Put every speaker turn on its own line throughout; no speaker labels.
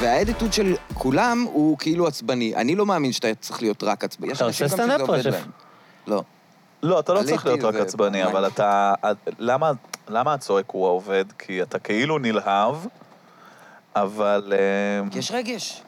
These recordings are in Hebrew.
האדיטוד של כולם הוא כאילו עצבני. אני לא מאמין שאתה צריך להיות רק עצבני. יש
אתה
אנשים
עושה
גם
סטנדאפ,
שזה עובד
רשף?
להם. לא.
לא, אתה לא
עליתי
צריך להיות רק
ו-
עצבני, אבל אתה... למה, למה הצועק הוא העובד? כי אתה כאילו נלהב, אבל... אה,
כי יש רגש.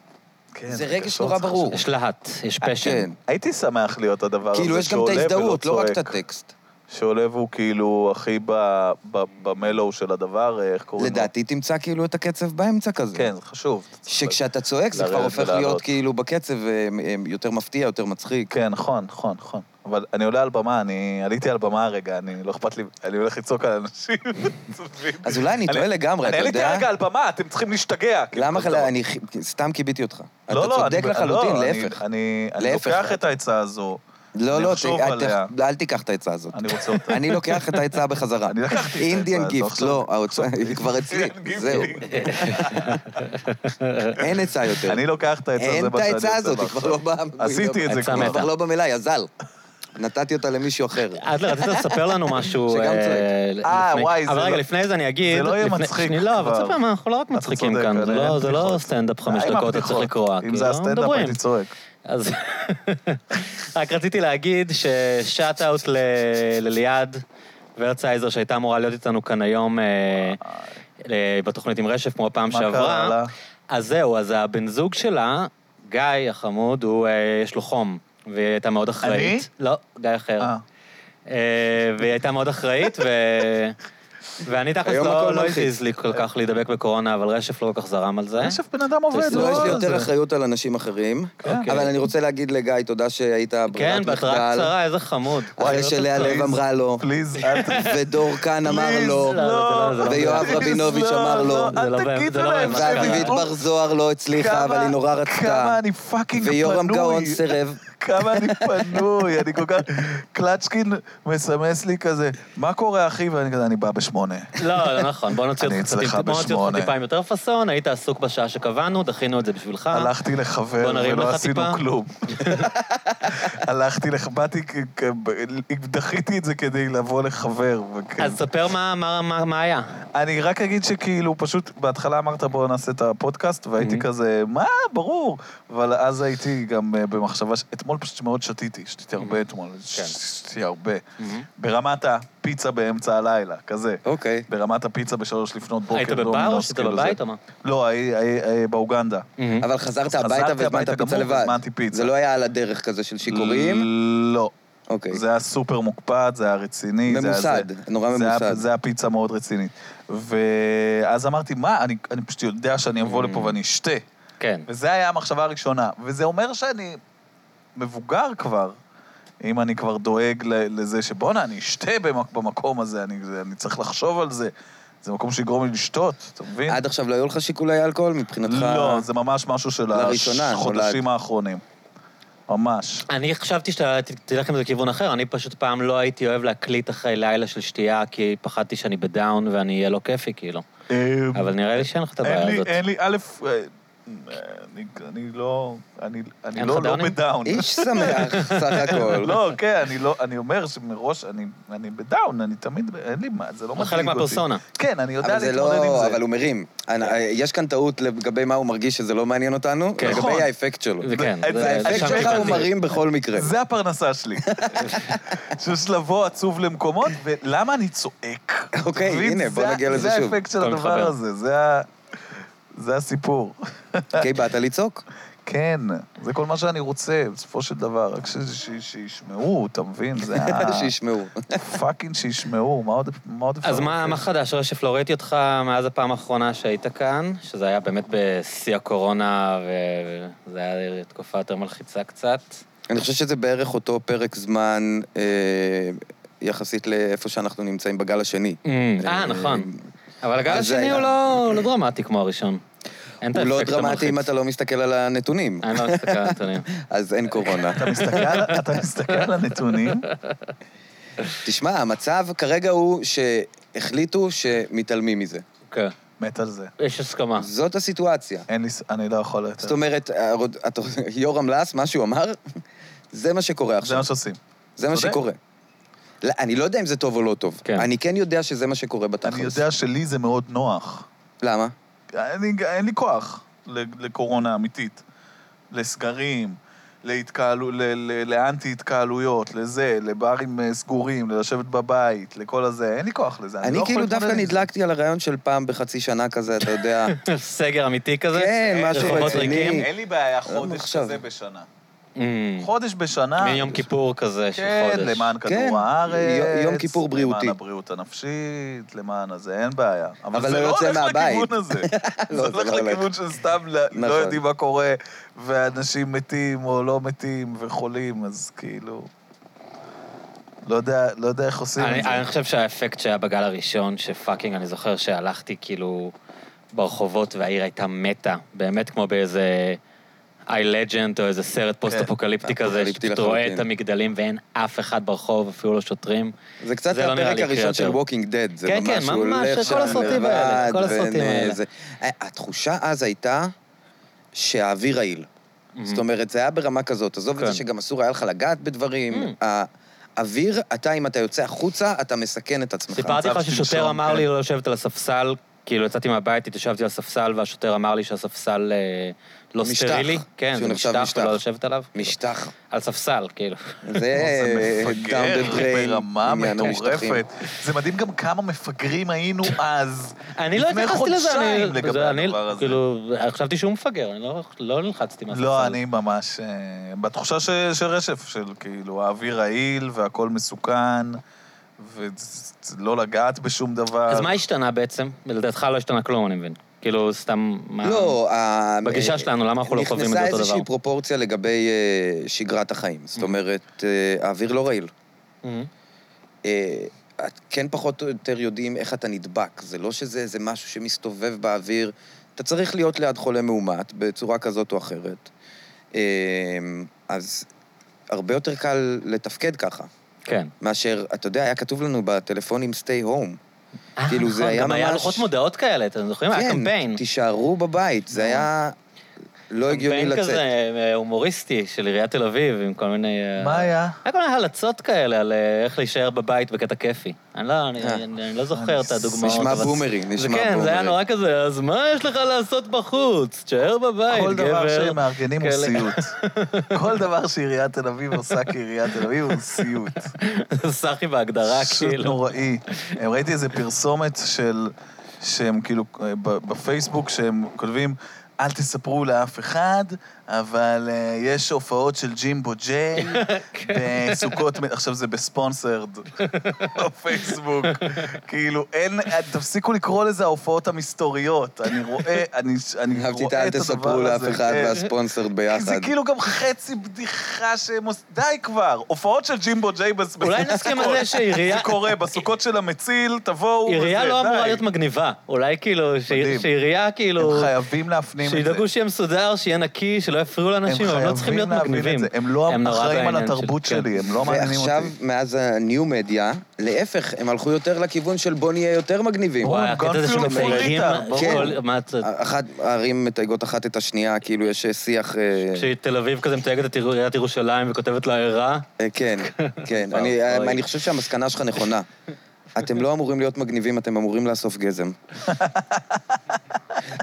כן,
זה רגש
קשור,
נורא
צריך
ברור.
לחשוב.
יש להט, יש
אה,
פשן.
כן.
הייתי שמח להיות הדבר הזה
כאילו, יש גם את
שעולה ולא
ההזדהות, לא רק את
צועק.
הטקסט.
שעולה והוא כאילו הכי ב- ב- במלואו של הדבר, אה, איך קוראים לו?
לדעתי תמצא כאילו את הקצב באמצע כזה.
כן, זה חשוב. אתה צודק.
שכשאתה צועק זה כבר
לרדת
הופך
ולעלות.
להיות כאילו בקצב אה, אה, יותר מפתיע, יותר מצחיק.
כן, נכון, נכון, נכון. אבל אני עולה על במה, אני עליתי על במה הרגע, אני לא אכפת לי, אני הולך לצעוק על אנשים. אתה מבין?
אז אולי אני טועה לגמרי, אתה
אני
יודע?
עליתי רגע על במה, אתם צריכים להשתגע. כאילו,
למה
אתה
חלה-
יודע.
אני ח- סתם כיביתי אותך. אתה
לא, לא,
צודק
אני-
לחלוטין,
לא, אני-
להפך.
אני אני
להפך.
לוקח את העצה הזו,
לא,
אני
לא,
אחשוב
ת- אל
עליה.
תח- אל תיקח את העצה הזאת.
אני רוצה אותה.
אני לוקח את העצה בחזרה.
אני לקחתי את העצה
אינדיאן
הזו
גיפט,
עכשיו.
לא, העצה- היא כבר אצלי,
Indian gift
זהו.
לי.
אין עצה יותר.
אני לא- לוקח את העצה
אין
הזו.
את העצה הזאת, היא כבר לא באה.
עשיתי את זה
עצה
כבר.
היא כבר
מתה.
לא במלאי, הזל. נתתי אותה למישהו אחר.
אדלר, רצית לספר לנו משהו...
שגם צועק.
אה, לפני-
אה, וואי, זה
אבל רגע,
לא-
לפני זה אני אגיד...
זה לא יהיה
לפני-
מצחיק
שנייה, לא, אבל
כבר.
עוד פעם, אנחנו לא רק
אתה
מצחיקים
צודק,
כאן, זה
אני- נכון.
לא-
אין
זה לא
בדיחות.
סטנדאפ חמש
די עם
דקות, אתה צריך
הבדיחות.
לקרוע.
אם
כי
זה
לא
הסטנדאפ,
מדברים.
הייתי צועק.
אז רק רציתי להגיד ששאט אאוט לליעד ורצייזר, שהייתה אמורה להיות איתנו כאן היום אה, אה, בתוכנית עם רשף, כמו הפעם
מה קרה
שעברה.
לה?
אז זהו, אז הבן זוג שלה, גיא החמוד, הוא, אה, יש לו חום, והיא הייתה מאוד אחראית. לא, גיא אחר.
אה.
אה, והיא הייתה מאוד אחראית, ו... ואני תכלס
היום הכל
לא, לא
מלחיץ.
הזיז לי כל כך להידבק בקורונה, אבל רשף לא כל כך זרם על זה.
אני חושב בן אדם עובד, אה,
לא, יש לי
זה-
יותר אחריות על אנשים אחרים.
אוקיי.
אבל אני רוצה להגיד לגיא, תודה שהיית
כן,
ברירת
בהתראה
מחדל.
קצרה, איזה חמוד.
אחרי שלאה לב אמרה לו,
פליז, לא אל ת-
ודור כאן אה, אמר
פליז,
לו,
לא, זה לא, זה לא.
ויואב
פליז,
רבינוביץ'
לא,
אמר לו,
לא,
זה לא
אל
באמת,
תגיד
זה לא
עליהם
באמת
שהם
ככה.
ואביבית
דיברו.
בר זוהר לא הצליחה, אבל
כמה-
היא נורא רצתה.
כמה אני פאקינג פנוי.
ויורם גאון סירב.
כמה אני פנוי, אני כל כך... קלצ'קין מסמס לי כזה, מה קורה אחי? ואני כזה, אני בא בשמונה.
לא, לא נכון, בוא נוציא
אני
אותך
אצלך
טיפ- בוא נוציא אותך
בשמונה.
טיפה עם יותר פאסון, היית עסוק בשעה שקבענו, דחינו את זה בשבילך.
הלכתי לחבר
בוא נרים
ולא
לך
עשינו
טיפה.
כלום. הלכתי, לח- באתי, כ- כ- ב- דחיתי את זה כדי לבוא לחבר. וכן.
אז ספר מה- מה- מה מה היה.
אני רק אגיד שכאילו, פשוט בהתחלה אמרת בוא נעשה את הפודקאסט,
Mm-hmm.
והייתי כזה, מה, ברור. אבל אז הייתי גם אה, במחשבה, ש- אתמול פשוט מאוד שתיתי, שתיתי הרבה
Mm-hmm.
אתמול, ש-
כן.
שתיתי הרבה. ברמת הפיצה באמצע הלילה, כזה.
אוקיי.
ברמת הפיצה בשלוש לפנות בוקר.
היית בבר או
דומינוס,
שהיית
כאילו
בבית Mm.
זה.
או מה?
לא, הי- הי- הי- באוגנדה.
אבל חזרת
חזרתי
הביתה
הביתה
והזמנת פיצה
גמור,
לבד.
הזמנתי פיצה.
זה לא היה על הדרך כזה של שיכורים?
לא.
אוקיי.
זה היה סופר מוקפד, זה היה רציני. זה היה
ממוסד,
זה.
נורא
זה היה-
ממוסד.
זה היה פיצה מאוד רצינית. ואז אמרתי, מה, אני, אני פשוט יודע שאני אבוא לפה ואני אשתה.
כן.
וזה היה המחשבה הראשונה. וזה אומר שאני מבוגר כבר, אם אני כבר דואג ל- לזה שבואנה, אני אשתה במק- במקום הזה, אני, זה- אני צריך לחשוב על זה. זה מקום שיגרום לי לשתות, אתה מבין?
עד עכשיו לא היו לך שיקולי אלכוהול מבחינתך?
לא, זה ממש משהו של
לראשונה,
החודשים
נולד.
האחרונים. ממש.
אני חשבתי שאתה ת- תלך עם זה לכיוון אחר, אני פשוט פעם לא הייתי אוהב להקליט אחרי לילה של שתייה, כי פחדתי שאני בדאון ואני אהיה לא כיפי, כאילו.
אמ,
אבל נראה לי שאין לך את
אין
הבעיה
לי-
הזאת.
אין לי, א', אה, אני- אני לא, אני אני
אין
לא
לך
לא
דאונים?
בדאון.
איש שמח, סך הכל.
לא, כן, אני לא, אני אומר שמראש, אני- אני בדאון, אני תמיד, ב- אין לי מה, זה
זה
לא מדאיג
חלק
אותי.
מהפרסונה.
כן, אני יודע
אבל זה
להתמודד עם
לא,
זה.
אבל הוא מרים. אני- אה, יש כאן טעות לגבי מה הוא מרגיש שזה לא מעניין אותנו,
כן.
נכון.
לגבי האפקט שלו.
זה כן.
זה-
זה-
זה-
האפקט
שם
זה-
שלך הוא
הבנתי.
מרים בכל מקרה.
זה הפרנסה שלי. שיש לבוא עצוב למקומות, ולמה אני צועק?
אוקיי,
אתה מבין?
הנה, בוא
זה-
נגיע לזה
זה
שוב.
האפקט של
הכל
הדבר
מתחבר.
הזה, זה ה- זה הסיפור.
כי אוקיי, באת לצעוק.
כן, זה כל מה שאני רוצה, בסופו של דבר, רק ש- ש- שישמעו, אתה מבין? זה ה...
שישמעו.
פאקינג שישמעו, מה עוד מה עוד אפשר?
אז מה
לבקש?
מה חדש, רשף? לא ראיתי אותך מאז הפעם האחרונה שהיית כאן, שזה היה באמת בשיא הקורונה, וזה היה תקופה יותר מלחיצה קצת.
אני חושב שזה בערך אותו פרק זמן אה, יחסית לאיפה שאנחנו נמצאים בגל השני.
אה, נכון. אבל הגל
אז
השני
היה.
הוא לא לא דרמטי כמו הראשון. אין את
הוא לא
האפקט
דרמטי אם
המלחיץ.
אתה לא מסתכל על הנתונים,
אני לא מסתכל על הנתונים.
אז אין קורונה.
אתה מסתכל- אתה מסתכל על הנתונים?
תשמע, המצב כרגע הוא שהחליטו שמתעלמים מזה.
כן.
מת על זה.
יש
אה.
הסכמה.
זאת הסיטואציה.
אין לי... ס- אני לא יכול
זאת
יותר.
אומרת, הרוד- אתה- יורם לס, מה שהוא אמר, זה מה שקורה
זה
עכשיו.
מה שעושים.
זה מה
צודק.
שקורה. לא, אני לא יודע אם זה טוב או לא טוב.
כן.
אני כן יודע שזה מה שקורה בתכלס.
אני יודע שלי זה מאוד נוח.
למה?
אני- אין לי כוח. ל- לקורונה אמיתית, לסגרים, להתקהלו, ל- ל- לאנטי-התקהלויות, לזה, לברים אה, סגורים, ללשבת בבית, לכל הזה, אין לי כוח לזה.
אני
לא יכול
כאילו
להתמודד
דווקא
עם זה.
נדלקתי על הרעיון של פעם בחצי שנה כזה, אתה יודע.
סגר אמיתי כזה?
כן, משהו
רחובות
רציני.
ריקים?
אין לי בעיה
לא
חודש
מחשב.
כזה בשנה.
אה.
אמ,
חודש בשנה.
מיום כיפור כזה של
כן,
חודש.
למען
כן.
כדור הארץ.
יום- יום כיפור בריאותי.
למען הבריאות הנפשית, למען הזה, אין בעיה.
אבל לא יוצא מהבית.
זה לא הולך לכיוון הזה.
לא,
זה
זה
הולך
לא הולך.
לכיוון של סתם ל- לא
נכון.
יודעים מה קורה, ואנשים מתים או לא מתים וחולים, אז כאילו... לא יודע, לא יודע איך עושים
אני,
את
אני
זה.
חושב שהאפקט שהיה בגל הראשון, שפאקינג, אני זוכר שהלכתי כאילו ברחובות והעיר הייתה מתה, באמת כמו באיזה I Legend או איזה סרט פוסט-אפוקליפטי כזה,
כן, אפוקליפטי
שאתה רואה
לחלוטין. נכון.
את המגדלים ואין אף אחד ברחוב, אפילו לא שוטרים.
זה קצת
זה לא נראה
הפרק
לי יקרה
הראשון של
יותר.
Walking Dead, זה
כן,
ממש,
כן,
הוא
ממש,
הולך
כל
שם
הסרטים האלה,
לבד,
כל הסרטים
ונ-
האלה.
זה- התחושה אז הייתה שהאוויר רעיל. זאת אומרת, זה היה ברמה כזאת. עזוב את
Mm-hmm. כן. Mm.
זה שגם אסור היה לך לגעת בדברים. האוויר, אתה, אם אתה יוצא החוצה, אתה מסכן את עצמך.
סיפרתי לך
מצב
ששוטר
שלשום,
אמר
כן.
לי לא לשבת על הספסל, כאילו יצאתי מהבית, התיישבתי על הספסל, והשוטר אמר לי שהספסל אה, לא
משטח.
סטרילי. כן,
שהוא
זה
נחשב
משטח,
משטח.
ולא לשבת עליו.
משטח.
על ספסל, כאילו.
זה
זה
דאון
מפגר
דה דריין.
ברמה
עניין המשטחים.
מטורפת. זה מדהים גם כמה מפגרים היינו אז.
אני לא
לפני
התייחסתי לזה,
חודשיים
אני...
לגבי
זה- אני-
הדבר הזה.
כאילו, חשבתי שהוא מפגר, אני לא- לא נלחצתי מהספסל.
לא, אני ממש... אה, בתחושה ש- של רשף, של כאילו האוויר רעיל והכל מסוכן, ולא לגעת בשום דבר.
אז מה השתנה בעצם? לדעתך לא השתנה כלום, אני מבין. כאילו, סתם... מה-
לא, ה-
בגישה שלנו, למה אנחנו לא חווים את זה אותו
נכנסה
דבר?
איזושהי פרופורציה לגבי אה, שגרת החיים.
Mm.
זאת אומרת, אה, האוויר לא רעיל.
אה,
אה, את כן פחות או יותר יודעים איך אתה נדבק. זה לא שזה איזה משהו שמסתובב באוויר. אתה צריך להיות ליד חולה מאומת בצורה כזאת או אחרת. אה, אז הרבה יותר קל לתפקד ככה,
כן.
מאשר, אתה יודע, היה כתוב לנו בטלפונים stay home.
אה,
כאילו, זה
נכון,
היה
גם היה
ממש- כן,
לוחות מודעות כאלה, אתם זוכרים?
אה,
היה קמפיין.
תישארו בבית. זה היה לא הגיוני
קמפיין
לצאת.
כזה אה, הומוריסטי של עיריית תל אביב, עם כל מיני... אה,
מה היה?
היה כל מיני הלצות כאלה על אה, איך להישאר בבית בקטע כיפי. אני לא, אני,
אה.
אני, אני לא זוכר את הדוגמאות.
נשמע
אבל-
בומרי,
זה
נשמע
כן, זה היה
בומרי.
נורא כזה, אז מה יש לך לעשות בחוץ? תשאר בבית, אה, גבר.
כל דבר שהם מארגנים הוא
כאלה.
סיוט. כל דבר שעיריית תל אביב עושה כעיריית תל אביב הוא סיוט.
סחי בהגדרה,
פשוט
כאילו.
נוראי. הם- ראיתי איזה פרסומת של... שהם כאילו, אה, ב- בפייסבוק, שהם כותבים, אל תספרו לאף אחד, אבל אה, יש הופעות של ג'ימבו ג'יי בסוכות, מ- עכשיו זה בספונסרד, בפייסבוק. כאילו, אין, אה, תפסיקו לקרוא לזה ההופעות המסתוריות. אני רואה, אני אני רואה את הדבר
אהבתי
הזה.
את אל תספרו לאף אחד
כן.
והספונסרד
כי זה
ביחד.
כאילו גם חצי בדיחה שהם עושים... די כבר, הופעות של ג'ימבו ג'יי בס-
אולי נסכים על זה שעירייה-
זה קורה, בסוכות של המציל, תבואו...
עירייה
וזה,
לא אמורה
די.
להיות מגניבה. אולי כאילו, שעיר-
מדהים.
שעירייה כאילו...
הם חייבים להפנים את זה.
שידאגו שיהיה מסודר, שיהיה נקי, שלא יפריעו לאנשים, אבל הם לא
חייבים
צריכים להיות
להבין את
מגניבים.
זה. הם לא
נורא
אחראים על
בעניין של-
התרבות
כן.
שלי, הם לא מעניינים אותי.
ועכשיו, מאז הניו מדיה, להפך, הם הלכו יותר לכיוון של בוא נהיה יותר מגניבים.
וואי,
גם לא
הקטע הזה
אפילו
שמתייגים...
פוליטה,
ברור.
כל- מה את...
אחת, הערים מתייגות אחת את השנייה, כאילו יש שיח... אה,
כשתל אביב כזה מתייגת את עיריית ירושלים וכותבת לה רע,
אה, כן, כן.
וואו,
אני-
אוי.
אני חושב שהמסקנה שלך נכונה. אתם לא אמורים להיות מגניבים, אתם אמורים לאסוף גזם.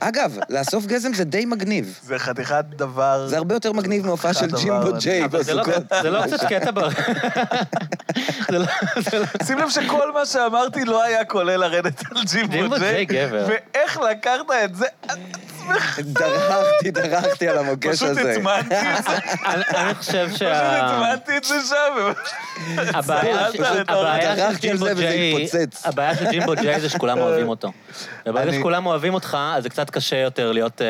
אגב, לאסוף גזם זה די מגניב.
זה חתיכת דבר...
זה הרבה יותר מגניב מהופעה של
הדבר
ג'ימבו
הזה.
ג'יי
אבל זה לא-
בסוכות.
זה לא קצת קטע ב... זה לא... זה לא-
שים לב שכל מה שאמרתי לא היה כולל לרדת על
ג'ימבו
ג'ימבו
ג'יי,
ג'יי,
גבר.
ואיך לקחת את זה? את עצמך.
דרכתי, דרכתי על המוקש
פשוט
הזה.
הצמדתי את זה,
אני אני חושב
פשוט
שה...
הצמדתי את זה שם.
הבעיה
צעדת
של-
לתוך-
הבעיה של
דרכתי על זה
ג'ימבו
וזה
ג'יי,
התפוצץ.
הבעיה של ג'ימבו ג'יי זה שכולם אוהבים אותו. וברגע
אני-
שכולם אוהבים אותך, אז זה קצת קשה יותר להיות, אה,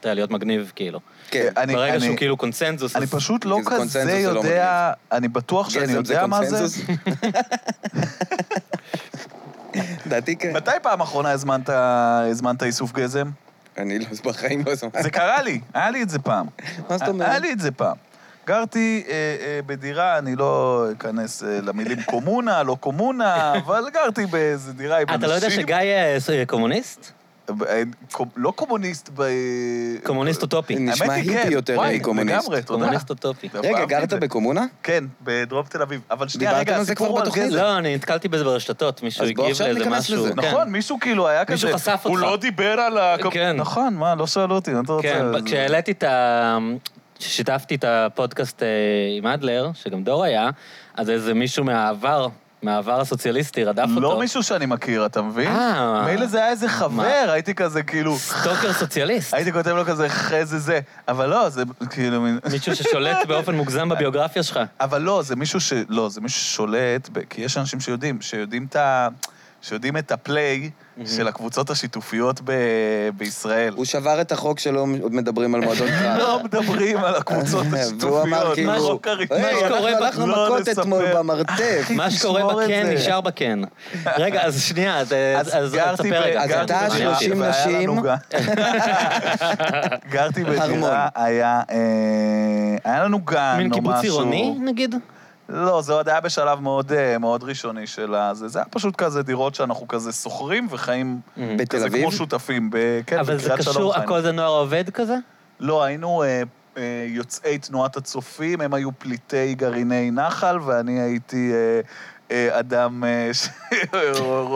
אתה יודע, להיות מגניב, כאילו.
כן.
אני-
ברגע
אני-
שהוא כאילו קונצנזוס,
אני
אז-
פשוט לא
כי זה
כזה
קונצנזוס, זה לא
יודע, אני בטוח שאני
גזם כן, זה
יודע מה זה.
קונצנזוס? לדעתי כן.
מתי פעם אחרונה הזמנת, הזמנת איסוף גזם?
אני לא, בחיים לא זמן.
זה קרה לי, היה לי את זה פעם.
מה זאת אומרת?
היה לי את זה פעם. גרתי אה, אה, בדירה, אני לא אכנס אה, למילים קומונה, לא קומונה, אבל גרתי באיזה דירה עם אנשים.
אתה לא יודע שגיא אה, ס- אה, קומוניסט?
לא קומוניסט ב...
קומוניסט אוטופי.
נשמע
האמת היא,
היפי
כן.
יותר
וואי,
מקומוניסט.
לגמרי, תודה.
קומוניסט אוטופי.
דווקא
רגע,
אהבתי את
גרת
זה.
בקומונה?
כן, בדרום תל אביב. אבל שנייה,
דיברתם
רגע,
על זה
הסיפור
כבר
הוא על
בתוכנית?
גזע.
לא, אני נתקלתי בזה ברשתות, מישהו
אז בוא
הגיב
עכשיו
לאיזה
ניכנס
משהו.
לזה.
כן.
נכון, מישהו כאילו היה כזה...
מישהו חשף
הוא
אותך.
לא דיבר על ה...
כן.
נכון, מה, לא שאלו אותי, מה אתה רוצה?
כן,
זה-
כשהעליתי את ה... כששיתפתי את הפודקאסט אה, עם אדלר, שגם דור היה, אז איזה מישהו מהעבר, מהעבר הסוציאליסטי, רדף אותו.
לא מישהו שאני מכיר, אתה מבין?
אה.
מילא זה היה איזה חבר, הייתי כזה כאילו...
סטוקר סוציאליסט.
הייתי כותב לו כזה חזה זה, אבל לא, זה כאילו מין...
מישהו ששולט באופן מוגזם בביוגרפיה שלך.
אבל לא, זה מישהו ש... לא, זה מישהו ששולט, ב... כי יש אנשים שיודעים, שיודעים את ה... שיודעים את הפליי של הקבוצות השיתופיות ב... בישראל.
הוא שבר את החוק שלא מדברים על מועדון קרב.
לא מדברים על הקבוצות
והוא אמר
השיתופיות,
כאילו,
לא קריטי.
"היי,
מה
אנחנו
שקורה ב-
הלכנו
לא
מכות
נספר."
אתמול במרתף.
מה שקורה
תשמור את
בקן
זה.
נשאר בקן. רגע, אז שנייה, אז- אז אז
גרתי
תספר רגע.
ב-
אז
כן,
אתה
מעניין אותי.
30
והיה לנו
נשים.
גן. גרתי
ארמון.
בדירה, היה אה, היה לנו גן או
מין
משהו.
קיבוץ עירוני, נגיד?
לא, זה עוד היה בשלב מאוד, אה, מאוד ראשוני של הזה. זה היה פשוט כזה דירות שאנחנו כזה שוכרים וחיים
בתל
כזה
אביב?
כמו שותפים. ב... כן,
Mm-hmm. אבל זה
בקריית שלום
קשור,
חיים.
הכל זה נוער עובד כזה?
לא, היינו אה, אה, יוצאי תנועת הצופים, הם היו פליטי גרעיני נחל, ואני הייתי אה, אה, אדם אה,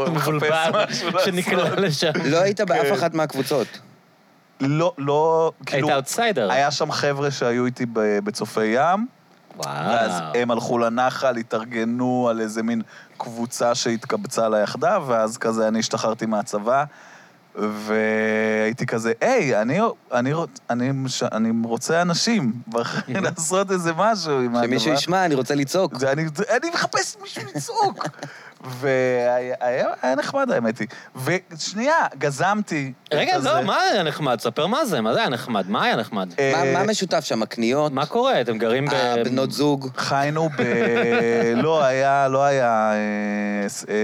שמחפש
מבולבל,
משהו לעשות.
שנקלע לשם.
לא היית
כן.
באף אחת מהקבוצות.
לא, לא,
היית
כאילו,
אאוטסיידר.
היה שם חבר'ה שהיו איתי ב- בצופי ים.
אה.
ואז
וואו.
הם הלכו לנחל, התארגנו על איזה מין קבוצה שהתקבצה לה יחדיו, ואז כזה אני השתחררתי מהצבא, והייתי כזה, היי, אני, אני, רוצ- אני, ש- אני רוצה אנשים, לעשות איזה משהו עם הדבר.
שמישהו ישמע, אני רוצה לצעוק.
זה, אני, זה- אני מחפש מישהו לצעוק. והיה היה- היה נחמד, האמת היא. ושנייה, גזמתי.
רגע,
כזה,
לא, מה היה נחמד? ספר מה זה, מה זה היה נחמד? מה היה נחמד?
אה,
מה- מה משותף שם? הקניות?
מה קורה? אתם גרים ב...
הבנות זוג?
חיינו ב... לא היה, לא היה... אה, ס- אה,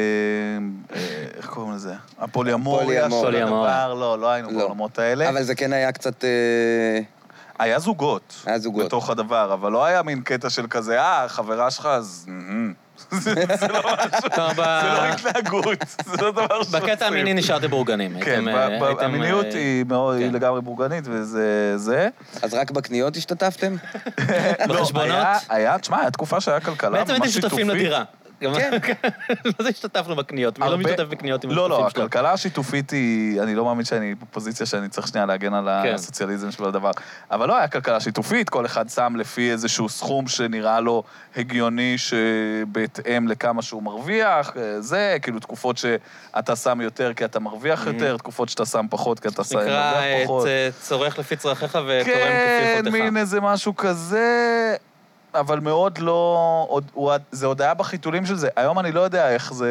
אה, איך קוראים לזה? הפוליאמוריה
פוליאמוריה.
של
פוליאמוריה.
הדבר. לא, לא היינו
לא.
בעולמות האלה.
אבל זה כן היה קצת... אה,
היה זוגות.
היה זוגות.
בתוך הדבר, אבל לא היה מין קטע של כזה, אה, חברה שלך, אז... מ-מ-מ." זה זה לא משהו,
כלומר, ב-
זה
אה.
לא התנהגות, זה לא דבר שעושים.
בקטע המיני נשארתם בורגנים.
כן,
הייתם,
ב-
אה,
ב-
הייתם,
המיניות
אה,
היא מאוד- היא
כן.
לגמרי בורגנית, וזה... זה.
אז רק בקניות השתתפתם?
לא,
בחשבונות?
היה- היה, תשמע, הייתה תקופה שהיה כלכלה ממש
בעצם
שיתופית.
הייתם שותפים לדירה.
כן.
לא זה השתתפנו בקניות, מי לא
הרבה-
משתתף בקניות עם
לא, לא,
השותפים שלו?
הכלכלה השיתופית היא, אני לא מאמין שאני בפוזיציה שאני צריך שנייה להגן על
כן.
הסוציאליזם של הדבר. אבל לא היה כלכלה שיתופית, כל אחד שם לפי איזשהו סכום שנראה לו הגיוני שבהתאם לכמה שהוא מרוויח, אה, זה, כאילו תקופות שאתה שם יותר כי אתה מרוויח יותר, תקופות שאתה שם פחות כי אתה שם
Mm. נקרא
מרוויח
את
פחות.
אה, צורך לפי צרכיך ותורם כפי
כן,
יכולתך.
מין איזה משהו כזה, אבל מאוד לא... עוד, הוא, עד- זה עוד היה בחיתולים של זה. היום אני לא יודע איך זה...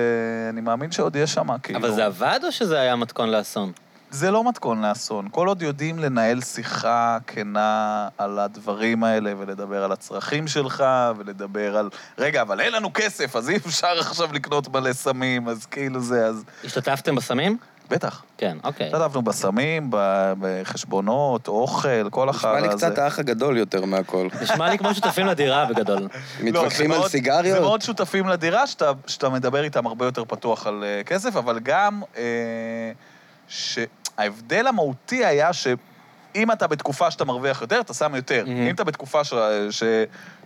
אני מאמין שעוד יש שם, כאילו.
אבל זה עבד או שזה היה מתכון לאסון?
זה לא מתכון לאסון. כל עוד יודעים לנהל שיחה כנה על הדברים האלה, ולדבר על הצרכים שלך, ולדבר על... רגע, אבל אין לנו כסף, אז אי אפשר עכשיו לקנות מלא סמים, אז כאילו זה, אז...
השתתפתם בסמים?
בטח.
כן, אוקיי.
השתתפנו בסמים, ב- בחשבונות, אוכל, כל החרא
נשמע
הזה.
לי קצת האח הגדול יותר מהכל.
נשמע לי כמו שותפים לדירה בגדול.
לא,
מתווכחים
זה
על
מאוד- זה
סיגריות?
מאוד שותפים לדירה, שאתה, שאתה מדבר איתם הרבה יותר פתוח על אה, כסף, אבל גם אה, שההבדל המהותי היה ש... אם אתה בתקופה שאתה מרוויח יותר, אתה שם יותר.
Mhm.
אם אתה בתקופה ש... ש...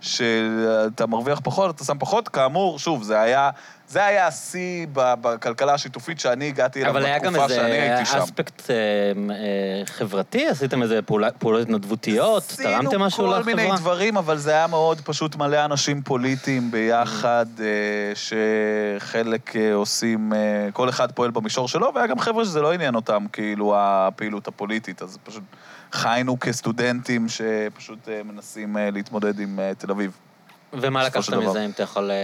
שאתה מרוויח פחות, אתה שם פחות. כאמור, שוב, זה היה, זה היה השיא ב- בכלכלה השיתופית שאני הגעתי אליו
אבל היה גם
בתקופה שאני
איזה
הייתי שם.
אספקט אה, אה, חברתי? עשיתם איזה פעולה- פעולות התנדבותיות? תרמתם משהו לחברה?
עשינו כל מיני דברים, אבל זה היה מאוד פשוט מלא אנשים פוליטיים ביחד, אה, שחלק אה, עושים, אה, כל אחד פועל במישור שלו, והיה גם חבר'ה שזה לא עניין אותם, כאילו, הפעילות הפוליטית, אז פשוט חיינו כסטודנטים שפשוט אה, מנסים אה, להתמודד עם אה, תל אביב.
ומה
בסופו
לקחת
של דבר.
מזה, אם אתה יכול... אה,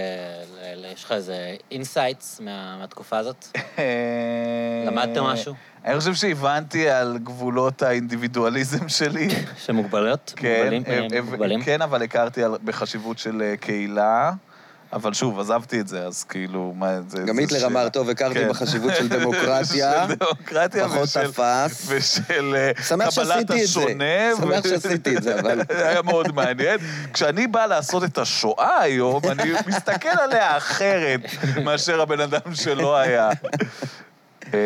ל- ל- יש לך איזה אינסייטס מה- מהתקופה הזאת? למדת משהו?
אה, אני חושב שהבנתי על גבולות האינדיבידואליזם שלי.
שמוגבלות?
כן,
מוגבלים? אה,
אה,
מוגבלים?
כן, אבל הכרתי על- בחשיבות של אה, קהילה, אבל שוב, עזבתי את זה, אז כאילו, מה זה...
גם
זה
היטלר
ש-
אמר, טוב, הכרתי
כן.
בחשיבות של דמוקרטיה,
של דמוקרטיה
פחות
ושל-
תפס.
ושל אה,
שמח
קבלת
שעשיתי את זה.
השונה. ו-
שמח שעשיתי את זה, אבל-
זה היה מאוד מעניין. כשאני בא לעשות את השואה היום, אני מסתכל עליה אחרת מאשר הבן אדם שלא היה. אה,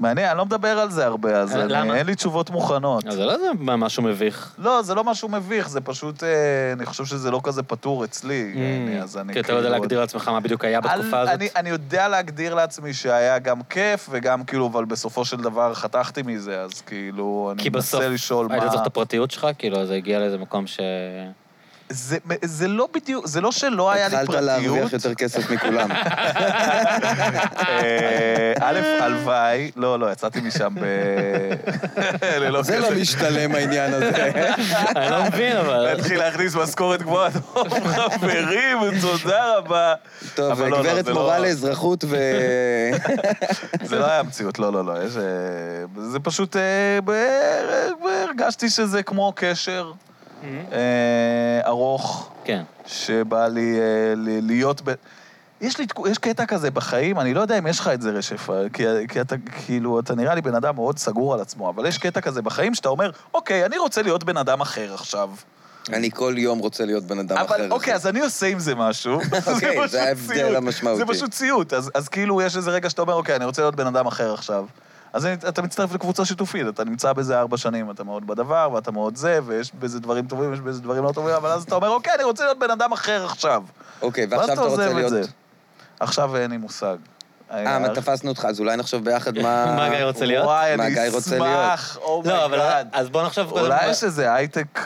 מעניין, אני לא מדבר על זה הרבה, אז
אה,
אני-
למה?
אין לי תשובות מוכנות.
אז זה לא זה משהו מביך.
לא, זה לא משהו מביך, זה פשוט, אה, אני חושב שזה לא כזה פתור אצלי, אני- אז אני
Mm. כי אתה לא יודע
כאילו-
להגדיר לעצמך מה בדיוק היה בתקופה
אל-
הזאת.
אני, אני יודע להגדיר לעצמי שהיה גם כיף, וגם כאילו, אבל בסופו של דבר חתכתי מזה, אז כאילו, אני
כי בסוף,
מנסה לשאול מה...
היית צריך את הפרטיות שלך? כאילו, זה הגיע לאיזה מקום ש...
זה, זה לא בדיוק, זה לא שלא היה לי
התחלת להרוויח
פרטיות.
יותר כסף מכולם.
אה, א', הלוואי, לא, לא, יצאתי משם ב... ללא
זה לא משתלם העניין הזה.
אני לא מבין, אבל...
להתחיל להכניס משכורת גבוהה, טוב, חברים, תודה רבה.
טוב,
אבל לא, לא,
גברת
זה לא-
מורה לאזרחות ו...
זה לא היה המציאות, לא, לא, לא. יש, אה, זה פשוט... אה, ב- ב- הרגשתי שזה כמו קשר אה, ארוך,
כן.
שבא לי אה, ל- להיות ב... יש לי תקו- יש קטע כזה בחיים, אני לא יודע אם יש לך את זה רשף, אה, כי, כי אתה כאילו, אתה נראה לי בן אדם מאוד סגור על עצמו, אבל יש קטע כזה בחיים שאתה אומר, אוקיי, אני רוצה להיות בן אדם אחר עכשיו.
אני כל יום רוצה להיות בן אדם אחר.
אבל אוקיי, אז אני עושה עם זה משהו.
אוקיי,
פשוט
זה ההבדל
ציוט.
המשמעותי.
זה פשוט ציוט. אז אז כאילו יש איזה רגע שאתה אומר, אוקיי, אני רוצה להיות בן אדם אחר עכשיו. אז אני- אתה מצטרף לקבוצה שיתופית, אתה נמצא בזה ארבע שנים, אתה מאוד בדבר, ואתה מאוד זה, ויש בזה דברים טובים, ויש בזה דברים לא טובים, אבל אז אתה אומר, אוקיי, אני רוצה להיות בן אדם אחר עכשיו.
אוקיי,
ואז
ועכשיו אתה
עוזב
רוצה
את
להיות...
זה. עכשיו אין לי מושג.
אה, מה, תפסנו אותך, אז אולי נחשוב ביחד מה...
מה גיא רוצה להיות?
וואי,
מה,
אני
גיא רוצה להיות?
אשמח, אומייגאד.
לא, אבל אז בוא נחשוב... קודם
Oh אולי
כל-
יש איזה הייטק.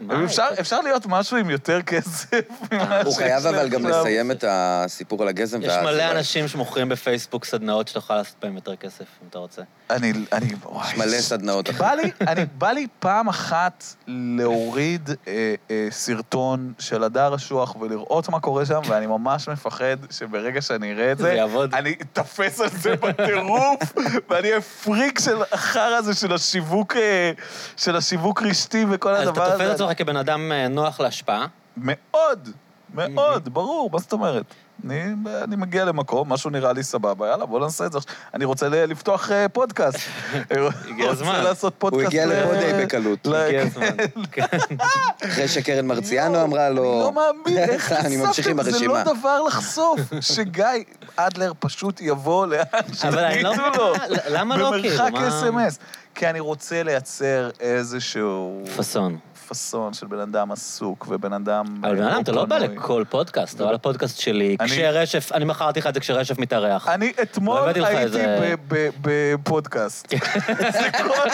מה?
אפשר- אפשר להיות משהו עם יותר כסף ממה
הוא
שיש
חייב
לי
אבל גם
עכשיו.
לסיים את הסיפור על הגזם.
יש
וה-
מלא אנשים שמוכרים בפייסבוק סדנאות שאתה יכול לעשות בהם יותר כסף, אם אתה רוצה.
אני, אני, וואי.
מלא סדנאות.
בא לי, אני, בא לי פעם אחת להוריד אה, אה, סרטון של הדר אשוח ולראות מה קורה שם, ואני ממש מפחד שברגע שאני אראה את
זה
זה,
יעבוד.
אני אתפס על זה בטירוף, ואני אהיה פריק של החרא הזה של השיווק, אה, של השיווק רשתי וכל
אז
הדבר
אתה תופס את
הזה.
עצמך כבן אדם אה, נוח להשפעה.
מאוד, מאוד, ברור, מה זאת אומרת? אני, אני מגיע למקום, משהו נראה לי סבבה, יאללה, בוא נעשה את זה. עכשיו. אני רוצה ל- לפתוח אה, פודקאסט. הגיע
הזמן.
רוצה לעשות
הוא
פודקאסט.
הגיע
ל-
לפה די בקלות.
ל-
הגיע הזמן. כן.
אחרי שקרן מרציאנו
יואו,
אמרה לו...
אני לא מאמין, איך
אני ממשיך עם
חשפתם? זה לא
הרשימה.
דבר לחשוף. שגיא אדלר פשוט יבוא לאן
אבל אני לא
שתגידו
מבין,
לו.
למה לא כאילו?
במרחק
מה-
אס.אם.אס. כי אני רוצה לייצר איזשהו
פאסון.
פאסון של בן אדם עסוק ובן אדם...
אבל בן אדם, אתה לא בא
אופנועי.
לכל פודקאסט, אתה בא לפודקאסט שלי,
אוקיי. אני-
כשרשף, אני מכרתי לך את זה כשרשף מתארח.
אני
לא
אתמול
הבאתי לך
הייתי
איזה-
ב- ב- בפודקאסט. זה כל-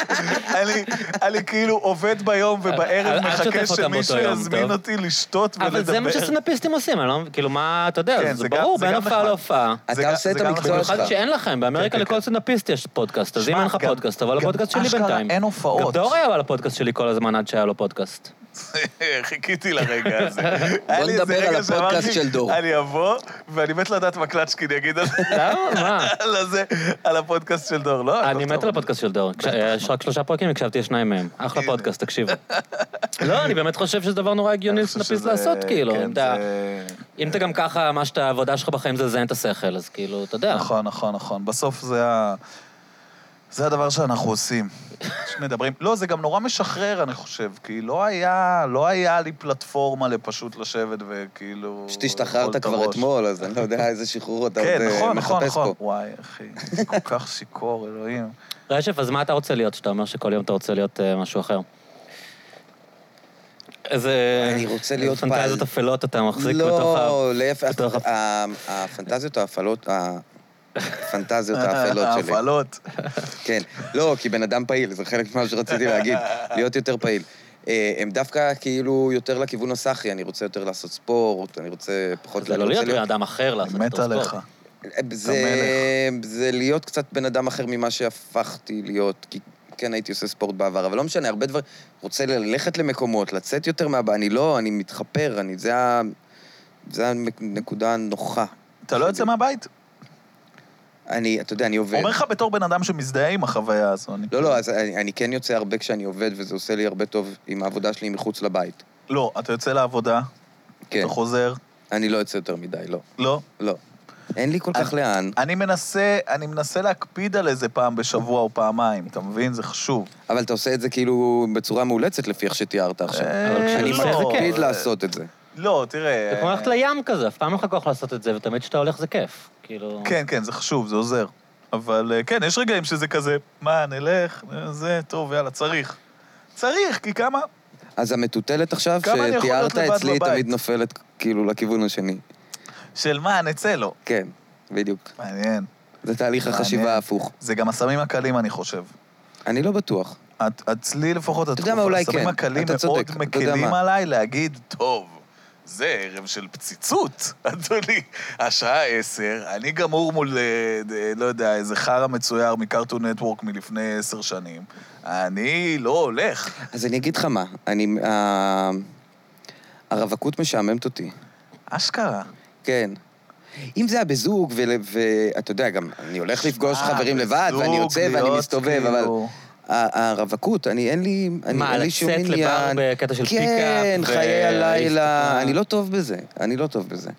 אני- אני כאילו עובד ביום
אל-
ובערב
אל
מחכה
תשתף אותם
שמישהו
באותו יום,
יזמין
טוב?
אותי לשתות ולדבר.
אבל זה מה שסטנדאפיסטים עושים, אני לא מבין, כאילו, מה, אתה יודע,
כן,
זה
זה גם-
ברור,
זה
בין
גם
הופעה
נחמד.
להופעה.
זה
אתה
גם-
עושה את
זה גם
המקצוע
לחינוך.
שלך.
במיוחד שאין לכם, באמריקה
כן,
לכל
כן.
סטנדאפיסט יש פודקאסט, אז אם
שמע,
אין לך
גם-
פודקאסט, תבוא
גם
לפודקאסט שלי
אשכרה
בינתיים.
אין הופעות.
גם דור היה בא לפודקאסט שלי כל הזמן עד שהיה לו פודקאסט.
חיכיתי לרגע הזה. היה לי איזה
נדבר על
רגע שאמרתי,
הפודקאסט של דור.
אני אבוא, ואני מת לדעת מה קלצ'קין יגיד על-
למה? מה?
על הזה, על הפודקאסט של דור, לא?
אני מת על הפודקאסט של דור. כש- אה, יש רק שלושה פרקים, הקשבתי לשניים מהם. אחלה
הנה.
פודקאסט, תקשיבו. לא, אני באמת חושב שזה דבר נורא הגיוני לסטנדאפיסט לעשות, כאילו.
כן,
אם אתה- אם אתה גם ככה, מה שאתה, העבודה שלך בחיים זה לזיין את השכל, אז כאילו, אתה יודע.
נכון, נכון, נכון. בסוף זה ה... זה הדבר שאנחנו עושים. מדברים. לא, זה גם נורא משחרר, אני חושב, כי לא היה, לא היה לי פלטפורמה לפשוט לשבת וכאילו...
פשוט
לאכול
השתחררת
את
כבר
הראש.
אתמול, אז אני לא יודע איזה שחרור אתה
כן,
עוד אה,
נכון, נכון,
מחפש
נכון.
פה.
וואי, אחי, אני כל כך שיכור, אלוהים.
רשף, אז מה אתה רוצה להיות, שאתה אומר שכל יום אתה רוצה להיות אה, משהו אחר? איזה...
אני רוצה להיות פעל.
פנטזיות אפלות אתה מחזיק בתוך ה...
לא, להפך,
בתוך ה-
ה- הפנטזיות האפלות, ה- הפנטזיות האפלות שלי.
ההפעלות.
כן. לא, כי בן אדם פעיל, זה חלק ממה שרציתי להגיד, להיות יותר פעיל. אה, הם דווקא כאילו יותר לכיוון הסחי, אני רוצה יותר לעשות ספורט, אני רוצה פחות...
זה
אני
לא
רוצה
להיות בן אדם אחר
אני
לעשות
מת
אותו ספורט.
עליך.
זה, זה להיות קצת בן אדם אחר ממה שהפכתי להיות, כי כן הייתי עושה ספורט בעבר, אבל לא משנה, הרבה דברים... רוצה ללכת למקומות, לצאת יותר מהבעיה, אני לא, אני מתחפר, אני... זה, ה, זה הנקודה הנוחה.
אתה לא יוצא מהבית?
אני, אתה יודע, אני עובד.
אומר לך בתור בן אדם שמזדהה עם החוויה הזו. אני-
לא, לא, אז אני, אני כן יוצא הרבה כשאני עובד, וזה עושה לי הרבה טוב עם העבודה שלי מחוץ לבית.
לא, אתה יוצא לעבודה,
כן.
אתה חוזר,
אני לא יוצא יותר מדי, לא.
לא.
לא. אין לי כל כך לאן,
אני מנסה, אני מנסה להקפיד על איזה פעם בשבוע או פעמיים, אתה מבין? זה חשוב.
אבל אתה עושה את זה כאילו בצורה מאולצת לפי איך שתיארת
אה,
עכשיו.
אבל
אני
כשלא, לא,
מקפיד לעשות את זה.
לא, תראה...
זה כמו לא ללכת לים כזה, אף פעם אין לך כוח לעשות את זה, ותמיד כשאתה הולך זה כיף. כאילו...
כן, כן, זה כן, חשוב, זה עוזר. אבל אה, כן, יש רגעים שזה כזה, מה, נלך, אה, זה, טוב, יאללה, צריך. צריך, כי כמה?
אז המטוטלת עכשיו,
כמה אני יכול להיות
שתיארת
לבד
אצלי, היא
בבית?
תמיד נופלת כאילו לכיוון השני.
של מה, נצא לו.
כן, בדיוק.
מעניין.
זה תהליך
מעניין.
החשיבה ההפוך.
זה גם הסמים הקלים, אני חושב.
אני לא בטוח.
את- אצלי לפחות,
יודע מה, אולי
הסמים
כן.
הקלים
אתה
מאוד
צודק, אתה יודע
מקלים
מה.
עליי להגיד, טוב, זה ערב של פציצות, אדוני. השעה עשר, אני גמור מול, אה, אה, לא יודע, איזה חרא מצויר מקארטון נטוורק מלפני עשר שנים. אני לא הולך.
אז אני אגיד לך מה, אני... ה- הרווקות משעממת אותי.
אשכרה.
כן. אם זה היה בזוג, ול- ואתה יודע, גם אני הולך לפגוש
אה,
חברים לבד, ואני
בזוג,
יוצא ואני
להיות
מסתובב, אבל...
כאילו-
ה- הרווקות, אני אין לי... אני-
מה,
אין לי
לצאת
שום
לבר
עניין.
בקטע של
כן,
פיקאפ
חיי
ו-
הלילה,
הסתכלות?
אני לא טוב בזה, אני לא טוב בזה.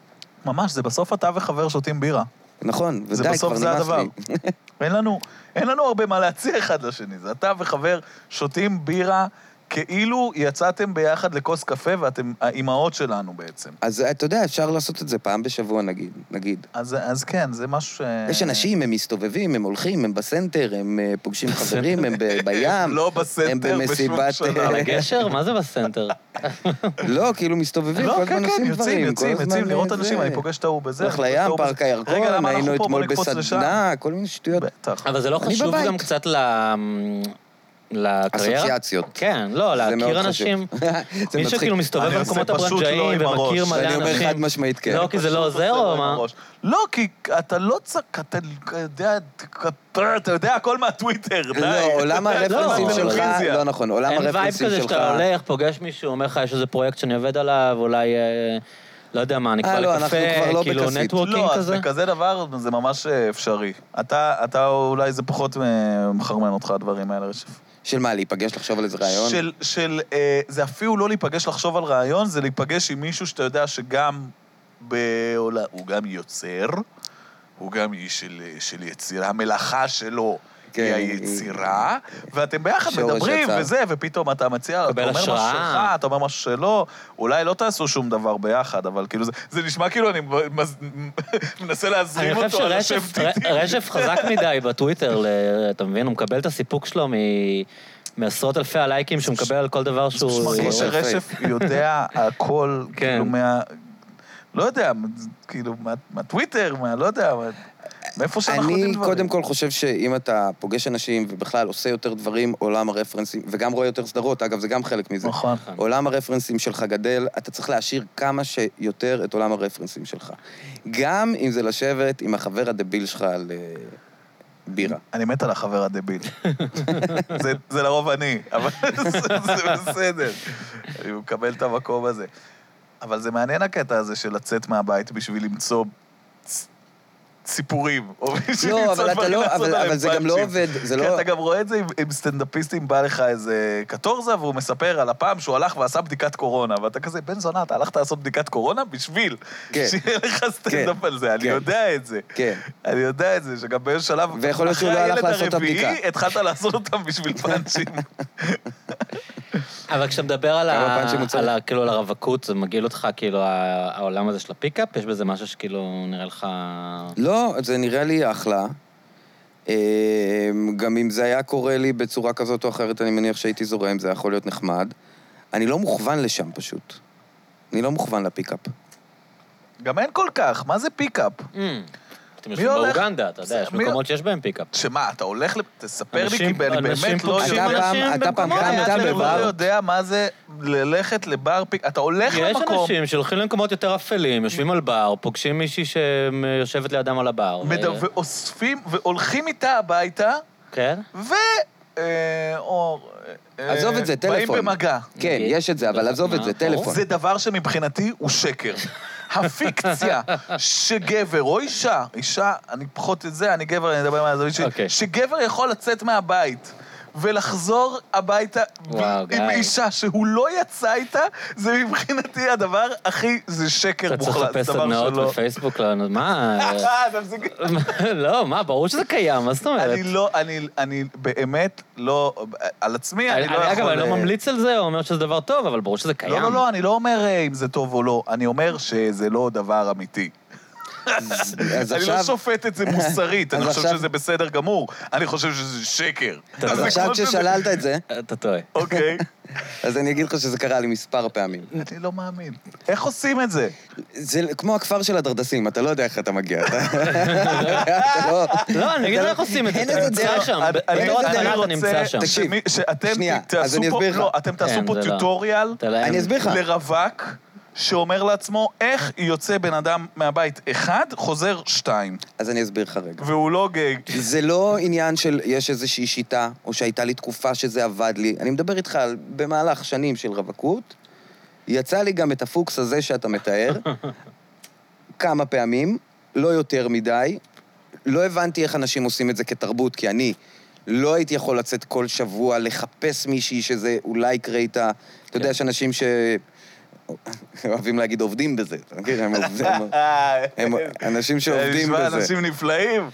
ממש, זה בסוף אתה וחבר שותים בירה.
נכון,
זה
ודי,
בסוף
כבר
זה
נמאס
הדבר.
לי.
אין לנו, אין לנו הרבה מה להציע אחד לשני. זה אתה וחבר שותים בירה כאילו יצאתם ביחד לכוס קפה ואתם האימהות שלנו בעצם.
אז אתה יודע, אפשר לעשות את זה פעם בשבוע, נגיד. נגיד.
אז, אז כן, זה משהו ש...
יש אנשים, הם מסתובבים, הם הולכים, הם בסנטר, הם אה, פוגשים
בסנטר.
חברים, הם ב- בים.
לא בסנטר בשום
במסיבת- אה,
שלב.
על הגשר? מה זה בסנטר?
לא, כאילו, מסתובבים,
לא,
כל
כן,
הזמן
כן,
עושים
יוצאים,
דברים.
יוצאים,
כל
יוצאים
הזמן,
לראות
אה,
אנשים,
זה.
אני פוגש את ההוא בזה.
הולך
אני פוגש את
לים,
ההוא
פארק
בזה. רגע,
הירקון,
למה אנחנו
היינו
פה? בוא
אתמול
נקפוץ לשם.
בסדנה, כל מיני שטויות.
בטח.
אבל זה לא
אני
חשוב
בבית.
גם קצת ל- לקריירה?
אסוציאציות.
כן, לא,
זה מאוד
להכיר
חשוב.
אנשים.
זה
מי
מצחיק.
שכאילו מסתובב
אני עושה
במקומות
פשוט לא
הברנג'איים
עם
ומכיר
הראש.
מלא
ואני
אנשים.
אומר חד משמעית כן.
לא, כי זה לא
פשוט
עוזר
עושה
או
עם
מה?
הראש. לא, כי אתה לא צריך, אתה יודע, אתה יודע הכל מהטוויטר, די.
לא, עולם הרפרנסים
לא,
שלך,
טלוויזיה.
לא נכון, עולם
אין וייב
הרפרנסים
כזה
שלך...
שאתה הולך, פוגש מישהו, אומר לך, יש איזה פרויקט שאני עובד עליו, אולי, אה, לא יודע מה,
אה,
נקבע
לא,
לקפה,
אנחנו כבר לא
כאילו
בכסית.
נטוורקינג
לא, אז
כזה?
בכזה דבר זה ממש אה, אפשרי. אתה, אתה אולי זה פחות אה, מחרמן אותך, הדברים האלה, רשף.
של מה, להיפגש, לחשוב על איזה רעיון?
של, של, אה, זה אפילו לא להיפגש לחשוב על רעיון, זה להיפגש עם מישהו שאתה יודע שגם בעולם, הוא גם יוצר, הוא גם איש של, של יצירה, המלאכה שלו.
כן,
כן, היא היצירה, ואתם ביחד
שורש
מדברים
יצר.
וזה, ופתאום אתה מציע, אתה
קבל
אומר משהו
השראה.
שלך, אתה אומר משהו שלא, אולי לא תעשו שום דבר ביחד, אבל כאילו, זה, זה נשמע כאילו אני מז- מנסה
אני
להזרים
חושב
אותו על השם
שרשף ר- רשף חזק מדי בטוויטר, ל- אתה מבין? הוא מקבל את הסיפוק שלו מ- מעשרות אלפי הלייקים שהוא מקבל על כל דבר
זה פשוט
שהוא...
מרגיש
הוא-
שרשף יודע הכל,
כן.
כאילו מה... לא יודע, כאילו, מה- מהטוויטר, מה... לא יודע, מה- מאיפה שאנחנו יודעים
אני
דברים.
קודם כל חושב שאם אתה פוגש אנשים ובכלל עושה יותר דברים, עולם הרפרנסים, וגם רואה יותר סדרות, אגב, זה גם חלק מזה.
נכון.
עולם הרפרנסים שלך גדל, אתה צריך להשאיר כמה שיותר את עולם הרפרנסים שלך. גם אם זה לשבת עם החבר הדביל שלך על אה, בירה.
אני מת על החבר הדביל. זה- זה לרוב אני, אבל זה- זה בסדר. אני מקבל את המקום הזה. אבל זה מעניין הקטע הזה של לצאת מהבית בשביל למצוא צ- סיפורים, או בשביל
לא,
למצוא
אבל אתה
דברים
לא,
לעשות
אבל-
עליהם
אבל זה גם לא
פאנצ'ים.
עובד, זה
כן,
לא...
אתה גם רואה את זה עם, עם סטנדאפיסטים, בא לך איזה קטורזה, והוא מספר על הפעם שהוא הלך ועשה בדיקת קורונה, ואתה כזה, בן זונה, אתה הלכת לעשות בדיקת קורונה בשביל
כן.
שיהיה לך סטנדאפ
כן.
על זה, אני
כן.
יודע את זה.
כן.
אני יודע את זה, שגם באיזשהו שלב,
ויכול להיות שהוא לא הלך לעשות את הבדיקה.
התחלת לעשות אותם בשביל פאנצ'ים.
אבל כשאתה מדבר על,
כמה
ה...
פאנצ'ים הוא צריך?
על, ה... כאילו, על הרווקות, זה מגעיל אותך, כאילו, ה- העולם הזה של הפיקאפ, יש בזה משהו שכאילו נראה לך...
לא, זה נראה לי אחלה. אה, גם אם זה היה קורה לי בצורה כזאת או אחרת, אני מניח שהייתי זורם, זה היה יכול להיות נחמד. אני לא מוכוון לשם פשוט. אני לא מוכוון לפיקאפ.
גם אין כל כך, מה זה פיקאפ?
Mm. אתם יושבים
הולך?
באוגנדה, אתה יודע,
זה-
יש
מי-
מקומות שיש בהם פיקאפ.
שמה, אתה הולך ל... תספר לי,
אנשים-
כי אני
אנשים
באמת לא
פוגשים
אתה
יודע.
פעם-
אנשים
אתה פעם
במקומות.
גם אתה
אני לא
בבר.
יודע מה זה ללכת לבר פיק... אתה הולך
יש
למקום,
אנשים שהולכים למקומות יותר אפלים, יושבים על בר, פוגשים מישהי שיושבת לידם על הבר. ו-
מדו- ואוספים, והולכים איתה הביתה,
כן?
ו... אה, או... אה,
עזוב את זה, טלפון.
באים במגע.
כן,
אוקיי.
יש את זה, אבל עזוב
מה?
את זה, טלפון.
זה דבר שמבחינתי הוא שקר. הפיקציה שגבר או אישה, אישה, אני פחות את זה, אני גבר, אני מדבר מהזווית שלי,
אוקיי.
שגבר יכול לצאת מהבית ולחזור הביתה ב-
וואו,
עם
גיא.
אישה שהוא לא יצא איתה, זה מבחינתי הדבר הכי, זה שקר
אתה צריך
מוחלט,
לחפש
זה דבר
סדנאות
שלא...
בפייסבוק, לא- מה?
תפסיק.
לא, מה, ברור שזה קיים, מה זאת אומרת?
אני לא, אני, אני באמת לא, על עצמי
אני,
אני לא יכול...
אגב, אני לא
אה,
ממליץ על זה, או אומר שזה דבר טוב, אבל ברור שזה קיים.
אה, לא, לא, לא, אני לא אומר אה, אם זה טוב או לא, אני אומר שזה לא דבר לא אמיתי.
אז
אני לא
עכשיו-
שופט את זה מוסרית, אני
אז
חושב
עכשיו-
שזה בסדר גמור. אני חושב שזה שקר.
אז
זה
עכשיו
כמו שזה-
כששללת את זה,
אתה טועה.
אוקיי.
אז אני אגיד לך שזה קרה לי מספר פעמים.
אני לא מאמין. איך עושים את זה?
לא,
זה כמו הכפר של הדרדסים, אתה לא יודע איך אתה מגיע. אתה- אתה לא-
לא, אני אגיד לך
אתה-
איך עושים את זה.
אין
אתה
איזה
נמצא
דרך.
שם.
אני- אני-
בתור
אין איזה
התחלה
דרך.
אתה נמצא שם.
תקשיב,
שאתם
שנייה, אז
תעשו
אני
פה,
אסביר לך.
לא, אתם תעשו
כן,
פה
זה לא.
טיוטוריאל
אתה לא-
אני אסביר לך.
לרווק שאומר לעצמו איך יוצא בן אדם מהבית אחד, חוזר שתיים,
אז אני אסביר לך רגע.
והוא לא גג.
זה לא עניין של יש איזושהי שיטה, או שהייתה לי תקופה שזה עבד לי. אני מדבר איתך על במהלך שנים של רווקות. יצא לי גם את הפוקס הזה שאתה מתאר, כמה פעמים, לא יותר מדי. לא הבנתי איך אנשים עושים את זה כתרבות, כי אני לא הייתי יכול לצאת כל שבוע לחפש מישהי שזה אולי יקרה איתה. אתה
כן.
יודע, יש אנשים ש... אוהבים להגיד עובדים בזה, אתה מכיר? הם עובדים, הם אנשים שעובדים
זה
בזה.
אה, נשמע אנשים נפלאים.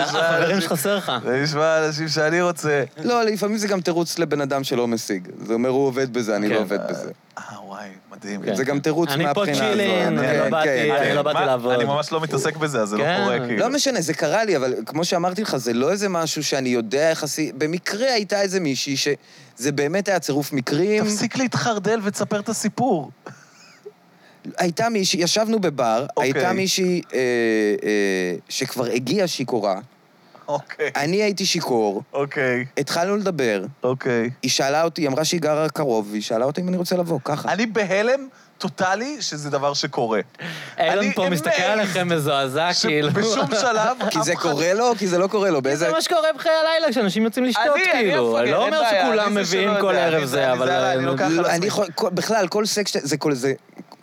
החברים שלך חסר לך.
זה נשמע אנשים שאני רוצה.
לא, לפעמים זה גם תירוץ לבן אדם שלא משיג. זה אומר, הוא עובד בזה, אני
כן.
לא עובד בזה.
אה, וואי, מדהים.
כן.
זה גם תירוץ
אני פה
מהבחינה הזו.
צ'ילין,
כן,
אני לא
כן,
באתי,
כן.
אני לא באתי
מה?
לעבוד.
אני ממש לא מתעסק בזה, אז זה לא
כן.
קורה, כאילו.
לא משנה, זה קרה לי, אבל כמו שאמרתי לך, זה לא איזה משהו שאני יודע איך עשי... במקרה הייתה איזה מישהי שזה באמת היה צירוף מקרים.
תפסיק להתחרדל ותספר את הסיפור.
הייתה מישהי, ישבנו בבר,
אוקיי.
הייתה מישהי אה, אה, שכבר הגיעה שיכורה,
אוקיי.
אני הייתי שיכור,
אוקיי,
התחלנו לדבר,
אוקיי.
היא שאלה אותי, היא אמרה שהיא גרה קרוב, והיא שאלה אותי אם אני רוצה לבוא, ככה.
אני בהלם טוטאלי שזה דבר שקורה.
אילון
אני
פה מסתכל
amazed.
עליכם מזועזע, כאילו.
שבשום שלב...
כי
אף
זה
אחד-
קורה לו, כי זה לא קורה לו, באיזה...
זה מה שקורה בחיי הלילה, כשאנשים יוצאים לשתות,
אני- אני
כאילו.
אפרגן,
אני לא
אין
אומר
בעיה,
שכולם
אני זה
מביאים
שלא
כל
יודע,
עליי,
אני
ערב
זה-
זה,
אני
אבל...
זה לא עליי, אני לוקח על עצמי.
לא, אני יכול, כל- בכלל, כל סקס, ש- זה, כל, זה,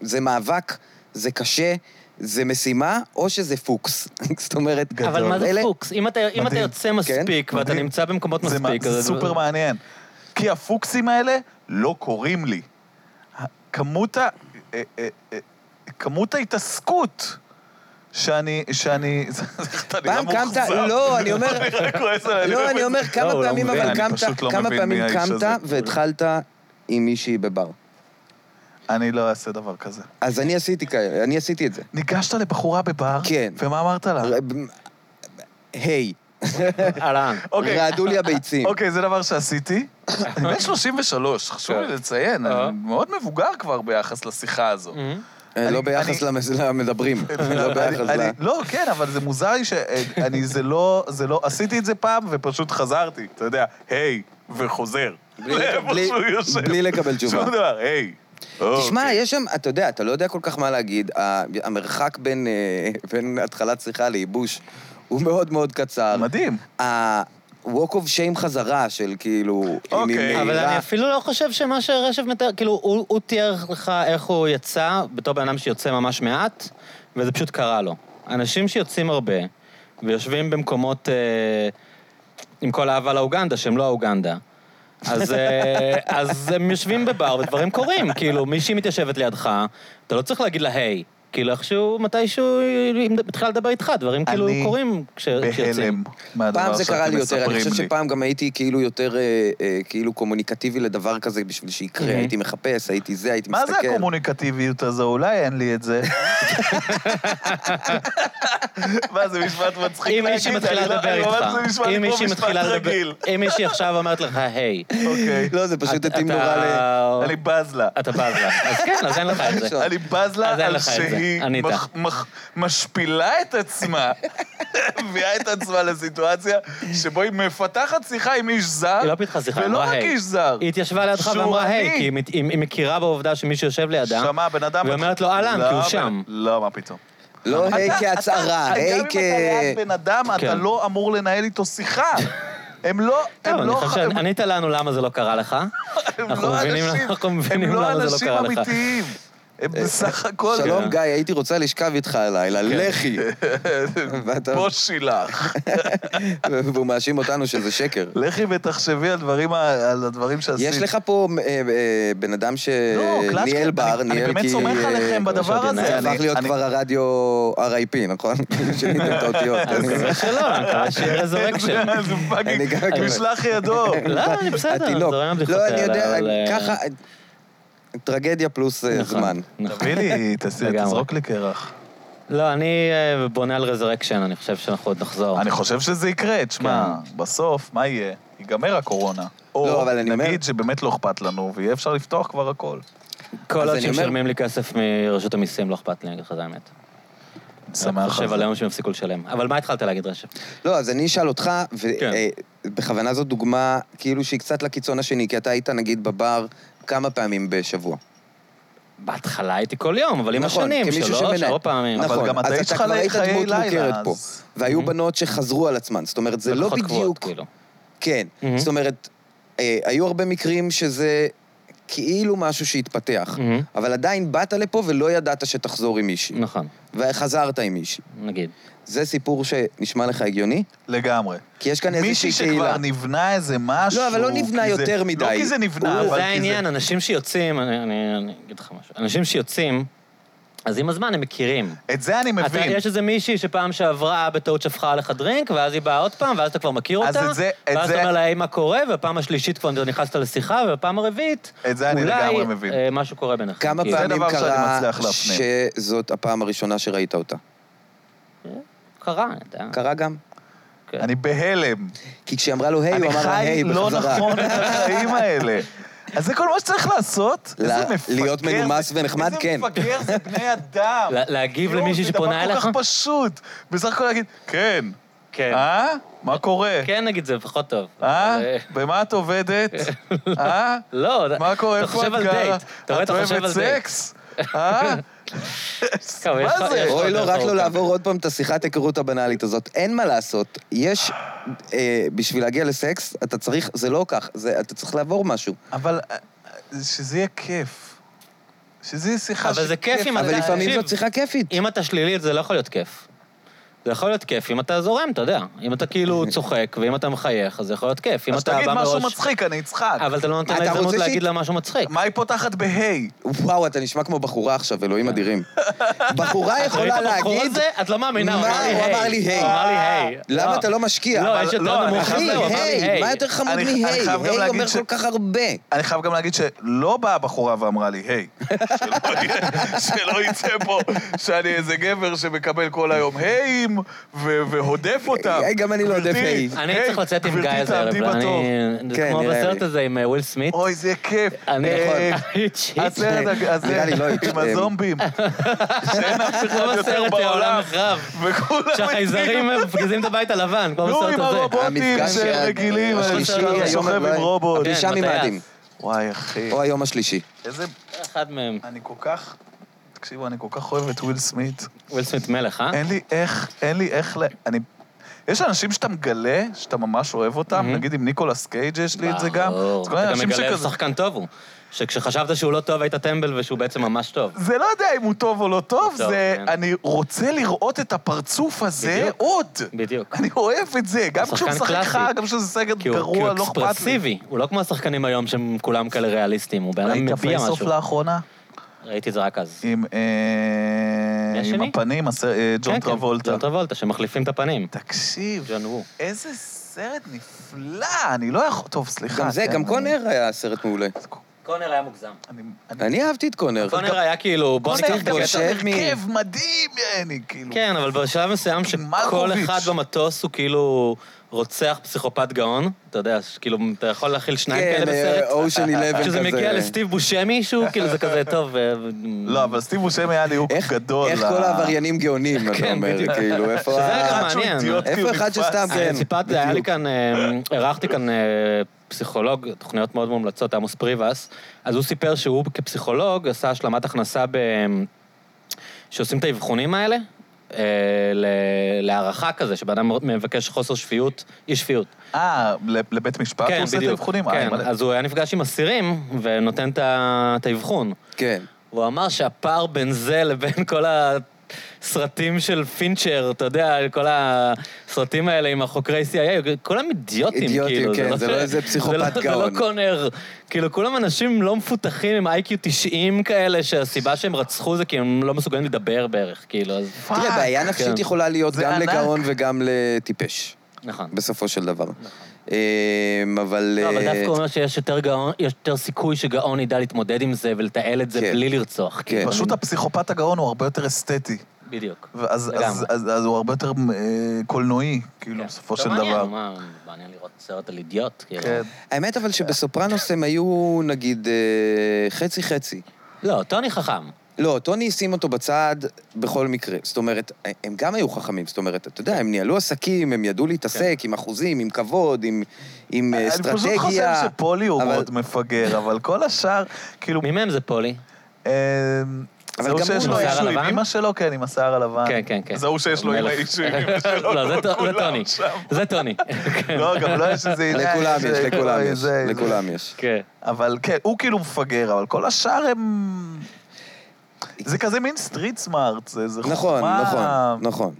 זה מאבק, זה קשה, זה משימה, או שזה פוקס. זאת אומרת,
אבל מה זה
אלה-
פוקס? אם אתה- אם אתה
מדהים. כן?
יוצא מספיק, ואתה
מדהים.
נמצא במקומות
זה מה-
מספיק,
זה
אז-
סופר מעניין. כי הפוקסים האלה לא קוראים לי. ה- כמות ה... אה, אה, אה, כמות ההתעסקות שאני... שאני... אתה נראה
פעם קמת,
מאוכזב.
לא, אני אומר-
אני רק כועס עליי,
לא,
רק
אני אומר, כמה
הוא לא
פעמים
מבין,
אבל
אני פשוט
קמת,
לא
כמה
מבין מי
פעמים
האיש
קמת
הזה.
והתחלת עם מישהי בבר.
אני לא אעשה דבר כזה.
אז אני עשיתי כאלה, אני עשיתי את זה.
ניגשת לבחורה בבר,
כן.
ומה אמרת לה?
היי,
אהלן.
אוקיי,
רעדו לי הביצים.
אוקיי, זה דבר שעשיתי. אני בן 33, חשוב לי
כן.
לציין,
אה. Mm.
אני מאוד מבוגר כבר ביחס לשיחה הזו.
אה, לא
אני-
ביחס
אני-
למס- למדברים, לא ביחס
אני-
ל...
אני- לא, כן, אבל זה מוזר לי שאני, זה לא, זה לא, עשיתי את זה פעם ופשוט חזרתי, אתה יודע, היי, וחוזר.
בלי-
לאיפה
בלי-
שהוא יושב.
בלי לקבל תשובה.
שום דבר, היי. לא, אוקיי.
תשמע, יש שם, אתה יודע, אתה לא יודע כל כך מה להגיד. ה- המרחק בין, אה, בין התחלת שיחה לייבוש הוא מאוד מאוד קצר.
מדהים.
ה-walk of shame חזרה של כאילו, אם היא
אוקיי.
מהירה...
אבל אני אפילו לא חושב שמה שרשף מתאר, כאילו, הוא הוא תיאר לך איך הוא יצא, בתור בן אדם שיוצא ממש מעט, וזה פשוט קרה לו. אנשים שיוצאים הרבה, ויושבים במקומות אה, עם כל האהבה לאוגנדה, שהם לא האוגנדה. אז, אה, אז הם יושבים בבר ודברים קורים, כאילו, מישהי מתיישבת לידך, אתה לא צריך להגיד לה היי. כאילו איכשהו, מתישהו, היא מתחילה לדבר איתך, דברים כאילו
אני
קורים כש- כשיוצאים.
בהלם
לא
פעם
מהדבר
זה קרה
שאתם
לי יותר, אני
מספרים
חושב
לי.
שפעם גם הייתי כאילו יותר אה, אה, כאילו קומוניקטיבי לדבר כזה בשביל שיקרה.
Mhm.
הייתי מחפש, הייתי זה, הייתי
מה
מסתכל.
זה הקומוניקטיביות הזו? אולי אין לי את זה. מה, זה משפט מצחיק להגיד?
אם מישהי מתחילה
אני לא-
לדבר
אני
איתך,
ממש- זה נשמע לי
אם
כמו
מישהי
משפט
מתחילה
רגיל.
לדבר, אם מישהי עכשיו אומרת לך, היי.
אוקיי.
לא, זה פשוט
אתה-
התאים
אתה-
נורא ל...
אני בז לה.
אתה בז לה. אז כן, אז אין לך את זה.
אני בז לה
אז אין
על
לך את זה.
שהיא
ענית.
מח- מח- משפילה את עצמה, מביאה את עצמה לסיטואציה שבו היא מפתחת שיחה עם איש זר,
היא לא פיתחה שיחה,
ולא
אמרה
רק
היי.
איש זר.
היא התיישבה לידך
שהוא
ואמרה,
אני.
היי, כי היא מת- היא היא מכירה בעובדה שמישהו יושב לידה.
שמע, בן אדם...
והיא אומרת לו, "אהלן", כי הוא
לא,
שם. אה,
לא, מה פתאום.
לא היי
אתה-
כהצהרה,
אתה-
היי
גם
כ...
אם אתה ליד בן אדם, אתה
כן.
לא אמור לנהל אייתו שיחה. הם לא,
טוב,
הם
אני
לא,
חושב
הם-
שענית לנו למה זה לא קרה לך.
הם
אנחנו
לא
מבינים-
אנשים-
אנחנו
הם
מבינים
לא
למה זה לא
אנשים
קרה לך. אה,
אמיתיים. הם בסך הכל...
כן.
שלום, גיא, הייתי רוצה לשכב איתך
כן.
הלילה, לכי. ואתה-
בושי לך.
והוא מאשים אותנו שזה שקר.
לכי ותחשבי על דברים ה- על הדברים שעשית.
יש לך פה אה, אה, בן אדם
לא, קלאצ'קה,
שניהל בר,
אני-
ניהל כי...
אני באמת סומך
אה,
עליכם בדבר
שעות
הזה.
עיניים.
זה הפך
אני-
להיות
אני-
כבר הרדיו RIP, נכון? כאילו שיניתם את האותיות.
אז
אני-
זה שלא, אני מקווה שיהיה רזורקשן.
זה- זה
אני גם-
פאקינג משלח ידו.
לא, אני בסדר,
התינוק.
זורם עם הבדיחות
לא, אני
האלה,
יודע,
אבל, אה,
ככה... טרגדיה פלוס אה,
נכון,
זמן.
נכון.
תביא לי, תעשי-
לגמרי.
תזרוק לי קרח.
לא, אני אה, בונה על רזרקשן, אני חושב שאנחנו עוד נחזור.
אני חושב שזה יקרה, תשמע, בסוף, מה יהיה? ייגמר הקורונה. או
כן. לא, אבל אני אומר-
נגיד שבאמת לא אכפת לנו, ויהיה אפשר לפתוח כבר הכל.
כל
אז
עוד
אני
שמשלמים לי כסף מרשות המיסים, לא אכפת לי, אני אגיד לך את האמת.
אני שמח
חושב
על
על
זה.
היום שהם יפסיקו לשלם. אבל מה התחלת להגיד, רשף?
לא, אז אני אשאל אותך,
כן.
ובכוונה זאת דוגמה כאילו שהיא קצת לקיצון השני, כי אתה היית נגיד בבר כמה פעמים בשבוע.
בהתחלה הייתי כל יום, אבל עם
נכון,
השנים,
כמישהו
שלוש,
שמנהל.
ארבע פעמים.
נכון,
אבל גם
אז
אתה
אתה
איש
כבר
חיי-
היית
חיי
דמות
לילה,
מוכרת פה.
אז-
והיו
Mhm.
בנות שחזרו על עצמן, זאת אומרת, זה לא
ופחות קבועות,
בדיוק...
כאילו.
כן,
Mm-hmm.
Mhm.
זאת אומרת, אה, היו הרבה מקרים שזה כאילו משהו שהתפתח,
Mm-hmm.
Mhm.
אבל עדיין באת לפה ולא ידעת שתחזור עם מישהי,
נכון,
וחזרת עם מישהי.
נגיד.
זה סיפור שנשמע לך הגיוני?
לגמרי.
כי יש כאן
מישהי
איזושהי
שכבר
קהילה.
נבנה איזה משהו...
לא, אבל לא
כי
נבנה
זה-
יותר מדי.
לא כי זה נבנה, אבל כי זה...
זה העניין, אנשים שיוצאים, אני- אני אני אגיד לך משהו, אנשים שיוצאים, אז עם הזמן הם מכירים.
את זה אני
אתה,
מבין.
יש איזה מישהי שפעם שעברה בטעות שפכה עליך דרינק, ואז היא באה עוד פעם, ואז אתה כבר מכיר
אז
אותה,
את זה- את
ואז
זה-
אתה אומר לה, "היי, מה קורה, והפעם השלישית כבר נכנסת לשיחה, ובפעם הרביעית,
את זה אני
אולי
לגמרי מבין.
אה, משהו קורה ביניכם.
כמה
כאילו,
פעמים
דבר שאני
קרה
מצליח להפנים. אה.
שזאת הפעם הראשונה שראית אותה?
קרה, אתה יודע.
קרה גם.
כן.
אני בהלם.
כי כשהיא אמרה לו היי, הוא
אני
אמר לה
חי
היי
לא
בחזרה.
נכון את החיים האלה. אז זה כל מה שצריך לעשות?
ל-
איזה מפגר.
להיות
זה-
מנומס ונחמד, כן.
איזה מפגר זה בני אדם.
לה- להגיב
יואו,
למישהי שפונה
לא, זה
אליך?
דבר כל כך פשוט. בסך הכל להגיד, כן.
כן.
אה? מה קורה?
כן, נגיד, זה פחות טוב.
אה?
אבל, אה,
במה את עובדת? אה?
לא,
מה קורה?
אתה
איפה
חושב
את
על
גרה?
דייט. אתה רואה, אתה חושב
את
על
אוהבת
דייט.
סקס? אה?
טוב, יש
מה
לך-
זה?
יש לך-
אוי לו,
דרך
רק
ארוכה.
לא לעבור עוד פעם את השיחת היכרות הבנאלית הזאת. אין מה לעשות. יש, אה, בשביל להגיע לסקס, אתה צריך, זה לא כך, זה- אתה צריך לעבור משהו.
אבל אה, שזה יהיה כיף. שזה יהיה שיחה
אבל זה כיף אם
אבל
אתה-
לפעמים
תקשיב.
זאת שיחה כיפית.
אם אתה שלילי, זה לא יכול להיות כיף. זה יכול להיות כיף אם אתה זורם, אתה יודע. אם אתה כאילו צוחק, ואם אתה מחייך, אז זה יכול להיות כיף. אם
אז
אתה
תגיד
בא
משהו
מראש...
מצחיק, אני אצחק.
אבל אתה לא נותן
אתה
לה הזדמנות
רוצה שהיא-
להגיד לה משהו מצחיק.
מה היא פותחת בהיי?
וואו, אתה נשמע כמו בחורה עכשיו, אלוהים אדירים. בחורה
את ראית
יכולה
את הבחור
להגיד,
הזה? את לא מאמינה, הוא
מה?
אמר לי
הוא
היי.
אמר לי, "היי".
הוא אמר לי היי.
למה אתה לא משקיע?
לא,
אבל-
יש
לא,
יותר נמוך.
אחי,
אחי,
מזה, הוא אמר לי,
היי, מה יותר חמוד
אני-
מהי?
אני
היי
חייב גם
אומר
להגיד ש-
כל כך הרבה.
אני חייב גם להגיד שלא באה הבחורה ואמרה לי, היי, שלא יהיה- שלא יצא פה שאני איזה גבר שמקבל כל היום היים ו- והודף אותם.
היי, גם אני לא
גברתי,
הודף היי.
אני צריך לצאת עם
גברתי,
גיא הזה הערב.
תעמדי בתור.
אני... זה
כן,
כמו
נראה לי.
בסרט הזה עם אה, וויל סמית.
אוי, זה יהיה כיף.
אני
אה,
לא
יכול...
הסרט הג-
נראה לי לא
הזה עם
יתקדם.
הזומבים. שאין אף
כמו
אחד יותר
בסרט לא העולם
בעולם.
נחרב.
וכולם
שהחייזרים מפגיזים אה, את הבית הלבן, כמו
נו,
בסרט
עם
הזה.
הרובוטים
המפגש שה-
שרגילים, אני
השלישי,
היום
שוכב
לא-
עם רובוט.
כן,
הפגישה
מתי
ממאדים.
וואי, אחי.
או היום השלישי.
איזה...
אחד מהם.
אני כל כך... תקשיבו, אני כל כך אוהב את וויל סמית.
וויל סמית מלך, אה?
אין לי איך, אין לי איך ל... אני... יש אנשים שאתה מגלה, שאתה ממש אוהב אותם,
מהמם.
נגיד עם ניקולס קייג' יש לי את זה גם.
ברור.
אז כל מיני
אתה גם
אנשים
מגלה איזה
שכזה-
שחקן טוב הוא. שכשחשבת שהוא לא טוב היית טמבל ושהוא בעצם ממש טוב.
זה לא יודע אם הוא טוב או לא טוב,
טוב,
זה...
כן.
אני רוצה לראות את הפרצוף הזה
בדיוק.
עוד.
בדיוק.
אני אוהב את זה, גם
הוא
כשהוא
שחקן
משחק
קלאסי.
לך, גם כשהוא סגל
כי הוא כי
גרוע,
הוא
לא אכפת לי.
אקספרסיבי, הוא לא כמו השחקנים היום שהם כולם כאלה ריאליסטים, הוא בן אדם
ראית
מביע
פייסוף
משהו.
לאחרונה?
ראיתי את זה רק אז.
עם... אה,
מי
עם
השני?
הפנים, הסר- אה, ג'ון
כן, כן,
טרבולטה.
ג'ון טרבולטה, שמחליפים את הפנים.
תקשיב,
ג'ון וו.
איזה סרט נפלא, אני לא יכול... טוב, סליחה.
גם
אה,
זה,
כן,
גם
אני-
קונר היה סרט מעולה.
קונר היה מוגזם.
אני... אני-
אני אהבתי את קונר.
קונר היה כאילו, בוא
קונר,
ניקח את
אתה
הקטע.
יושב
אתה
מ-
הרכב מדהים, יעני, כאילו.
כן, אבל בשלב מסוים שכל
מלקוביץ'.
אחד במטוס הוא כאילו רוצח פסיכופת גאון, אתה יודע, שכאילו, אתה יכול להכיל שניים
כן,
כן,
כאלה
אה,
בסרט.
אושן 11 אה, כזה.
כשזה מגיע לסטיב בושמי, שהוא כאילו זה כזה טוב. ו-
לא, אבל סטיב בושם היה לי הוק
איך-
גדול. אה.
איך
ל-
כל העבריינים גאונים, אתה
כן,
אומר,
בדיוק.
כאילו, איפה...
שזה
ה-
היה גם
אחד שהוא
מעניין.
אידיוט,
איפה
כאילו,
אחד
נתפס.
שסתם, כן.
אה, אני ציפרתי, היה לי כאן, אה, אירחתי כאן אה, פסיכולוג, תוכניות מאוד מומלצות, עמוס פריבס, אז הוא סיפר שהוא כפסיכולוג עשה השלמת הכנסה ב... שעושים את האבחונים האלה. אה, ל- להערכה כזה, שבן אדם מבקש חוסר שפיות, אי שפיות.
אה, ל- לבית משפט הוא עושה את האבחונים? אה,
כן,
מלא.
אז הוא היה נפגש עם אסירים ונותן את ה- את האבחון.
כן.
הוא אמר שהפער בין זה לבין כל הסרטים של פינצ'ר, אתה יודע, כל הסרטים האלה עם החוקרי CIA, כולם אידיוטים,
אידיוטים,
כאילו.
כן, זה לא איזה פסיכופת
זה לא, זה
גאון.
לא קונר. כאילו, כולם אנשים לא מפותחים עם איי-קיו 90 כאלה, שהסיבה שהם רצחו זה כי הם לא מסוגלים לדבר בערך, כאילו, אז...
תראה,
פאק.
בעיה נפשית
כן.
יכולה להיות
זה
גם
ענק.
לגאון וגם לטיפש,
נכון.
בסופו של דבר. אמ, אבל...
לא, אבל
אה,
דווקא הוא אומר שיש יותר גאון, יש יותר סיכוי שגאון ידע להתמודד עם זה ולתעל את זה
כן.
בלי לרצוח. כאילו,
אה,
כן.
אני-
פשוט הפסיכופת הגאון הוא הרבה יותר אסתטי.
בדיוק.
ואז,
לגמרי.
אז, אז, אז הוא הרבה יותר אה, קולנועי, כאילו,
כן.
בסופו
טוב,
של
מעניין,
דבר.
מה, מעניין לראות סרט על אידיוט, כאילו.
כן.
האמת אבל שבסופרנוס הם היו, נגיד, אה, חצי-חצי.
לא, טוני חכם.
לא, טוני שים אותו בצד בכל מקרה. זאת אומרת, הם גם היו חכמים, זאת אומרת, אתה
כן.
יודע, הם ניהלו עסקים, הם ידעו להתעסק עם אחוזים, עם כבוד, עם, עם אה, אסטרטגיה.
אני פשוט חושב שפולי הוא
אבל-
מאוד מפגר, אבל כל השאר, כאילו...
מי מהם זה פולי?
אה,
אבל
זה הוא
גם
שיש
הוא לא
לו
עם
השיער
אישו עם
הלבן?
אמא שלו, כן, עם השיער הלבן.
כן, כן, כן.
זה הוא שיש לו עם
המלך.
האישו עם אמא שלו.
לא, זה
כמו
ט- זה
כולם
טוני.
שם.
זה טוני. כן.
לא, גם לא יש איזה עניין.
לכולם יש,
כאילו
שזה-
לכולם יש,
זה- זה-
לכולם יש.
כן.
אבל כן, הוא כאילו מפגר, אבל כל השאר הם... זה כזה מין סטריט סמארט, זה זה חוכמה...
נכון, נכון, נכון,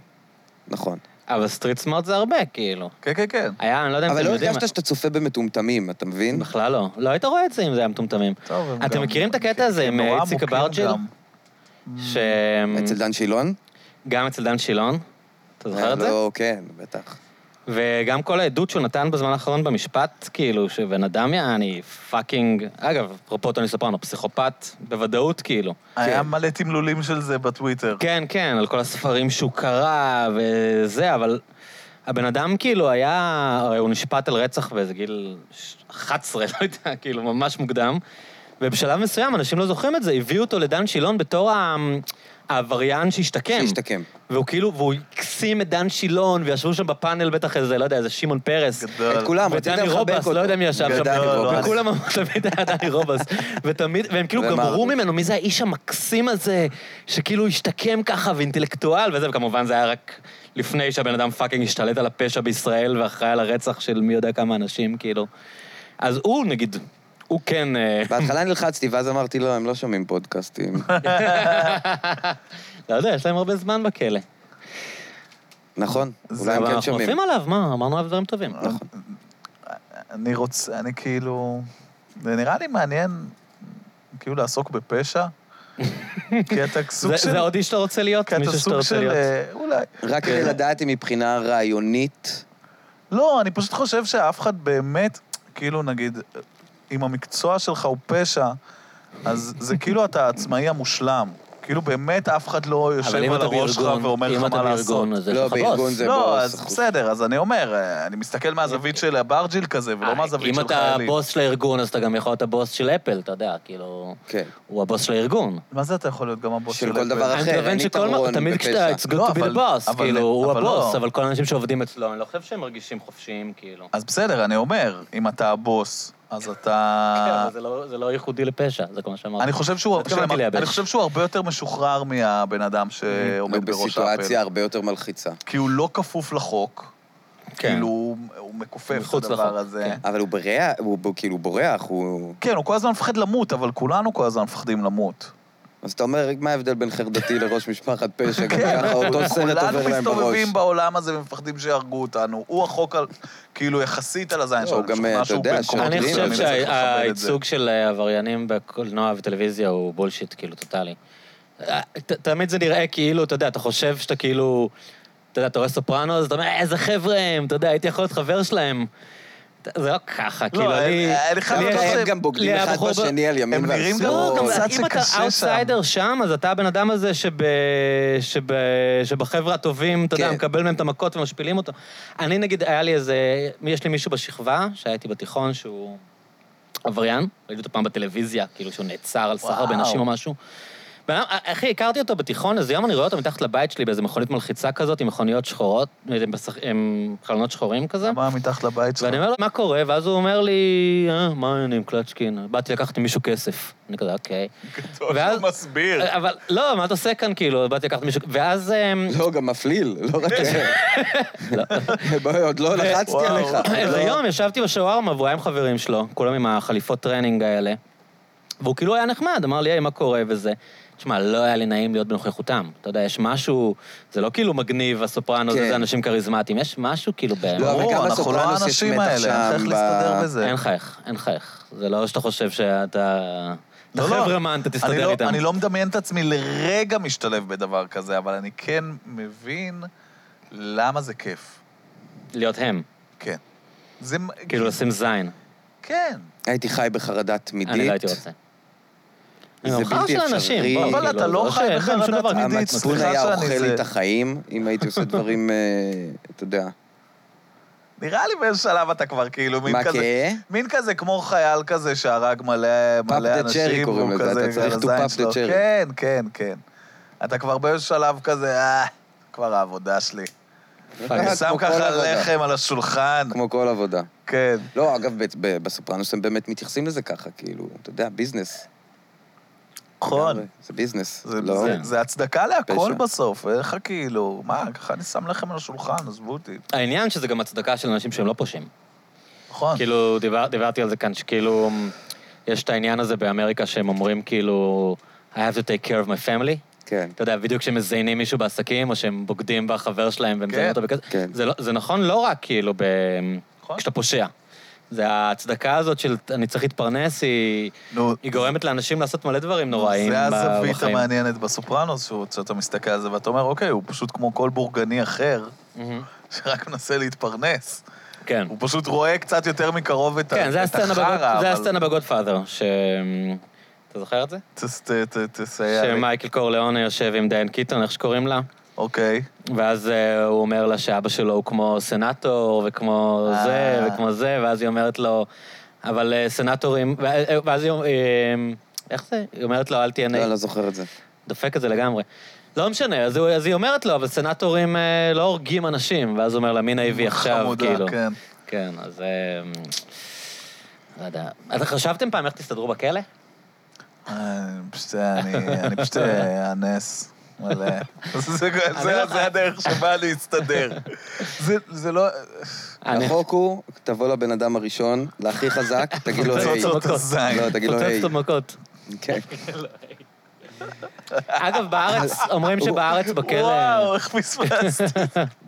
נכון.
אבל סטריט סמארט זה הרבה, כאילו.
כן, כן, כן.
היה, אני לא יודע אם
אבל
אתם
לא
יודעים...
הרגשת שאתה צופה במטומטמים, אתה מבין?
בכלל לא. לא היית רואה את זה אם זה היה מטומטמים.
טוב, הם
אתם
גם-
מכירים את הקטע הזה עם אה,
הם נורא
איציק
עמוקים
אברג'יל?
גם.
ש...
אצל דן שילון?
גם אצל דן שילון. אתה זוכר את זה?
לא, כן, בטח.
וגם כל העדות שהוא נתן בזמן האחרון במשפט, כאילו, שבן אדם יעני פאקינג... אגב, אפרופו טוני סופרנו, פסיכופת, בוודאות, כאילו.
כן.
היה מלא תמלולים של זה בטוויטר.
כן, כן, על כל הספרים שהוא קרא וזה, אבל הבן אדם כאילו היה, הרי הוא נשפט על רצח באיזה גיל 11, לא יודע, כאילו, ממש מוקדם. ובשלב מסוים, אנשים לא זוכרים את זה, הביאו אותו לדן שילון בתור ה- העבריין שהשתקם.
שהשתקם.
והוא כאילו, והוא הקסים את דן שילון, וישבו שם בפאנל בטח איזה, לא יודע, איזה שמעון פרס.
גדול.
את כולם, רצית
ודני
לחבק אותו.
לא, רובס, לא יודע מי ישב שם,
ודני
לא, לא,
רובס.
וכולם אמרו, תמיד היה דני רובס, ותמיד, והם כאילו
ומה?
גמרו ממנו, מי זה האיש המקסים הזה, שכאילו השתקם ככה ואינטלקטואל וזה, וכמובן זה היה רק לפני שהבן אדם פאקינג השתלט על הפשע בישראל ואחראי על הרצח של מי יודע כמה אנשים, כאילו. אז הוא, נגיד, הוא כן... אה,
בהתחלה נלחצתי, ואז אמרתי, לא, הם לא שומעים פודקאסטים.
לא יודע, יש להם הרבה זמן בכלא.
נכון, אולי הם
אבל
כן
אנחנו
שומעים. נכון.
עפים עליו, מה? אמרנו עליו דברים טובים.
אני רוצה, אני כאילו... זה נראה לי מעניין, כאילו, לעסוק בפשע. כי אתה סוג
זה-
של...
זה עוד איש שאתה רוצה להיות?
כי אתה
מישהו שאתה
סוג
רוצה
של...
להיות.
אה, אולי...
רק
כן.
כדי לדעת אם מבחינה רעיונית,
לא, אני פשוט חושב שאף אחד באמת, כאילו, נגיד, אם המקצוע שלך הוא פשע, אז זה כאילו אתה העצמאי המושלם. כאילו, באמת אף אחד לא
אבל
יושב
אם
על
אתה
הראש שלך
בארגון,
ואומר
אם
לך
אתה
מה לעשות.
בארגון, אז יש
לא,
לך
בארגון
בוס.
זה-
לא,
בראש,
אז
אחוז.
בסדר, אז אני אומר, אה, אני מסתכל מהזווית של הברג'יל כזה, ולא מהזווית
אה, אם
של
אתה
חיילים.
בוס של הארגון, אז אתה גם יכול להיות הבוס של אפל, אתה יודע, כאילו...
כן.
הוא הבוס של הארגון.
מה זה אתה יכול להיות גם הבוס
של
של
כל
אפל?
דבר
אני
אחר, אין
מתכוון
יתרון
שכל... תמיד
בפשע.
כשאתה... It's
לא,
good to be
אבל-
the boss,
אבל-
כאילו, הוא
אבל
הבוס,
לא.
אבל כל האנשים שעובדים אצלו, אני לא חושב שהם מרגישים חופשיים, כאילו.
אז בסדר, אני אומר, אם אתה הבוס, אז
כן,
אתה...
אבל זה לא- זה לא ייחודי לפשע, זה כל מה שאמרתי.
אה, אני חושב שהוא-
לא התכוונתי לייבש.
אני חושב שהוא הרבה יותר משוחרר מהבן אדם שעומד בראש
בסיטואציה
האפל.
הרבה יותר מלחיצה.
כי הוא לא כפוף לחוק,
כן.
כאילו הוא- הוא מכופף את
מחוץ
הדבר
לחוק,
הזה.
כן.
אבל הוא בורח, הוא הוא כאילו בורח, הוא...
כן, הוא כל הזמן מפחד למות, אבל כולנו כל הזמן מפחדים למות.
אז אתה אומר, מה ההבדל בין חרדתי לראש משפחת פשע? גם
כן,
ככה אותו סרט עובר
כולנו
להם בראש.
מסתובבים בעולם הזה ומפחדים שיהרגו אותנו. הוא החוק, על- כאילו, יחסית על הזין
לא,
שלנו.
הוא גם,
אני משוכנע
אתה
שהוא
יודע,
במקום
אני
שוטרים,
הדין,
חושב
ואני צריך לכבד את זה.
שהייצוג של אה, עבריינים בקולנוע וטלוויזיה הוא בולשיט, כאילו, טוטאלי. אה, ת- תמיד זה נראה כאילו, אתה יודע, אתה חושב שאתה כאילו... אתה יודע, אתה רואה סופרנוס, אתה אומר, "אה, איזה חבר'ה הם, אתה יודע, הייתי יכול להיות חבר שלהם. אתה- זה לא ככה, כאילו, אני...
אני- אני חייב
כמה
לומר
הם
ש-
גם בוגדים
לי
אחד
הבחור ב-
בשני על ימין
הם נראים
ועל
גם
לא,
שמאל.
גם
קצת זה
אם אתה
קשה שם.
אאוטסיידר שם, אז אתה הבן אדם הזה שב... שב... שבחבר'ה הטובים, אתה יודע,
כן.
מקבל מהם את המכות ומשפילים אותו. אני נגיד, היה לי איזה... יש לי מישהו בשכבה, שהייתי בתיכון, שהוא עבריין, ראיתי אותו פעם בטלוויזיה, כאילו שהוא נעצר על סחר
וואו.
בנשים או משהו. בן אדם- אחי, הכרתי אותו בתיכון, איזה יום אני רואה אותו מתחת לבית שלי באיזה מכונית מלחיצה כזאת, עם מכוניות שחורות, עם בשח- עם חלונות שחורים כזה.
מה מתחת לבית שלך?
ואני אומר לו, מה קורה? ואז הוא אומר לי, אה, מה העניינים, קלצ'קין? באתי לקחת ממישהו כסף. אני כזה, אוקיי.
טוב,
ואז-
הוא מסביר.
אבל לא, מה אתה עושה כאן, כאילו? באתי לקחת מישהו... ואז... אמ,
לא, גם מפליל, לא רק... בואי, עוד לא לחצתי
כן. וואו.
עליך.
איזה
לא.
יום ישבתי בשווארמה והוא היה עם חברים שלו, כולם עם החליפות טרנינג האלה. והוא כאילו היה נחמד, אמר לי, היי, מה קורה וזה. תשמע, לא היה לי נעים להיות בנוכחותם. אתה יודע, יש משהו, זה לא כאילו מגניב, הסופרנו,
כן.
זה אנשים כריזמטיים, יש משהו כאילו באמת.
לא, אבל
ברור,
גם
אנחנו לא
הסופרנוס יש
האנשים
מתח
האלה,
שם
אין לך איך
ב-
להסתדר בזה.
אין חייך, אין חייך. זה לא שאתה חושב שאתה... אתה
לא, לא.
חברמן, אתה
אני לא-
תסתדר איתם.
אני לא מדמיין את עצמי לרגע משתלב בדבר כזה, אבל אני כן מבין למה זה כיף.
להיות הם,
כן. זה... מ-
כאילו לשים זין. לא
כן.
הייתי חי בחרדה תמידית.
אני לא הייתי רוצה.
זה
אוכל
בלתי
של אנשים,
אפשרי.
בוא,
אבל
כאילו,
אתה
זה
לא
לא
חי
שאין שום
בחרדה
דבר.
תמידית,
המצפון
סליחה
היה
שאני
אוכל לי
זה...
את החיים, אם הייתי עושה דברים, אה, אתה יודע.
נראה לי באיזה שלב אתה כבר כאילו מין
מה,
כזה...
כהה?
מין כזה כמו חייל כזה שהרג מלא,
Pop
מלא
the
אנשים.
cherry קוראים
והוא
לזה, אתה
כזה
צריך
על
to
הזין
pop the
שלו.
cherry.
כן, כן, כן. אתה כבר באיזה שלב כזה, אה, כבר העבודה שלי. אני שם
אה, כמו כל
ככה
עבודה.
לחם על השולחן,
כמו כל עבודה.
כן.
לא, אגב, ב- ב- בסופרנוס הם באמת מתייחסים לזה ככה, כאילו, אתה יודע, ביזנס.
נכון.
לגמרי, זה ביזנס.
זה-
לא,
כן.
זה- זה הצדקה להכל
פשע.
בסוף, איך כאילו, מה, ככה אני שם לחם על השולחן, עזבו אותי.
העניין שזה גם הצדקה של אנשים שהם לא פושעים.
נכון.
כאילו, דיבר- דיברתי על זה כאן, שכאילו, יש את העניין הזה באמריקה שהם אומרים, כאילו, I have to take care of my family.
כן.
אתה יודע, בדיוק כשמזיינים מישהו בעסקים, או שהם בוגדים בחבר שלהם
כן,
ומזיינים אותו וכזה,
כן.
זה לא- זה נכון לא רק כאילו ב...
נכון.
כשאתה פושע. זה ההצדקה הזאת של אני צריך להתפרנס, היא
נו,
היא גורמת לאנשים לעשות מלא דברים נוראים
זה
ב-
הזווית
בחיים.
המעניינת בסופרנוס, שהוא- שאתה מסתכל על זה ואתה אומר, אוקיי, הוא פשוט כמו כל בורגני אחר,
מהמם.
שרק מנסה להתפרנס.
כן.
הוא פשוט רואה קצת יותר מקרוב את ה-
כן,
את
זה הסצנה בגוד-
החרא,
זה
אבל-
הסצנה בגודפאדר, ש... אתה זוכר את זה?
תס- ת- ת- תסייע לי.
שמייקל קורליאונה יושב עם דיין קיטון, איך שקוראים לה,
אוקיי.
ואז אה, הוא אומר לה שאבא שלו הוא כמו סנטור, וכמו
אה.
זה, וכמו זה, ואז היא אומרת לו, אבל אה, סנטורים... ו- אה, ואז היא אומרת... איך זה? היא אומרת לו, אל תהיה
לא,
נאי.
אני לא זוכר את זה.
דופק את זה לגמרי. לא משנה, אז, הוא, אז היא אומרת לו, אבל סנטורים אה, לא הורגים אנשים, ואז הוא אומר לה, מי נאיבי עכשיו,
חמודה,
כאילו.
כן.
כן, אז... אה, לא יודע. אז חשבתם פעם איך תסתדרו בכלא?
אני פשוט, אני אני פשוט אאנס. מלא. זה- זה-
לא-
זה הדרך שבה להסתדר. זה- זה לא...
אני-
החוק הוא, תבוא לבן אדם הראשון, להכי חזק, תגיד לו היי.
פוצץ לו את לא, הזין.
לא, תגיד לו
פוצץ
היי.
את המכות.
כן.
אגב, בארץ, אומרים שבארץ בכלא...
וואו, איך פספסת.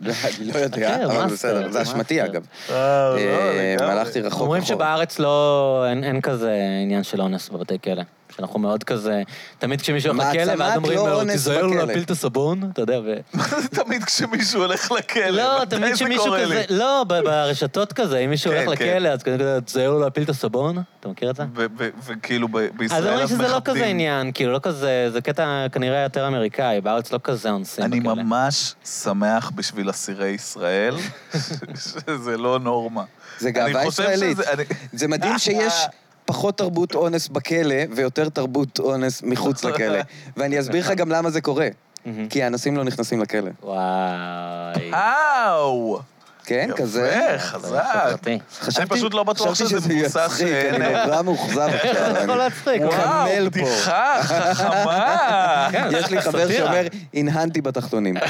לא, אני לא יודע,
חכה,
אבל
מאסטר,
בסדר, זה אשמתי
מאסטר.
אגב.
וואו, לא,
אה,
לגמרי.
הלכתי רחוק.
אומרים
רחוק.
שבארץ לא... אין- אין כזה עניין של אונס בבתי כלא. שאנחנו מאוד כזה... תמיד כשמישהו הולך
מעצמת
לכלא, ואז אומרים
לא
לו,
אונס
תיזהר לו
בכלא."
להפיל את הסבון, אתה יודע, ו...
מה זה תמיד כשמישהו הולך לכלא?
לא,
מתי
תמיד
זה
שמישהו
קורה
כזה,
לי?
לא, ב- ברשתות כזה, אם מישהו
כן,
הולך
כן.
לכלא, אז כזה, תזהר לו להפיל את הסבון, אתה מכיר את זה?
ו- ו- וכאילו ב- בישראל
אז
אז
אומרים שזה לא
מכבדים.
כזה עניין, כאילו, לא כזה, זה קטע כנראה יותר אמריקאי, בארץ לא כזה אונסים
אני
בכלא.
ממש שמח בשביל אסירי ישראל, ש- שזה לא נורמה.
זה
אני
גאווה
חושב
ישראלית.
שזה- אני- אה,
זה מדהים שיש פחות תרבות אונס בכלא ויותר תרבות אונס מחוץ לכלא. ואני אסביר לך גם למה זה קורה.
מהמם.
כי האנסים לא נכנסים לכלא.
וואי. אה.
וואו!
כן,
יפה,
כזה.
אה, חזק.
חברתי.
אני פשוט לא בטוח
חשבתי
שזה מבוסס,
יצחיק,
אה,
אני
אה.
נורא מאוכזב
איך
עכשיו.
אתה יכול
אני-
להצחיק?
וואו.
וואו,
מחמל פה.
בדיחה חכמה!
כן,
יש לי חבר
סאטירה.
שאומר, הנהנתי בתחתונים.
לא,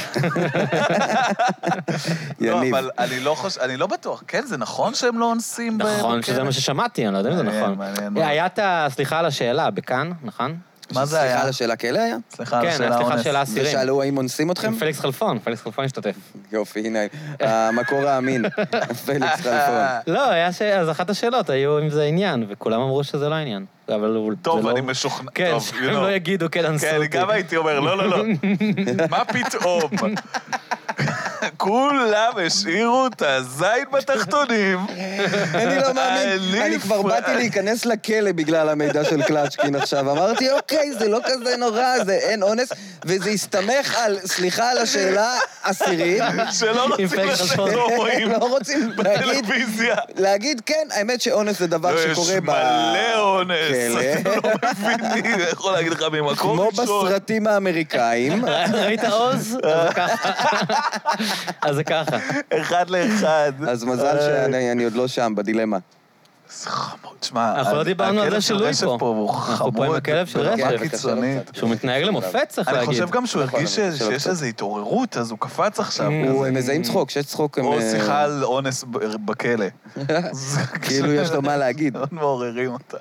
יניב.
אבל אני לא חושב, אני לא בטוח. כן, זה נכון שהם לא אונסים ב-
נכון
בכלא?
שזה מה ששמעתי, אני לא יודע אם זה
מעניין,
נכון.
מעניין מאוד.
היה את ה... סליחה על השאלה, בכאן, נכון?
מה זה היה?
סליחה על השאלה, כלא היה?
סליחה על
כן,
השאלה
סליחה,
אונס.
שאלה אסירים.
ושאלו האם אונסים אתכם?
עם פליקס חלפון, פליקס חלפון השתתף.
יופי, הנה, המקור האמין, פליקס חלפון.
לא, היה ש... אז אחת השאלות היו אם זה עניין, וכולם אמרו שזה לא עניין. אבל הוא...
טוב,
זה
אני
לא...
משוכנע.
כן,
טוב, you
שהם
know.
לא יגידו, כן, אנסו
כן,
אותי.
גם הייתי אומר, לא, לא, לא. מה פתאום? כולם השאירו את הזין בתחתונים.
אני לא מאמין,
אני
אני כבר
פראייר.
באתי להיכנס לכלא בגלל המידע של קלצ'קין עכשיו. אמרתי, אוקיי, זה לא כזה נורא, זה אין אונס, וזה הסתמך על, סליחה על השאלה, אסירים.
שלא
עם
רוצים
פייק
לשבת,
חשבון.
לא רואים
לא רוצים להגיד,
טלוויזיה.
להגיד, כן, האמת שאונס זה דבר
לא, יש
שקורה ב...
מלא אונס,
כלא.
אתה לא מבין, אני יכול להגיד לך ממקום
כמו
ראשון.
בסרטים האמריקאים.
ראית עוז? אז זה ככה. אז זה ככה.
אחד לאחד. אה,
אז
אה.
מזל שאני אני עוד לא שם, בדילמה.
זה חמוד, תשמע,
אנחנו לא דיברנו על
הכלב
זה
של
שלוי
רשף
פה.
הוא לא
אנחנו פה
חמוד.
עם הכלב של
ברמה
רשף.
קיצונית.
שהוא מתנהג למופת, צריך
אני
להגיד.
חושב גם שהוא
נכון,
הרגיש ש-
אבל זה שלו
שיש
קצת.
איזו התעוררות, אז הוא קפץ עכשיו.
אה.
הוא
כזה.
הם מזהים צחוק, כשיש צחוק הם...
או
אה,
שיחה על אונס ב- בכלא. זה-
כאילו יש לו מה להגיד.
מאוד מעוררים אותה.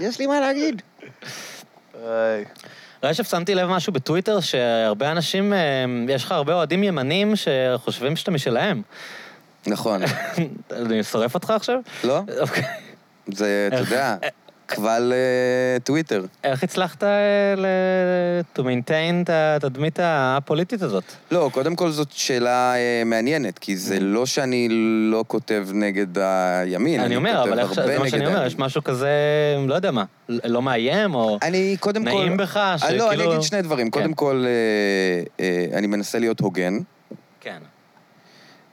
יש לי מה להגיד.
איי.
רשף, לא, שמתי לב משהו בטוויטר, שהרבה אנשים, אה, יש לך הרבה אוהדים ימנים שחושבים שאתה משלהם.
נכון.
אני שורף אותך עכשיו?
לא?
אוקיי.
זה, אתה יודע, קבל אה, טוויטר.
איך הצלחת אה, ל- to maintain את התדמית הפוליטית הזאת?
לא, קודם כל זאת שאלה אה, מעניינת, כי זה לא שאני לא כותב נגד הימין,
אני אומר,
כותב
אבל איך ש-
הרבה
זה מה שאני
נגד
אומר,
הימין.
יש משהו כזה, לא יודע מה, לא מאיים או...
אני קודם כל...
נעים בך,
אה,
שכאילו-
לא, אני אגיד שני דברים.
כן.
קודם כל, אה, אה, אני מנסה להיות הוגן.
כן.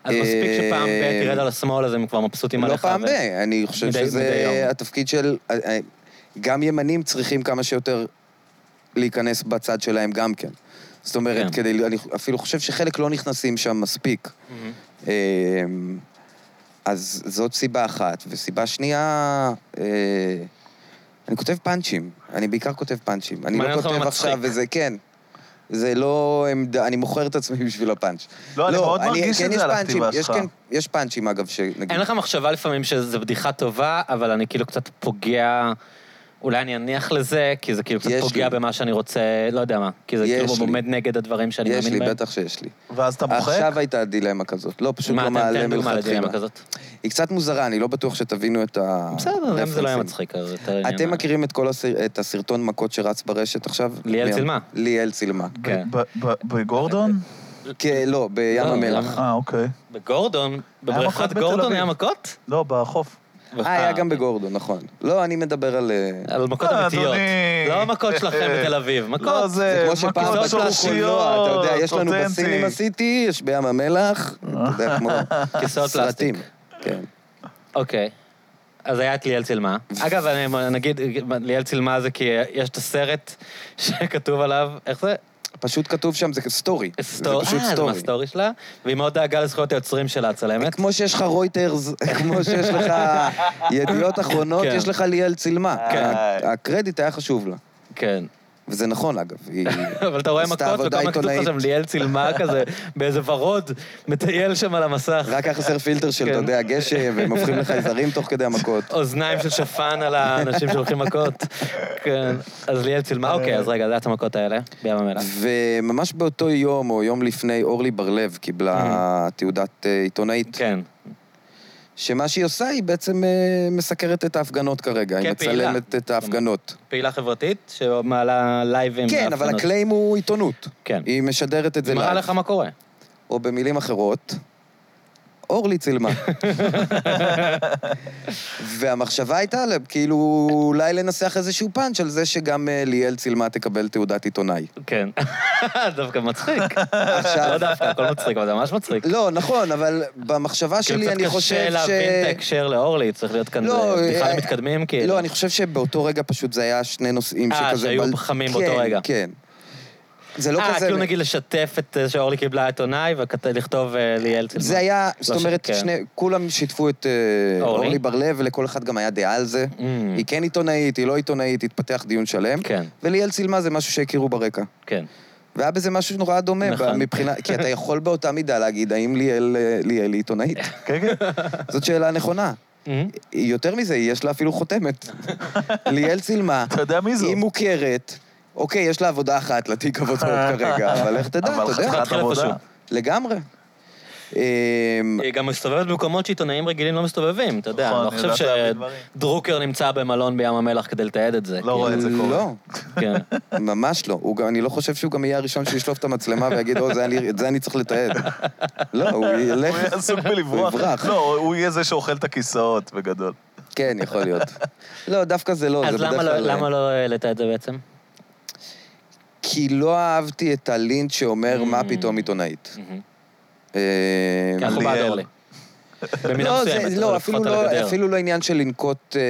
אז מספיק שפעם ב' תרד על השמאל, אז הם כבר מבסוטים
אה, לא
עליך.
פעם
ו-
ב... אני חושב
מדי- מדי
שזה
יום.
התפקיד של... אה, אה, גם ימנים צריכים כמה שיותר להיכנס בצד שלהם גם כן. זאת אומרת,
כן.
כדי... אני אפילו חושב שחלק לא נכנסים שם מספיק.
מהמם.
אה, אז זאת סיבה אחת. וסיבה שנייה, אה, אני כותב פאנצ'ים. אני בעיקר כותב פאנצ'ים. אני
מעניין
לא
אותך
כותב
מה
עכשיו,
מצחיק.
וזה כן. זה לא עמדה, אני מוכר את עצמי בשביל הפאנץ'.
לא, אני מאוד
אני-
מרגיש
כן,
את זה
יש
על
פאנצ'ים,
הכתיבה
יש
שלך.
כן- יש פאנצ'ים, אגב, שנגיד...
אין לך מחשבה לפעמים שזו בדיחה טובה, אבל אני כאילו קצת פוגע, אולי אני אניח לזה, כי זה כאילו קצת
יש
פוגע
לי.
במה שאני רוצה, לא יודע מה. כי זה
יש
כאילו
לי.
עומד נגד הדברים שאני
יש
מאמין
לי,
בהם.
בטח שיש לי.
ואז אתה מוחק?
עכשיו הייתה דילמה כזאת. לא, פשוט
מה,
לא
אתה
מעלה
תן דוגמה
מלכתחילה. אה,
לדילמה כזאת?
היא קצת מוזרה, אני לא בטוח שתבינו את ה...
בסדר, אם זה לא היה
רפרנסים.
מצחיק, אז יותר עניין.
אתם מכירים את כל הסר- את הסרטון מכות שרץ ברשת עכשיו?
ליאל
מי-
צילמה.
ליאל צילמה.
כן.
ב- ב- ב- בגורדון?
כן, לא, בים
לא,
המלח.
למה?
אה, אוקיי.
בגורדון?
מכות
בבריכת
בתל
גורדון
אביב.
היה מכות?
לא, בחוף.
אה, היה גם בגורדון, נכון. לא, אני מדבר על... אה,
על מכות
אה,
אמיתיות.
אדוני.
לא המכות שלכם בתל אביב, מכות.
לא,
זה
זה
כמו שפעם
מכות
מכות
בטוח קולנוע, אתה יודע, יש לנו
אותנטי.
בסינים עשיתי, יש בים המלח, אתה יודע, כמו
כיסאות
סרטים. כן.
אוקיי. אז היה את ליאל צילמה. אגב, אני נגיד, ליאל צילמה זה כי יש את הסרט שכתוב עליו, איך זה?
פשוט כתוב שם, זה סטורי. זה
סטורי.
פשוט
אה, זה
סטורי. כן.
מהסטורי שלה, והיא מאוד דאגה לזכויות היוצרים שלה, הצלמת.
כמו שיש לך רויטרס, כמו שיש לך ידיעות אחרונות,
כן.
יש לך ליאל צילמה.
כן.
ה- הקרדיט היה חשוב לה.
כן.
וזה נכון, אגב. היא-
אבל אתה רואה
עשתה
מכות,
עבודה
וכל מה כתוב לך
עיתונאית.
שם, ליאל צילמה כזה, באיזה ורוד, מטייל שם על המסך.
רק היה חסר פילטר של,
כן.
אתה יודע, גשם, והם הופכים לחייזרים תוך כדי המכות.
אוזניים של שפן על האנשים שהולכים מכות. כן. אז ליאל צילמה, אוקיי, אז רגע, זה היה את המכות האלה, בים המלח.
וממש באותו יום, או יום לפני, אורלי בר-לב קיבלה תעודת אה, עיתונאית,
Mm. כן.
שמה שהיא עושה, היא בעצם אה, מסקרת את ההפגנות כרגע. היא
כפעילה.
מצלמת את ההפגנות.
פעילה חברתית שמעלה לייבים.
כן, אבל
והפגנות.
הקליים הוא עיתונות.
כן.
היא משדרת את זה לא-
זה מראה
לייב.
לך מה קורה.
או במילים אחרות, אורלי צילמה. והמחשבה הייתה, לה, כאילו, אולי לנסח איזשהו פאנץ' על זה שגם אה, ליאל צילמה תקבל תעודת עיתונאי.
כן. דווקא מצחיק. לא
עכשיו,
דווקא, הכל מצחיק, אבל זה ממש מצחיק.
לא, נכון, אבל במחשבה
כאילו,
שלי אני
קצת
חושב
קשה
ש...
להבין את ההקשר לאורלי, צריך להיות כאן
לא,
אה, בדיחה
אה,
למתקדמים, כי...
לא, אני חושב שבאותו רגע פשוט זה היה שני נושאים
אה,
שכזה...
שהיו חמים באותו רגע.
כן, כן. זה לא
אה,
כזה...
כאילו נגיד לשתף את זה שאורלי קיבלה עיתונאי ולכתוב אה, ליאל צילמה.
זה היה,
לא
זאת
ש-
אומרת,
כן.
שני, כולם שיתפו את אה,
אורלי.
אורלי בר-לב, ולכל אחד גם היה דעה על זה.
Mm.
היא כן עיתונאית, היא לא עיתונאית, התפתח דיון שלם.
כן,
וליאל צילמה זה משהו שהכירו ברקע.
כן.
והיה בזה משהו נורא דומה
נכון.
מבחינה... כי אתה יכול באותה מידה להגיד, האם ליאל אה, ליאל היא עיתונאית?
כן, כן.
זאת שאלה נכונה. Mm-hmm. יותר מזה, יש לה אפילו חותמת. ליאל צילמה,
אתה יודע מי זו?
היא מוכרת. אוקיי, יש לה עבודה אחת לתיק עבודות כרגע, אבל איך תדע,
אבל
אתה יודע,
חתיכת
מתחיל
עבודה.
איפשהו.
לגמרי. אמ,
היא גם מסתובבת במקומות שעיתונאים רגילים לא מסתובבים, אתה יודע.
נכון,
אני לא
היא
חושב
יודעת להביא דברים.
שדרוקר נמצא במלון בים המלח כדי לתעד את זה. כאילו.
לא רואה את זה קורה.
לא,
כן.
ממש לא. הוא גם- אני לא חושב שהוא גם יהיה הראשון שישלוף את המצלמה ויגיד, או, זה אני- את זה אני צריך לתעד. לא, הוא
הוא יהיה
ילך...
עסוק בלברוח.
הוא יברח.
לא, הוא יהיה זה שאוכל את הכיסאות, בגדול.
כן, יכול להיות. לא, דווקא זה לא, זה
אז
בדרך
למה לא-
כלל...
למה לא העלית את זה בעצם?
כי לא אהבתי את הלינץ' שאומר, מה פתאום עיתונאית. אה,
Mm. Mm-hmm. כי אנחנו
ליאל.
בעד אורלי. במידה
לא,
מסוימת,
זה-
אבל
לא,
לפחות
אפילו
על הגדר.
לא, אפילו לא עניין של לנקוט אה,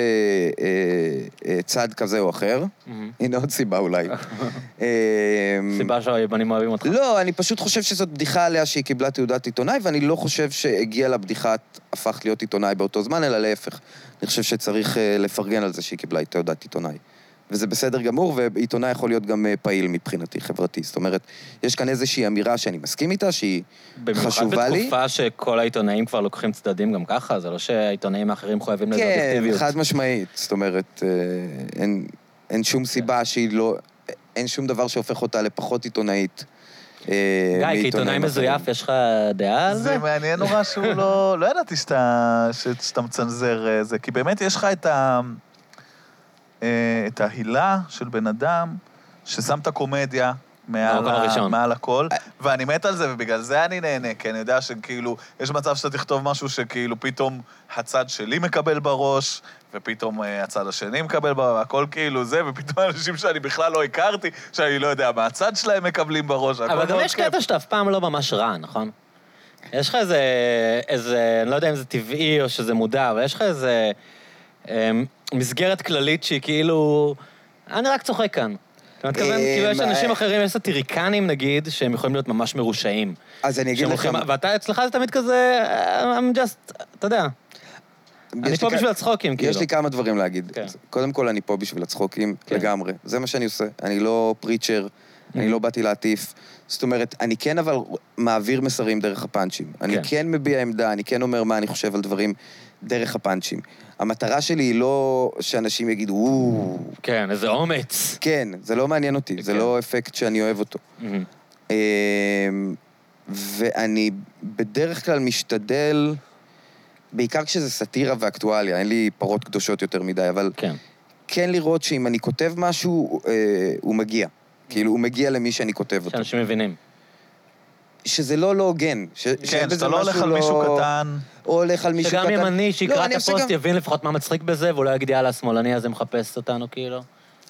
אה, אה, צד כזה או אחר.
מהמם.
הנה עוד סיבה אולי. אה,
Mm-hmm. סיבה שהיוונים אוהבים אותך.
לא, אני פשוט חושב שזאת בדיחה עליה שהיא קיבלה תעודת עיתונאי, ואני לא חושב שהגיעה לה בדיחת הפכת להיות עיתונאי באותו זמן, אלא להפך. אני חושב שצריך אה, לפרגן על זה שהיא קיבלה תעודת עיתונאי. וזה בסדר גמור, ועיתונאי יכול להיות גם אה, פעיל מבחינתי, חברתי. זאת אומרת, יש כאן איזושהי אמירה שאני מסכים איתה, שהיא חשובה
במיוחד
לי.
בתקופה שכל העיתונאים כבר לוקחים צדדים גם ככה, זה לא שהעיתונאים האחרים מחויבים לזה
כן,
אובייקטיביות.
חד משמעית. זאת אומרת, אה, אין, אין
כן.
שום סיבה שהיא לא... אין שום דבר שהופך אותה לפחות עיתונאית. אה,
גיא, כעיתונאי
מעיתונאים
מזויף,
אחרים.
יש לך דעה על זה?
זה מעניין נורא שהוא לא... לא ידעתי שאתה, ש- שאתה מצנזר אה, זה, כי באמת יש לך את ה... אה, את ההילה של בן אדם ששם את הקומדיה. מעל,
במקום
ה...
הראשון. אה,
מעל הכל, ואני מת על זה, ובגלל זה אני נהנה, כי אני יודע שכאילו, יש מצב שאתה תכתוב משהו שכאילו פתאום הצד שלי מקבל בראש, ופתאום אה, הצד השני מקבל בראש, והכל כאילו זה, ופתאום אנשים שאני בכלל לא הכרתי, שאני לא יודע מה הצד שלהם מקבלים בראש, הכל
אבל גם
מאוד
יש
כיף.
קטע שאתה אף פעם לא ממש רע, נכון? יש לך איזה, איזה, אני לא יודע אם זה טבעי או שזה מודע, אבל יש לך איזה אמ, מסגרת כללית שהיא כאילו, אני רק צוחק כאן. אתה מתכוון,
אמ,
כאילו יש אנשים
אה.
אחרים, יש סטיריקנים נגיד, שהם יכולים להיות ממש מרושעים.
אז אני אגיד
שהם
לך...
הולכים- ואתה, אצלך זה תמיד כזה, אמ, I'm just, אתה יודע,
יש
אני
לי
פה
כ-
בשביל הצחוקים, כאילו.
יש לי כמה דברים להגיד.
כן.
קודם כל, אני פה בשביל הצחוקים
כן. Mm-hmm.
לגמרי. זה מה שאני עושה. אני לא פריצ'ר, אני לא באתי להטיף. זאת אומרת, אני כן אבל מעביר מסרים דרך הפאנצ'ים. אני
כן.
כן מביע עמדה, אני כן אומר מה אני חושב על דברים דרך הפאנצ'ים. המטרה שלי היא לא שאנשים יגידו, "או,
כן, איזה אומץ.
כן, זה לא מעניין אותי, זה
כן.
לא אפקט שאני אוהב אותו.
אמ,
אמ, ואני בדרך כלל משתדל, בעיקר כשזה סאטירה ואקטואליה, אין לי פרות קדושות יותר מדי, אבל
כן.
כן לראות שאם אני כותב משהו, אה, הוא מגיע. כאילו, הוא מגיע למי שאני כותב אותו.
שאנשים מבינים.
שזה לא לא הוגן. ש- שאין
כן,
בזה
שאתה לא הולך
משהו
על מישהו קטן.
או הולך על מישהו קטן.
שגם ימני
לא,
שיקרא את
אני עושה
הפוסט
גם-
יבין לפחות מה מצחיק בזה, ואולי יגיד, יאללה, השמאלני הזה מחפש אותנו, כאילו.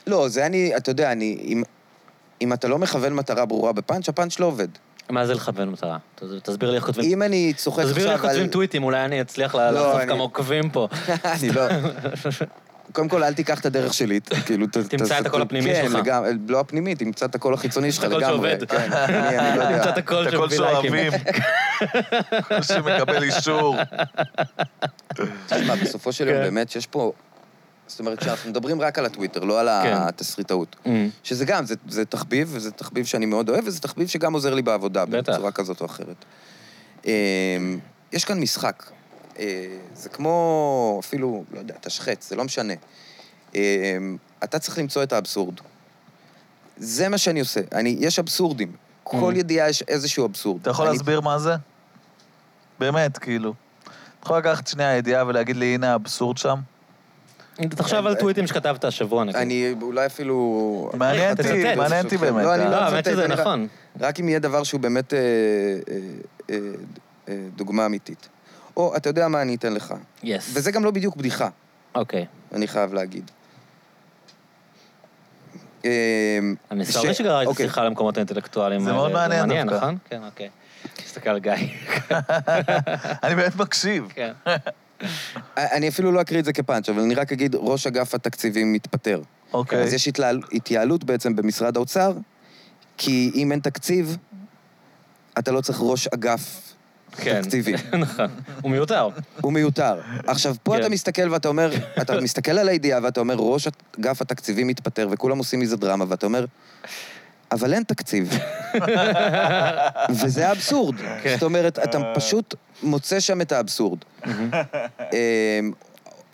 לא, זה אני, אתה יודע, אני... אם- אם אתה לא מכוון מטרה ברורה בפאנץ', הפאנץ' לא עובד.
מה זה לכוון מטרה? ת- תסביר לי איך כותבים...
אם אני צוחק
תסביר לי איך
עכשיו
כותבים
על...
טוויטים, אולי אני אצליח
לא,
לעשות
אני-
כמה עוקבים פה.
אני לא... קודם כל, אל תיקח את הדרך שלי, ת- כאילו... ת-
תמצא
תעשה-
את הקול הפנימי שלך.
כן, לגמרי, לא הפנימי, תמצא את הקול החיצוני שלך
את הקול
לגמרי.
שעובד.
כן, אני אני לא
תמצא
יודע.
את הקול
את הקול
שמביא לייקים.
שאוהבים. קול שמקבל אישור.
תשמע, בסופו של יום,
כן.
באמת שיש פה... זאת אומרת, כשאנחנו מדברים רק על הטוויטר, לא על
כן.
התסריטאות.
אמ,
שזה גם, זה, זה תחביב, וזה תחביב שאני מאוד אוהב, וזה תחביב שגם עוזר לי בעבודה,
בטח.
בצורה כזאת או אחרת. אמ, יש כאן משחק. אה, זה כמו, אפילו, לא יודע, תשחץ, זה לא משנה. אמ, אתה צריך למצוא את האבסורד. זה מה שאני עושה. אני, יש אבסורדים. כל
Mm.
ידיעה יש איזשהו אבסורד.
Mm-hmm. אתה יכול
אני-
להסביר מה זה? באמת, כאילו. אתה יכול לקחת שנייה ידיעה ולהגיד לי, הנה האבסורד שם?
תחשוב על טוויטים שכתבת השבוע, נגיד.
אני אולי אפילו...
מעניין
אחת
אותי,
הצטט.
מעניין אותי באמת. אה.
לא, אני
לא,
לא
האמת
מצטט,
שזה
אני רק-
נכון.
רק אם יהיה דבר שהוא באמת אה, אה, אה, אה, דוגמה אמיתית. או, אתה יודע מה אני אתן לך.
יס.
וזה גם לא בדיוק בדיחה,
אוקיי.
אני חייב להגיד. אה,
אני
ש-
סורי שגררתי את
אוקיי.
השיחה למקומות האינטלקטואליים.
זה
האלה.
מאוד מעניין
מעניין,
דווקא.
נכון? כן, אוקיי. תסתכל על גיא.
אני באמת מקשיב.
כן.
אני אפילו לא אקריא את זה כפאנץ', אבל אני רק אגיד, ראש אגף התקציבים מתפטר.
אוקיי.
אז יש התלהל- התייעלות בעצם במשרד האוצר, כי אם אין תקציב, אתה לא צריך ראש אגף
כן.
תקציבי.
נכון. הוא מיותר.
הוא מיותר. עכשיו, פה
כן.
אתה מסתכל ואתה אומר, אתה מסתכל על הידיעה ואתה אומר, ראש אגף התקציבים מתפטר וכולם עושים מזה דרמה, ואתה אומר, אבל אין תקציב. וזה האבסורד.
כן.
זאת אומרת, אתה פשוט מוצא שם את האבסורד.
Mm-hmm.
אמ,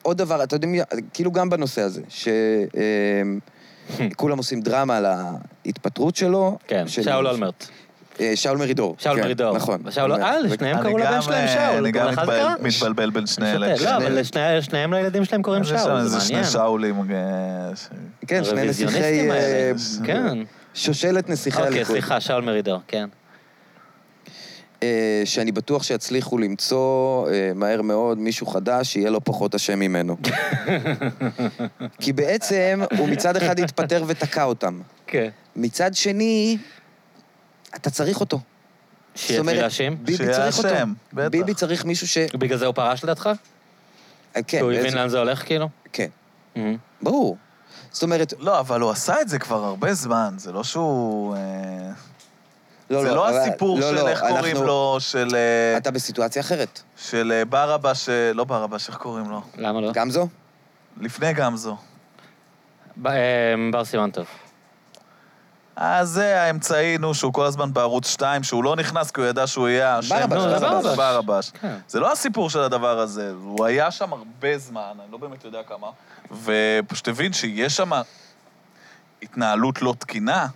עוד דבר, אתה יודעים, כאילו גם בנושא הזה, ש... אמ, כולם עושים דרמה על ההתפטרות שלו.
כן,
של-
שאול אולמרט.
אה, שאול מרידור.
שאול
כן,
מרידור.
נכון.
שאול, אה,
ו-
לשניהם
אני
קראו
גם,
לבן שלהם
אה,
שאול.
אני גם
לך זה
מתבל-
קרה?
מתבלבל בין שני אלה.
שותק, לא, אבל לשני- שניהם לילדים שלהם קוראים
יש שם
שאול, זה
איזה שני
מעניין.
שאולים. אה, ש-
כן, שני נסיכי...
הרוויזיוניסטים האלה.
אה,
כן.
שושלת נסיכי
אוקיי,
הליכוד.
סליחה, שאול מרידור, כן.
אה, שאני בטוח שיצליחו למצוא אה, מהר מאוד מישהו חדש שיהיה לו פחות אשם ממנו. כי בעצם הוא מצד אחד התפטר ותקע אותם.
כן.
מצד שני, אתה צריך אותו.
שיהיה
זאת אומרת,
תמיד אשם?
ביבי
שיהיה
צריך אותו.
אשם, בטח.
ביבי צריך מישהו ש...
בגלל זה הוא פרש לדעתך?
אה,
כי
כן,
הוא
בעצם-
הבין לאן זה הולך, כאילו?
כן,
אה,
ברור. זאת אומרת,
לא, אבל הוא עשה את זה כבר הרבה זמן, זה לא שהוא... אה,
לא,
זה
לא,
לא
אבל-
הסיפור
לא,
של
לא,
איך קוראים
אנחנו-
לו, של... אה,
אתה בסיטואציה אחרת.
של אה, ברבש, אה, לא ברבש, איך קוראים לו?
למה לא?
גמזו?
לפני גמזו.
ב- אה, בר סימן טוב.
אז זה האמצעי, נו, שהוא כל הזמן בערוץ 2, שהוא לא נכנס כי הוא ידע שהוא יהיה האשם.
ברבש,
אז
זה
הוא
ברבש.
ברבש.
כן.
זה לא הסיפור של הדבר הזה, הוא היה שם הרבה זמן, אני לא באמת יודע כמה, ופשוט הבין שיש שם התנהלות לא תקינה.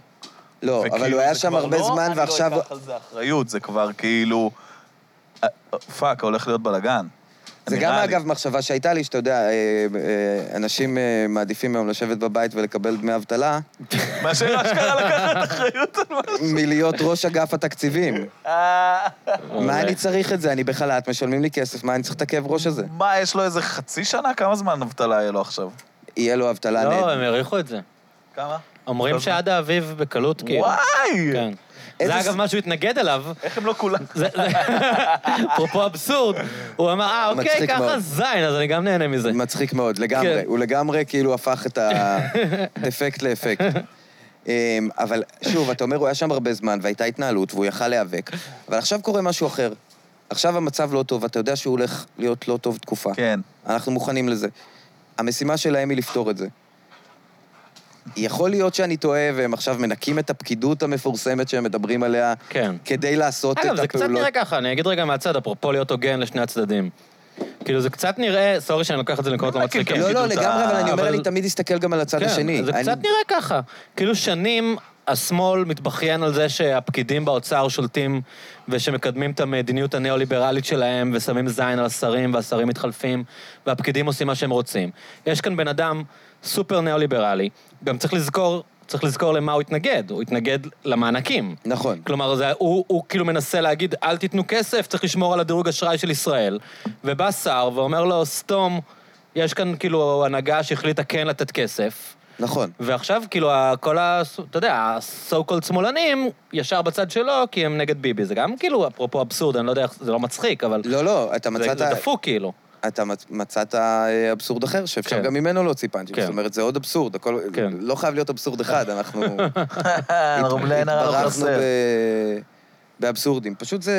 לא,
וכאילו,
אבל הוא היה
זה
שם
כבר
הרבה
לא,
זמן, ועכשיו...
אני לא אקח על זה אחריות, זה כבר כאילו... אה, פאק, הולך להיות בלאגן.
זה
נראה
גם,
לי.
אגב, מחשבה שהייתה לי, שאתה יודע, אה, אה, אנשים אה, מעדיפים היום לשבת בבית ולקבל דמי אבטלה,
מאשר אשכרה לקחת אחריות על מה...
מלהיות ראש אגף התקציבים.
אה,
מה אני צריך את זה? אני בחל"ת, משלמים לי כסף, מה אני צריך את הכאב ראש הזה?
מה, יש לו איזה חצי שנה? כמה זמן אבטלה יהיה לו עכשיו?
יהיה לו אבטלה נהדרת.
לא, הם העריכו את זה.
כמה?
אומרים
טוב.
שעד האביב בקלות, כאילו.
וואי!
כן.
איזה
זה
ס-
אגב מה שהוא התנגד אליו,
איך הם לא כולם...
זה- זה- אפרופו אבסורד, הוא אמר, אה, אוקיי,
מצחיק מאוד.
ככה זין, אז אני גם נהנה מזה.
מצחיק מאוד, לגמרי.
כן.
הוא לגמרי כאילו הפך את הדפקט לאפקט. אמ, אבל שוב, אתה אומר, הוא היה שם הרבה זמן, והייתה התנהלות, והוא יכל להיאבק, אבל עכשיו קורה משהו אחר. עכשיו המצב לא טוב, אתה יודע שהוא הולך להיות לא טוב תקופה.
כן.
אנחנו מוכנים לזה. המשימה שלהם היא לפתור את זה. יכול להיות שאני טועה, והם עכשיו מנקים את הפקידות המפורסמת שהם מדברים עליה,
כן.
כדי לעשות את
אגב,
הפעולות.
זה קצת נראה ככה, אני אגיד רגע מהצד, אפרופו להיות הוגן לשני הצדדים. כאילו, זה קצת נראה, סורי שאני לוקח את זה למקומות לא
לא מכיר את
מצחיקים.
לא, לא,
פקידות
לגמרי,
ה-
אבל אני אומר,
אבל-
אני תמיד אסתכל גם על הצד השני.
כן, זה
אני-
קצת נראה ככה. כאילו שנים השמאל מתבכיין על זה שהפקידים באוצר שולטים ושמקדמים את המדיניות הניאו-ליברלית שלהם ושמים זין על השרים והשרים מתחלפים והפקידים עושים מה שהם רוצים. יש כאן בן אדם סופר ניאו-ליברלי, גם צריך לזכור, צריך לזכור למה הוא התנגד, הוא התנגד למענקים.
נכון.
כלומר, זה, הוא, הוא כאילו מנסה להגיד, אל תיתנו כסף, צריך לשמור על הדירוג אשראי של ישראל. ובא שר ואומר לו, סתום, יש כאן כאילו הנהגה שהחליטה כן לתת כסף.
נכון.
ועכשיו, כאילו, ה- כל ה... אתה יודע, ה-so called שמאלנים, ישר בצד שלו, כי הם נגד ביבי. זה גם כאילו, אפרופו אבסורד, אני לא יודע איך, זה לא מצחיק, אבל...
לא, לא, אתה
זה,
מצאת,
זה דפוק, כאילו.
אתה מצ- מצאת אה, אבסורד אחר, שאפשר
כן.
גם ממנו להוציא פאנצ'ים.
כן.
זאת אומרת, זה עוד אבסורד, הכל...
כן.
לא חייב להיות אבסורד אחד, אנחנו
אנחנו בלי עין הרע לא
התברכנו
חסר.
ב- באבסורדים. פשוט זה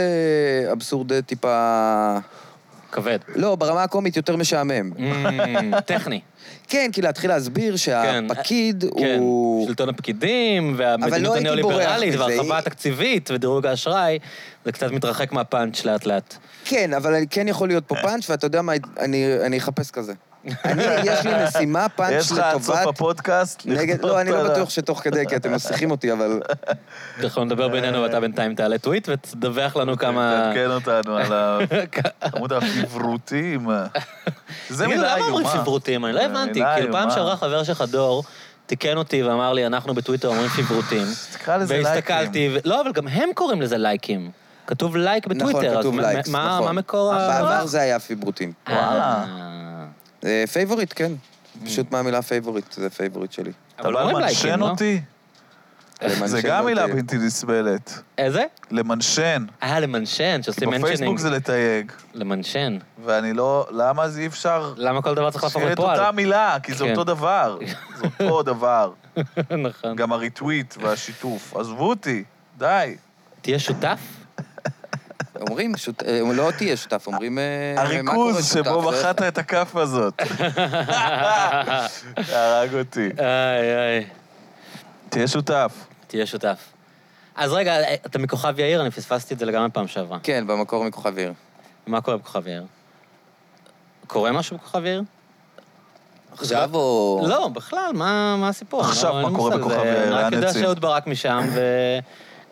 אבסורד אה, טיפה...
כבד.
לא, ברמה הקומית יותר משעמם.
Mm, טכני.
כן, כי להתחיל להסביר שהפקיד
כן,
הוא...
שלטון הפקידים,
אבל
והמדיניות
לא הייתי
הניאו-ליברלית,
בורח מזה.
וההרחבה התקציבית, ודירוג האשראי, זה קצת מתרחק מהפאנץ' לאט-לאט.
כן, אבל אני- כן יכול
אה.
להיות פה פאנץ', ואתה יודע מה, אני אני אחפש כזה. אני, יש לי משימה פאנץ'
יש לך עד סוף
לטובת...
הפודקאסט?
נגד...
לכתוב
לא, אני
על
לא
ה-
בטוח שתוך כדי, כי אתם מסריחים אותי, אבל...
אנחנו נדבר בינינו, ואתה בינתיים תעלה טוויט, ותדווח לנו כמה...
תעדכן אותנו על העמוד הפברוטים. זה
תגיד,
מילה איומה. אה,
למה אומרים פברוטים? אני לא הבנתי.
מילה
כאילו, פעם
איומה.
שעברה חבר שלך, דור, תיקן אותי ואמר לי, אנחנו בטוויטר אומרים פברוטים.
תקרא לזה לייקים.
והסתכלתי, ו- לא, אבל גם הם קוראים לזה לייקים. כתוב לייק
נכון,
בטוויטר. אז
כתוב
מה-
לייקס,
מה-
נכון.
מה מקור ה...
בעבר זה היה פיברוטים.
אה.
וואלה.
אה, פייבוריט, כן.
Mm.
פשוט מהמילה פייבוריט, זה פייבוריט שלי.
אתה
אבל לא
בא
אומרים
למנשן
לייקים, לא?
אותי? זה
למנשן
גם
אותי.
מילה בלתי נסבלת.
איזה?
למנשן.
אה, למנשן, שעושים מנשנינג.
בפייסבוק זה לתייג.
למנשן.
ואני לא... למה זה אי אפשר...
למה כל דבר צריך להפוך
שיהיה את אותה
לפועל?
מילה, כי זה
כן.
אותו דבר. זה אותו דבר.
נכון.
גם הריטוויט והשיתוף. עזבו אותי, די.
תהיה שותף?
אומרים, שות- אה, לא תהיה שותף, אומרים... אה, מה קורה,
הריכוז
שותף?
שבו
זה-
מחאת את הכף הזאת. הרג אותי.
איי, איי.
תהיה שותף.
תהיה שותף. אז רגע, אתה מכוכב יאיר? אני פספסתי את זה לגמרי פעם שעברה.
כן, במקור מכוכב יאיר.
מה קורה בכוכב יאיר? קורה משהו בכוכב יאיר?
עכשיו או...
לא, בכלל, מה מה הסיפור?
עכשיו
לא, אין
מה
לי
קורה
מושג,
בכוכב
זה-
יאיר,
אני רק
לאן
יודע
יוצאים?
שאהוד ברק משם,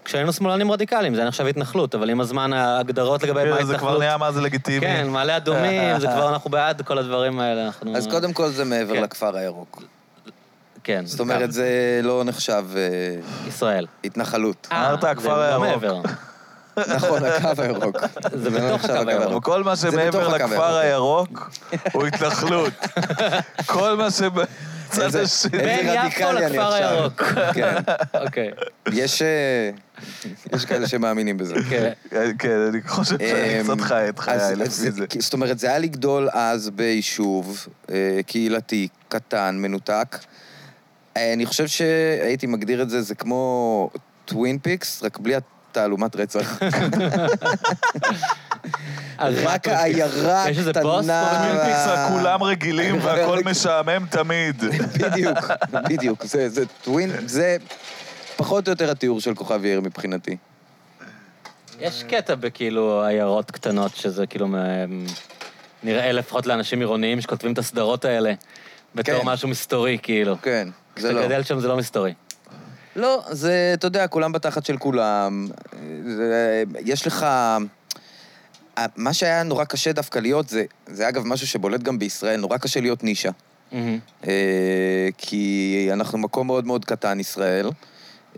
וכשהיינו שמאלנים רדיקליים, זה היה נחשב התנחלות, אבל עם הזמן ההגדרות לגבי מה
כן, זה כבר
התנחלות...
נהיה מה זה לגיטימי.
כן, מעלה אדומים, זה כבר אנחנו בעד כל הדברים האלה, אנחנו...
אז קודם כל זה מעבר
כן.
לכפר הירוק.
כן.
זאת אומרת, זה לא נחשב אה,
ישראל.
התנחלות.
אמרת,
אה,
הכפר
זה לא
הירוק.
מעבר.
נכון, הקו הירוק.
זה
לא
בתוך
נחשב
הקו הירוק.
אבל כל מה שמעבר
בתוך הקו
לכפר
הירוק.
הירוק הוא התנחלות. כל מה שבצד
איזה-
השני...
בין
איזה
יפו
רדיקלי אני
לכפר
עכשיו.
הירוק.
כן.
אוקיי.
יש, אה, יש כאלה שמאמינים בזה.
כן.
כן, אני חושב שאני
אמ,
קצת חי את חיי
אז-
לפי
אז-
זה.
כי- זאת אומרת, זה היה לגדול אז ביישוב אה, קהילתי, קטן, מנותק. אה, אני חושב שהייתי מגדיר את זה, זה כמו טווין פיקס, רק בלי התעלומת רצח.
אז מה
רק
אתה מציע?
העיירה
יש איזה בוס פה
הקטנה...
בטווין
פיקסה,
וה-
כולם רגילים והכל משעמם תמיד.
כן. בדיוק, בדיוק. זה זה טווין, זה פחות או יותר התיאור של כוכב יאיר מבחינתי.
יש קטע בכאילו עיירות קטנות, שזה כאילו מ- נראה לפחות לאנשים עירוניים שכותבים את הסדרות האלה, בתור
כן.
משהו מסתורי, כאילו.
אוקיי,
כן, זה
כשאתה
לא.
גדל שם זה לא מסתורי.
לא, זה, אתה יודע, כולם בתחת של כולם. זה, יש לך... ה- מה שהיה נורא קשה דווקא להיות, זה, זה אגב משהו שבולט גם בישראל, נורא קשה להיות נישה.
מהמם.
אה, כי אנחנו מקום מאוד מאוד קטן, ישראל.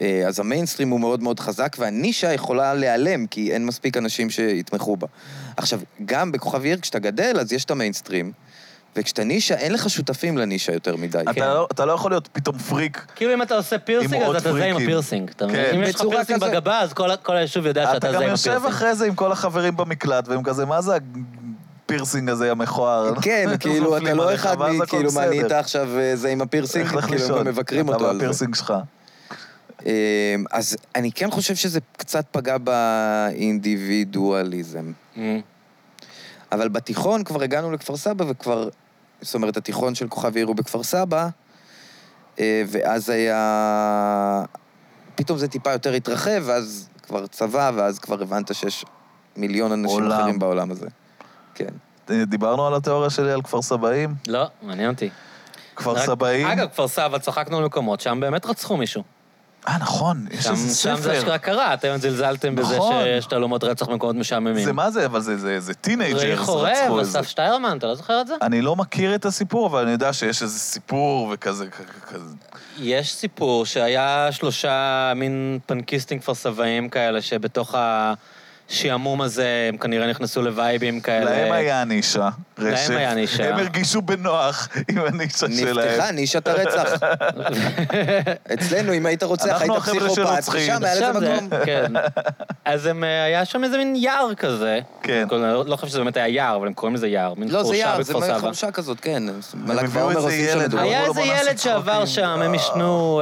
אה, אז המיינסטרים הוא מאוד מאוד חזק, והנישה יכולה להיעלם, כי אין מספיק אנשים שיתמכו בה. עכשיו, גם בכוכב עיר, כשאתה גדל, אז יש את המיינסטרים, וכשאתה נישה, אין לך שותפים לנישה יותר מדי. כן?
אתה לא- אתה לא יכול להיות פתאום פריק.
כאילו אם אתה עושה פירסינג,
עוד
אז אתה זה עם
פריקים.
הפירסינג. אתה מבין?
כן.
אם יש לך
בצורה
פירסינג
כזאת.
בגבה, אז כל ה- כל היישוב יודע שאתה
אתה
זה
גם
עם
יושב
הפירסינג.
אחרי זה עם כל החברים במקלט, והם כזה, מה זה הפירסינג הזה המכוער?
כן, כאילו, אתה
נופלים
לא
אה? עליך,
אחד
ואז
מ...
הכל
כאילו, מה,
בסדר.
נהיית עכשיו אה, זה עם הפירסינג?
לך
כאילו,
לישון.
הם מבקרים
אתה
אותו על זה.
והפירסינג שלך.
אמ, אז אני כן חושב שזה קצת פגע באינדיבידואליזם.
מהמם.
אבל בתיכון כבר הגענו לכפר סבא וכבר... זאת אומרת, התיכון של כוכב יאיר הוא בכפר סבא, אה, ואז היה... פתאום זה טיפה יותר התרחב, ואז כבר צבא, ואז כבר הבנת שיש מיליון אנשים
עולם.
אחרים בעולם הזה. כן.
אה, דיברנו על התיאוריה שלי על כפר סבאים.
לא, מעניין אותי.
כפר
רק-
סבאים.
אגב, כפר סבא, צחקנו על מקומות, שם באמת רצחו מישהו.
אה, נכון, יש
שם,
איזה
שם זה
ספר.
אשכרה קרה, אתם זלזלתם בזה
נכון.
שיש תעלומות רצח במקומות משעממים.
זה מה זה, אבל זה- זה זה
רועי
טינג'רס
חורב,
רצחו את זה.
אסף שטיירמן, אתה לא זוכר את זה?
אני לא מכיר את הסיפור, אבל אני יודע שיש איזה סיפור וכזה, כ- כ- כזה.
יש סיפור שהיה שלושה מין פנקיסטים כפר סבאים כאלה, שבתוך השעמום הזה הם כנראה נכנסו לווייבים כאלה.
להם היה הנישה. רשת.
אה, להם היה הנישה.
הם הרגישו בנוח עם הנישה
נפתחה
שלהם.
נישת הרצח. אצלנו, אם היית רוצח,
אנחנו
היית
החבר'ה
פסיכופת,
שרוצחים.
שם היה לזה
שם זה-
מקום.
כן. אז הם, אה, היה שם איזה מין יער כזה.
כן.
כל- לא חושב שזה באמת היה יער, אבל הם קוראים לזה יער. מין
לא, זה
חורשה
יער,
בכפר
זה מעין
סבא.
חורשה כזאת, כן. מל"ג
הביאו
בעומר
איזה
עושים שם
ילד,
מדורות.
היה
לו,
איזה
"בוא נעשה
ילד שעבר
צחוקים".
שם, הם עישנו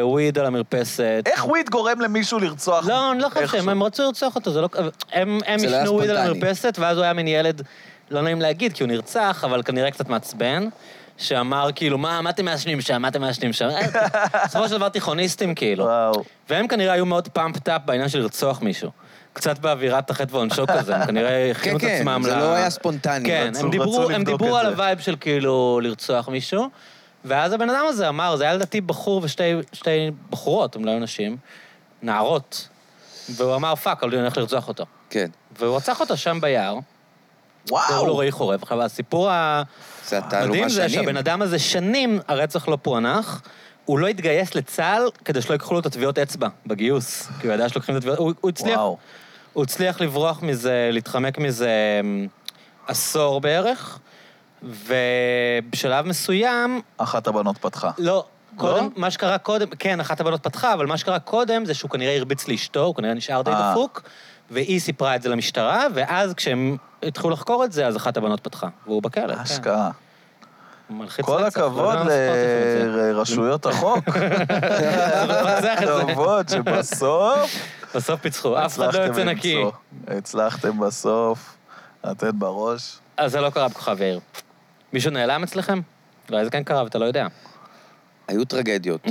אה, וויד על המרפסת.
איך וויד גורם למישהו לרצוח?
לא, אני לא חושב שהם,
איכשהו?
הם רצו לרצוח אותו, זה לא... הם הם
זה לא היה
עישנו וויד על
ספונטני.
המרפסת, ואז הוא היה מין ילד, לא נעים להגיד, כי הוא נרצח, אבל כנראה קצת מעצבן, שאמר כאילו, מה, מה אתם מעשנים שם, מה אתם מעשנים שם? אה, בסופו של דבר תיכוניסטים, כאילו.
וואו.
והם כנראה היו מאוד פאמפט אפ בעניין של לרצוח מישהו. קצת באווירת החטא ועונשו כזה, הם כנראה הכינו את
כן,
עצמם
זה לא היה ספונטני,
כן,
רצו-
הם דיברו,
רצו
הם
לבדוק
דיברו
את
על
זה.
הווייב של כאילו לרצוח מישהו, ואז הבן אדם הזה אמר, זה היה לדעתי בחור ושתי שתי בחורות, הם לא היו נשים, נערות, והוא אמר, פאק, אבל אני הולך לרצוח אותו.
כן,
והוא רצח אותו שם ביער, קראו לו
וואו.
רועי חורב. עכשיו, הסיפור ה...
זה
מדהים
התעלומה
זה
שנים.
שהבן אדם הזה שנים, הרצח לא פוענח, הוא לא התגייס לצה"ל כדי שלא ייקחו לו את הטביעות אצבע בגיוס, כי הוא ידע שלוקחים את הטביעות, הוא, הוא הצליח,
וואו.
הוא הצליח לברוח מזה, להתחמק מזה אמ, עשור בערך, ובשלב מסוים,
אחת הבנות פתחה.
לא, קודם, מה שקרה קודם, כן, אחת הבנות פתחה, אבל מה שקרה קודם זה שהוא כנראה הרביץ לאשתו, הוא כנראה נשאר די
אה.
דפוק, והיא סיפרה את זה למשטרה, ואז כשהם התחילו לחקור את זה, אז אחת הבנות פתחה, והוא בכלא. כן.
השקעה.
מלחיץ
כל
רצח,
הכבוד
לא יודע למה ספוטיפיי זה.
לרשויות החוק.
מפצח את זה.
כבוד שבסוף
בסוף פיצחו, אף אחד לא
הצלחתם
יוצא נקי.
למצוא. הצלחתם בסוף לתת בראש.
אז זה לא קרה בכוכב יאיר. מישהו נעלם אצלכם? אולי זה כן קרה ואתה לא יודע.
היו טרגדיות.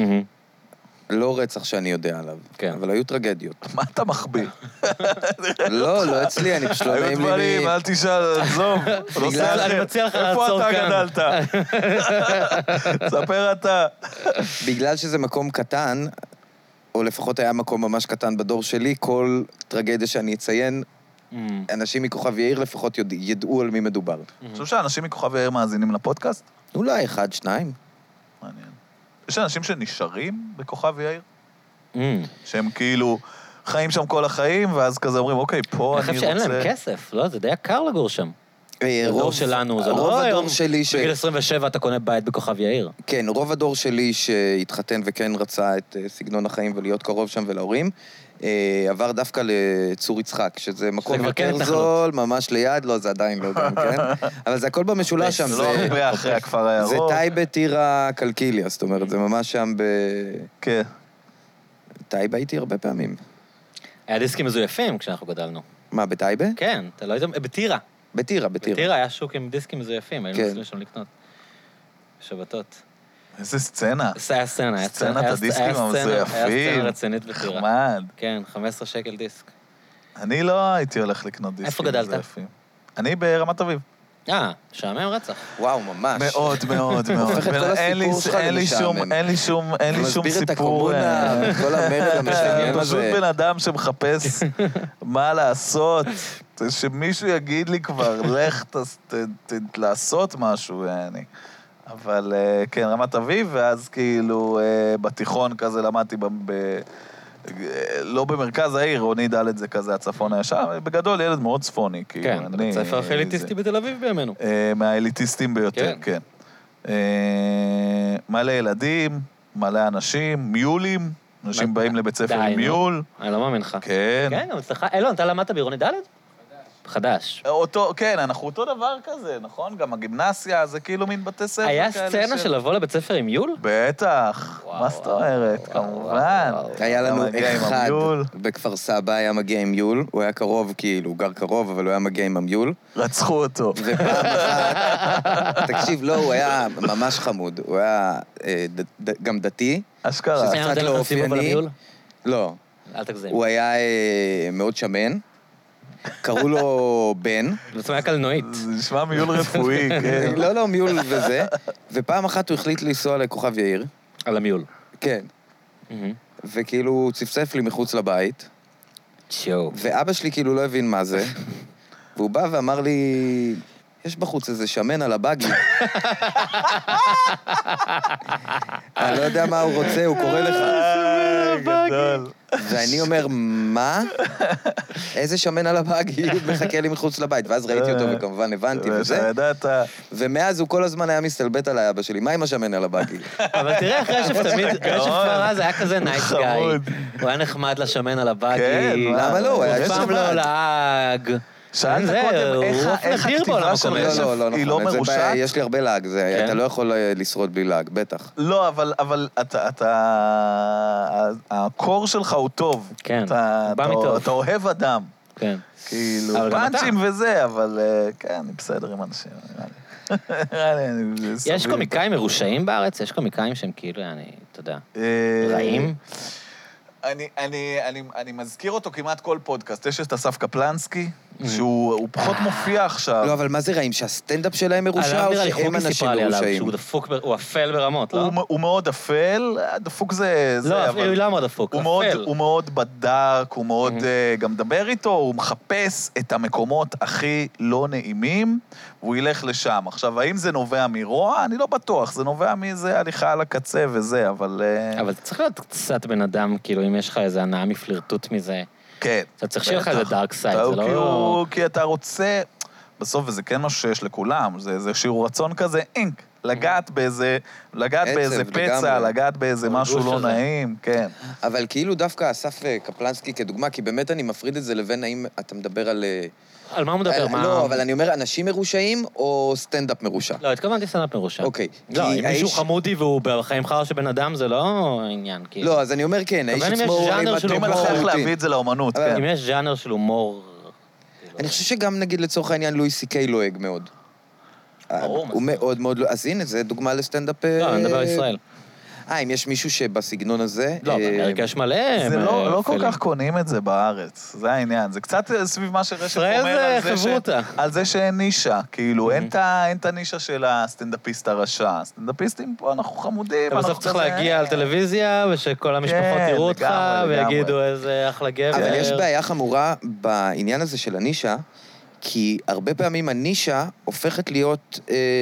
לא רצח שאני יודע עליו,
כן.
אבל היו טרגדיות.
מה אתה מחביא?
לא, לא אצלי, אני פשוט לא
היו
נעים לי...
דברים, אל תשאל, עזוב. נושא
אני
אחר.
מציע לך לעצור
איפה אתה
כאן.
גדלת? ספר אתה.
מ- בגלל שזה מקום קטן, או לפחות היה מקום ממש קטן בדור שלי, כל טרגדיה שאני אציין,
מהמם.
אנשים מכוכב יאיר לפחות יודע- ידעו על מי מדובר.
אני חושב שאנשים מכוכב יאיר מאזינים לפודקאסט?
אולי אחד, שניים.
מעניין. יש אנשים שנשארים בכוכב יאיר?
מהמם.
שהם כאילו חיים שם כל החיים, ואז כזה אומרים, אוקיי, פה
אני
אני
חושב
רוצה...
שאין להם כסף, לא? זה די יקר לגור שם.
אה,
הדור
רוב-
שלנו, זה לא
רוב
היום.
הדור שלי ש...
בגיל 27 אתה קונה בית בכוכב יאיר.
כן, רוב הדור שלי שהתחתן וכן רצה את אה, סגנון החיים ולהיות קרוב שם ולהורים, אה, עבר דווקא לצור יצחק, שזה מקום
כבר כן
יותר
התנחלות.
זול, ממש ליד, לא, זה עדיין לא גם כן, אבל זה הכל במשולש שם,
לא
זה...
הרבה אחרי הכפר
זה
הירוק.
טייבה, טירה, קלקיליה, זאת אומרת, זה ממש שם ב...
כן.
טייבה הייתי הרבה פעמים.
היה דיסקים מזויפים כשאנחנו גדלנו.
מה, בטייבה?
כן, אתה לא יודע, בטירה.
בטירה, בטירה.
בטירה היה שוק עם דיסקים מזויפים, היינו
כן.
נוסעים שם לקנות. בשבתות.
איזה סצנה.
זה היה סצנה, היה
סצנת
היה-
הדיסקים
היה סצנה- היה
המזויפים.
סצנה רצינית בטירה.
נחמד.
כן, 15 שקל דיסק.
אני לא הייתי הולך לקנות דיסקים.
איפה גדלת?
מזויפים. אני ברמת אביב.
אה, משעמם רצח.
וואו, ממש.
מאוד, מאוד, מאוד.
אה, הופך את כל
אין לי-
הסיפור שלך
אין לי שום-
למשעמם.
אין לי שום, אין לי שום
מסביר את
סיפור.
הקומונה,
אה,
כל המרד
אתה
המשעמם
פשוט
הזה.
בן אדם שמחפש מה לעשות. שמישהו יגיד לי כבר, לך תס- ת- ת- לעשות משהו, אני. אבל אה, כן, רמת אביב, ואז כאילו אה, בתיכון כזה למדתי ב... ב... אה, לא במרכז העיר, עוני ד' זה כזה הצפון הישר, בגדול ילד מאוד צפוני, כאילו.
כן, אתה בית
אני-
ספר הכי אליטיסטי בתל אביב בימינו.
אה, מהאליטיסטים ביותר,
כן.
כן. אה, מלא ילדים, מלא אנשים, מיולים, אנשים
מה-
באים לבית ספר
די,
עם
נו.
מיול.
אני לא מאמין לך.
כן.
כן, אבל אצלך... אילון, אתה למדת בעירוני ד'? חדש.
אותו, כן, אנחנו אותו דבר כזה, נכון? גם הגימנסיה, זה כאילו מין בתי ספר
היה
כאלה
סצנה של לבוא לבית ספר עם יול?
בטח,
וואו,
מה זאת
וואו,
אומרת,
וואו,
כמובן.
וואו, וואו.
היה
אתה
לנו
מגיע עם
אחד
המיול.
בכפר סבא, היה מגיע עם יול, הוא היה קרוב, כאילו, הוא גר קרוב, אבל הוא היה מגיע עם המיול.
רצחו אותו.
ופעם אחת, תקשיב, לא, הוא היה ממש חמוד, הוא היה אה, ד- ד- גם דתי.
אשכרה.
שזה-
היה
קצת
נותן
לא
לך סיבוב על
אופייני.
המיול?
לא,
אל תגזים.
הוא היה אה, מאוד שמן, קראו לו בן.
זאת אומרת, קלנועית.
זה נשמע מיול רפואי, כן.
לא, לא, מיול וזה. ופעם אחת הוא החליט לנסוע לכוכב יאיר.
על המיול.
כן. וכאילו, הוא צפצף לי מחוץ לבית.
צ'ו.
ואבא שלי כאילו לא הבין מה זה, והוא בא ואמר לי, יש בחוץ איזה שמן על הבאגי. אני לא יודע מה הוא רוצה, הוא קורא לך.
אה, גדול.
ואני אומר, מה? איזה שמן על הבאגי מחכה לי מחוץ לבית. ואז ראיתי אותו וכמובן הבנתי וזה,
ידעת,
ומאז הוא כל הזמן היה מסתלבט עליי, אבא שלי, מה עם השמן על הבאגי?
אבל תראה איך רשף תמיד, רשף כבר אז היה כזה נייס גאי.
חמוד.
הוא היה נחמד לשמן על
כן,
הבאגי.
למה לא? הוא היה
הוא אף פעם
נחמד.
לא לעג.
שאלת
זה,
קודם
הוא
איך ה-
אף
איך
נדיר
הכתיבה
בעולם
של
הקומדיה.
לא,
רשף
לא, לא
היא לא
נכון. זה בעיה,
מרושעת?
יש לי הרבה לעג, זה-
כן?
אתה לא יכול אה, לשרוד בלי לעג, בטח.
לא, אבל, אבל אתה, אתה... ה- הקור שלך הוא טוב.
כן,
אתה,
הוא בא
אתה,
מטוב.
אתה אוהב אדם.
כן.
כאילו,
אבל גם
פאנצ'ים וזה, אבל אה, כן, אני בסדר עם אנשים, נראה לי. נראה לי, אני... זה
יש
סביר.
קומיקאים מרושעים בארץ? יש קומיקאים שהם כאילו, אני, אתה יודע,
אה,
רעים?
אני, אני, אני, אני מזכיר אותו כמעט כל פודקאסט. יש את אסף קפלנסקי,
Mm.
שהוא הוא פחות מופיע עכשיו.
לא, אבל מה זה רעים? שהסטנדאפ שלהם מרושע
עליו
או
נראה לי
שהם
חוגי
אנשים
סיפרה לי עליו,
מרושעים?
שהוא דפוק, ב- הוא אפל ברמות, לא?
הוא, הוא מאוד אפל, אה, דפוק זה...
לא,
זה,
אפילו היא לא אמרה דפוק,
הוא מאוד,
אפל.
הוא מאוד בדק, הוא מאוד
Mhm.
אה, גם מדבר איתו, הוא מחפש את המקומות הכי לא נעימים, והוא ילך לשם. עכשיו, האם זה נובע מרוע? אני לא בטוח, זה נובע מאיזה הליכה על הקצה וזה, אבל... אה,
אבל אתה צריך להיות קצת בן אדם, כאילו, אם יש לך איזה הנאה מפלירטוט מזה,
כן.
אתה צריך שיהיה לך
בטח.
איזה דארק סייד,
אתה-
זה
כי,
לא...
הוא, כי אתה רוצה... בסוף, וזה כן משהו שיש לכולם, זה איזה שיעור רצון כזה, אינק,
Mm-hmm.
לגעת באיזה, לגעת
עצב,
באיזה פצע,
לגמרי.
לגעת באיזה
הריגוש
משהו לא
הזה.
נעים, כן.
אבל כאילו דווקא אסף אה, קפלנסקי כדוגמה, כי באמת אני מפריד את זה לבין האם אתה מדבר על... אה,
על מה הוא מדבר?
על-
מה...
לא, אבל אני אומר אנשים מרושעים או סטנדאפ מרושע?
לא, התכוונתי סטנדאפ מרושע.
אוקיי,
לא,
כי
אם מישהו
האיש-
חמודי והוא בחיים חרא של בן אדם, זה לא עניין, כאילו.
לא, אז אני אומר כן, האיש
אבל אם יש
עצמו הוא
ז'אנר
הרי
של
מתוק
אם
הומור-
אני צריך
לחלוטין.
להביא את זה לאומנות,
אבל-
כן.
אם יש ז'אנר של הומור...
אני חושב שגם נגיד לצורך העניין לואי סי קיי לועג מאוד. אה,
ברור,
הוא
מה זה?
מאוד מאוד לא... אז הנה, זה דוגמה לסטנדאפ...
לא,
אה,
אני מדבר על ישראל.
אה, אם יש מישהו שבסגנון הזה...
לא,
אה,
באמריקה יש מלא...
זה לא, לא כל
אה, אפלים.
כך קונים את זה בארץ, זה העניין. זה קצת אה, סביב מה שרשף אומר
ישראל זה
על זה,
חברותא.
על זה שאין נישה. כאילו, אין את ה- אין את הנישה של הסטנדאפיסט הרשע. הסטנדאפיסטים פה, אנחנו חמודים.
אתה כן, בסוף
אנחנו אה,
צריך
כזה-
להגיע על טלוויזיה, ושכל המשפחות
כן,
יראו אותך,
לגמרי, לגמרי.
ויגידו איזה אחלה גבר.
אבל יש בעיה חמורה בעניין הזה של הנישה, כי הרבה פעמים הנישה הופכת להיות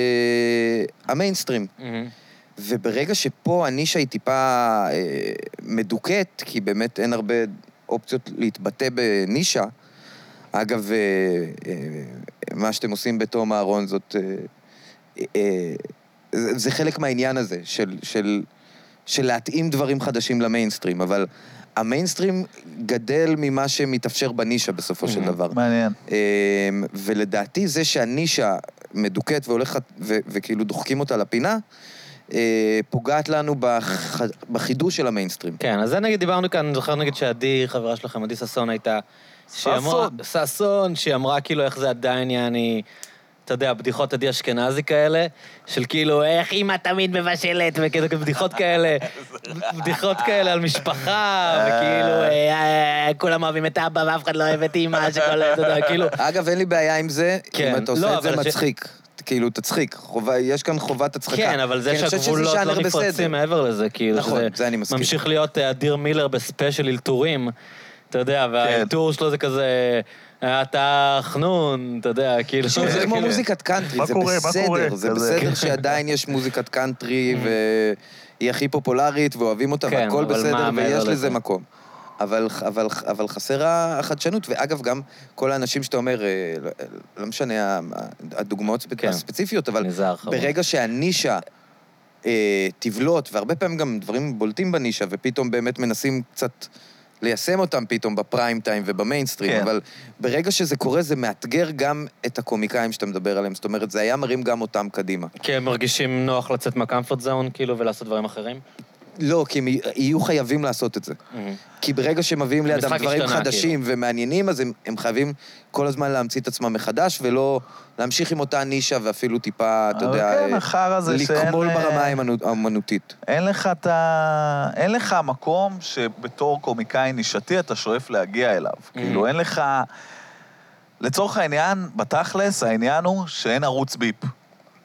אה, המיינסטרים.
מהמם.
וברגע שפה הנישה היא טיפה אה, מדוכאת, כי באמת אין הרבה אופציות להתבטא בנישה, אגב, אה, אה, מה שאתם עושים בתום אהרון זאת... אה, אה, זה, זה חלק מהעניין הזה, של, של, של להתאים דברים חדשים למיינסטרים, אבל המיינסטרים גדל ממה שמתאפשר בנישה בסופו של
Mhm.
דבר.
מעניין.
אמ, ולדעתי זה שהנישה מדוכאת והולכת, ו- וכאילו דוחקים אותה לפינה, אה, פוגעת לנו בח- בחידוש של המיינסטרים.
כן, אז זה נגיד דיברנו כאן, אני זוכר נגיד שעדי, חברה שלכם, עדי ששון הייתה... שהיא אמרה-
ששון.
ששון, שהיא אמרה כאילו איך זה עדיין יעני... אתה יודע, בדיחות עדי אשכנזי כאלה, של כאילו, איך אימא תמיד מבשלת, וכאילו כאילו, בדיחות כאלה, בדיחות כאלה על משפחה, וכאילו, אה, אה, כולם אוהבים את אבא ואף אחד לא אוהב את אימא, שכל, אתה יודע, כאילו,
אגב, אין לי בעיה עם זה,
כן.
אם אתה
לא,
עושה את זה
אבל ש-
מצחיק. כאילו, תצחיק. חובה- יש כאן חובת הצחקה.
כן, אבל זה
כי אני חושב שזה
שהגבולות לא
ז'אנר בסדר.
נפרצים מעבר לזה, כאילו,
נכון,
שזה
זה אני מסכים.
ממשיך להיות אה, אדיר מילר בספיישל אלתורים, אתה
כן.
יודע, והאלתור שלו זה כזה, "אה, אתה חנון, אתה יודע, כאילו...
שוב, זה
כאילו-
כמו מוזיקת קאנטרי,
מה
זה
קורה? מה
בסדר,
קורה?
זה
כזה.
בסדר שעדיין יש מוזיקת קאנטרי, והיא הכי פופולרית, ואוהבים אותה,
Mm. כן,
והכל
אבל
בסדר,
מה מעבר
ויש
לזה?
לזה מקום. אבל, אבל, אבל חסר החדשנות, ואגב, גם כל האנשים שאתה אומר, אה, לא- לא משנה ה- הדוגמאות הספ-
כן.
הספציפיות, אבל
נזהר אחרון.
ברגע שהנישה אה, תבלוט, והרבה פעמים גם דברים בולטים בנישה, ופתאום באמת מנסים קצת ליישם אותם פתאום בפריים טיים ובמיינסטרים,
כן.
כן. אבל ברגע שזה קורה, זה מאתגר גם את הקומיקאים שאתה מדבר עליהם. זאת אומרת, זה היה מרים גם אותם קדימה.
כי הם מרגישים נוח לצאת מהקמפורט זון, כאילו, ולעשות דברים אחרים?
לא, כי הם יהיו חייבים לעשות את זה. כי ברגע שמביאים לידם
המשחק
דברים
השתנה,
חדשים
כאילו.
ומעניינים, אז הם, הם חייבים כל הזמן להמציא את עצמם מחדש, ולא להמשיך עם אותה נישה ואפילו טיפה, אתה
אבל
יודע,
כן,
אה,
החרא זה שאין,
לקמול
אה,
ברמה האמנו- האמנותית.
אין לך את ה... אין לך מקום שבתור קומיקאי נישתי אתה שואף להגיע אליו.
Mm.
כאילו, אין לך... לצורך העניין, בתכלס, העניין הוא שאין ערוץ ביפ.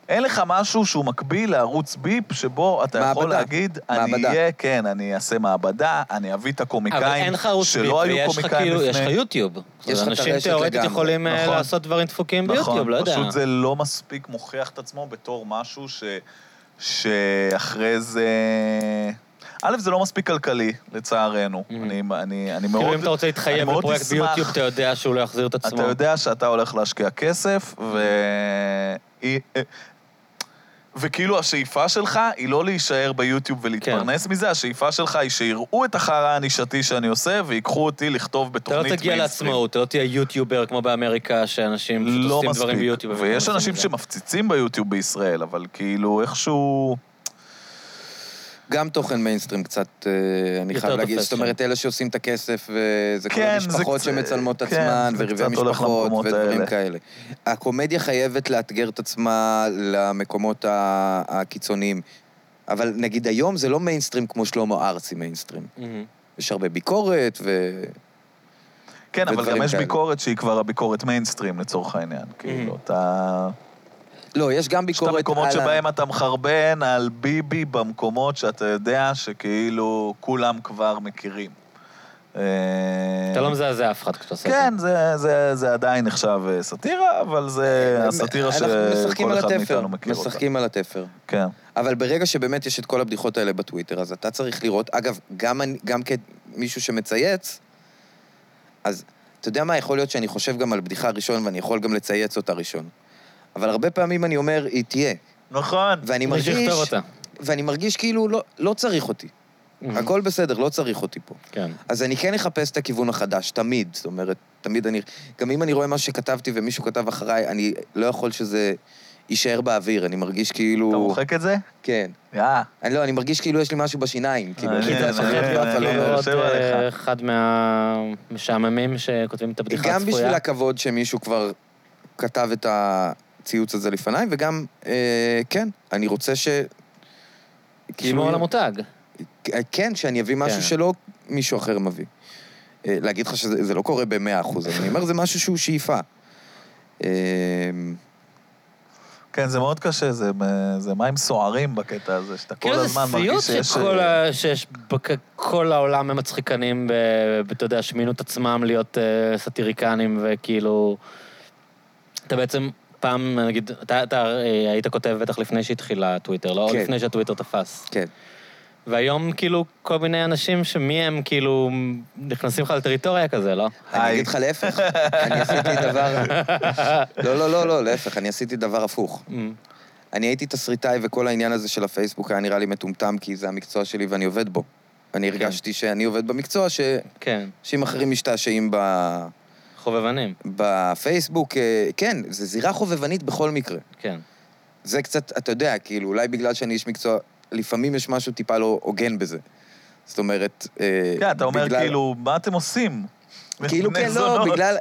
אין לך משהו שהוא מקביל לערוץ ביפ, שבו אתה יכול
מעבדה.
להגיד, אני
מעבדה.
אהיה, כן, אני אעשה מעבדה, אני אביא את הקומיקאים,
אבל אין לך ערוץ ביפ,
שלא היו
ויש לך
קומיקאים
כאילו,
לפני.
יש לך יוטיוב.
יש לך את
אנשים
הרשת
תיאורטית
לגמרי,
יכולים אה,
נכון.
לעשות דברים דפוקים ביוטיוב,
נכון,
לא יודע.
פשוט זה לא מספיק מוכיח את עצמו בתור משהו ש... שאחרי זה... א', זה לא מספיק כלכלי, לצערנו. אני, אני, אני מאוד...
Mm-hmm. כאילו, אם אתה רוצה
אני
להתחייב
מאוד
בפרויקט
אשמח.
ביוטיוב, אתה יודע שהוא לא יחזיר את עצמו.
אתה יודע שאתה הולך להשקיע כסף, ו...
Mm-hmm.
אה, וכאילו השאיפה שלך היא לא להישאר ביוטיוב ולהתפרנס
כן.
מזה, השאיפה שלך היא שיראו את החרא הנישתי שאני עושה ויקחו אותי לכתוב
אתה
בתוכנית
לא תגיע
מיינסטרים.
לעצמאות, אתה לא תהיה יוטיובר כמו באמריקה, שאנשים פשוט
לא
עושים דברים
מספיק.
ביוטיוב. אבל
ויש
כן.
עושים
אנשים
את זה.
שמפציצים ביוטיוב בישראל, אבל כאילו איכשהו...
גם תוכן מיינסטרים קצת, אה, אני
יותר
חייב להגיד,
תופס כן.
זאת אומרת, אלה שעושים את הכסף, וזה כל
כן,
המשפחות
זה קצת-
שמצלמות את
כן,
עצמן,
זה
וריבי
קצת הולך
משפחות,
למקומות האלה.
ודברים כאלה. הקומדיה חייבת לאתגר את עצמה למקומות ה- הקיצוניים. אבל נגיד היום זה לא מיינסטרים כמו שלמה ארצי מיינסטרים.
מהמם.
יש הרבה ביקורת, ו...
כן, אבל
ודברים
גם יש
כאלה. Mm-hmm.
ביקורת שהיא כבר הביקורת מיינסטרים לצורך העניין. כאילו, אתה...
לא, יש גם
יש את
ביקורת
המקומות
ה-
שבהם אתה מחרבן על ביבי במקומות שאתה יודע שכאילו כולם כבר מכירים. אה,
אתה לא מזעזע אף אחד כשאתה עושה את זה.
כן, זה, זה, זה עדיין נחשב אה, סאטירה, אבל זה הסאטירה
אה, אנחנו משחקים
שכל
על
אחד
התפר,
מאיתנו מכיר אותה.
משחקים על התפר.
כן.
אבל ברגע שבאמת יש את כל הבדיחות האלה בטוויטר, אז אתה צריך לראות, אגב, גם, אני- גם כמישהו שמצייץ, אז אתה יודע מה, יכול להיות שאני חושב גם על בדיחה ראשון ואני יכול גם לצייץ אותה ראשון. אבל הרבה פעמים אני אומר, היא תהיה.
נכון.
ואני
מישהו
מרגיש...
יכתוב אותה.
ואני מרגיש כאילו לא, לא צריך אותי. הכל בסדר, לא צריך אותי פה.
כן.
אז אני כן אחפש את הכיוון החדש, תמיד. זאת אומרת, תמיד אני... גם אם אני רואה מה שכתבתי ומישהו כתב אחריי, אני לא יכול שזה יישאר באוויר, אני מרגיש כאילו...
אתה מוחק את זה?
כן.
יאה.
אני לא, אני מרגיש כאילו יש לי משהו בשיניים,
אה,
כאילו,
אני-
אני יודע,
כן,
אני-
שאני
אני-
כבר
אני-
לא אומר.
לראות
אה, יושב
אה,
עליך.
אחד מהמשעממים שכותבים את הבדיחה הצפויה.
גם בשביל הכבוד שמישהו כבר כתב את הציוץ הזה לפניי, וגם, אה, כן, אני רוצה ש... כאילו,
לשמור על המותג.
כן, שאני אביא
כן.
משהו שלא מישהו אחר מביא. אה, להגיד לך שזה זה לא קורה במאה אחוז, אבל אני אומר, זה משהו שהוא שאיפה. אה,
כן, זה מאוד קשה, זה, זה מים סוערים בקטע הזה, שאתה כל
כאילו זה
הזמן
סיוט
מרגיש שיש... אה,
שכל ה- שיש בכל העולם הם מצחיקנים, ב- אתה יודע, שמינו את עצמם להיות אה, סאטיריקנים, וכאילו... אתה בעצם פעם, נגיד, אתה אתה, אה, היית כותב בטח לפני שהתחילה הטוויטר, לא?
כן.
לפני שהטוויטר תפס.
כן.
והיום כאילו כל מיני אנשים שמי הם כאילו נכנסים לך לטריטוריה כזה, לא?
אני
היי.
אגיד לך להפך, אני עשיתי דבר... לא, לא, לא, לא, להפך, אני עשיתי דבר הפוך.
כן.
Mm,
אני הייתי תסריטאי, וכל העניין הזה של הפייסבוק היה נראה לי מטומטם, כי זה המקצוע שלי ואני עובד בו. אני
כן.
הרגשתי שאני עובד במקצוע, שאנשים
כן,
אחרים משתעשעים ב-
חובבנים,
בפייסבוק. אה, כן, זו זירה חובבנית בכל מקרה.
כן.
זה קצת, אתה יודע, כאילו, אולי בגלל שאני איש מקצוע, לפעמים יש משהו טיפה לא הוגן בזה. זאת אומרת, אה,
כן, אתה אומר
בגלל-
כאילו, מה אתם עושים?
כאילו, כן, לא,
זונות.
בגלל...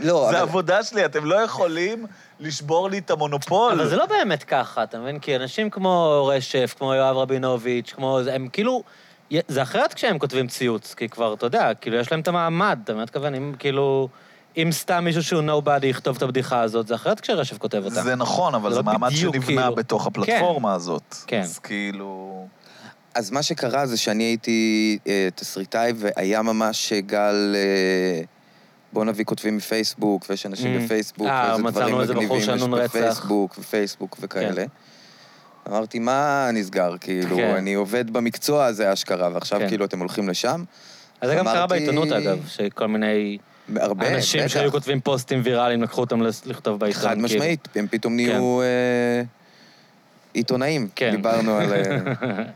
לא,
זה
אבל...
העבודה שלי, אתם לא יכולים לשבור לי את המונופול.
אבל זה לא באמת ככה, אתה מבין? כי אנשים כמו רשף, כמו יואב רבינוביץ', כמו... זה, הם כאילו... זה אחרת כשהם כותבים ציוץ, כי כבר, אתה יודע, כאילו, יש להם את המעמד, אתה מבין? מה אתכוון? אם כאילו... אם סתם מישהו שהוא נובדי יכתוב את הבדיחה הזאת, זה אחרת כשרשף כותב אותה.
זה נכון, אבל
זה
זה
לא
מעמד
בדיוק,
שנבנה
כאילו.
בתוך הפלטפורמה הזאת.
כן.
אז כאילו...
אז מה שקרה זה שאני הייתי אה, תסריטאי, והיה ממש גל... אה, בוא נביא כותבים מפייסבוק, ויש אנשים
Mm.
בפייסבוק,
אה,
ואיזה
מצאנו
דברים
איזה בחור
מגניבים יש
שנון רצח.
בפייסבוק, ופייסבוק וכאלה. אמרתי, מה נסגר? כאילו,
כן.
אני עובד במקצוע הזה אשכרה, ועכשיו
כן.
כאילו אתם הולכים לשם?
אז זה גם קרה
אמרתי-
בעיתונות, אגב, שכל מיני
הרבה,
אנשים
בטח.
שהיו כותבים פוסטים ויראליים, לקחו אותם לס- לכתוב בעיתון.
חד
כאילו.
משמעית, הם פתאום נהיו אה, עיתונאים.
כן.
דיברנו על... אה,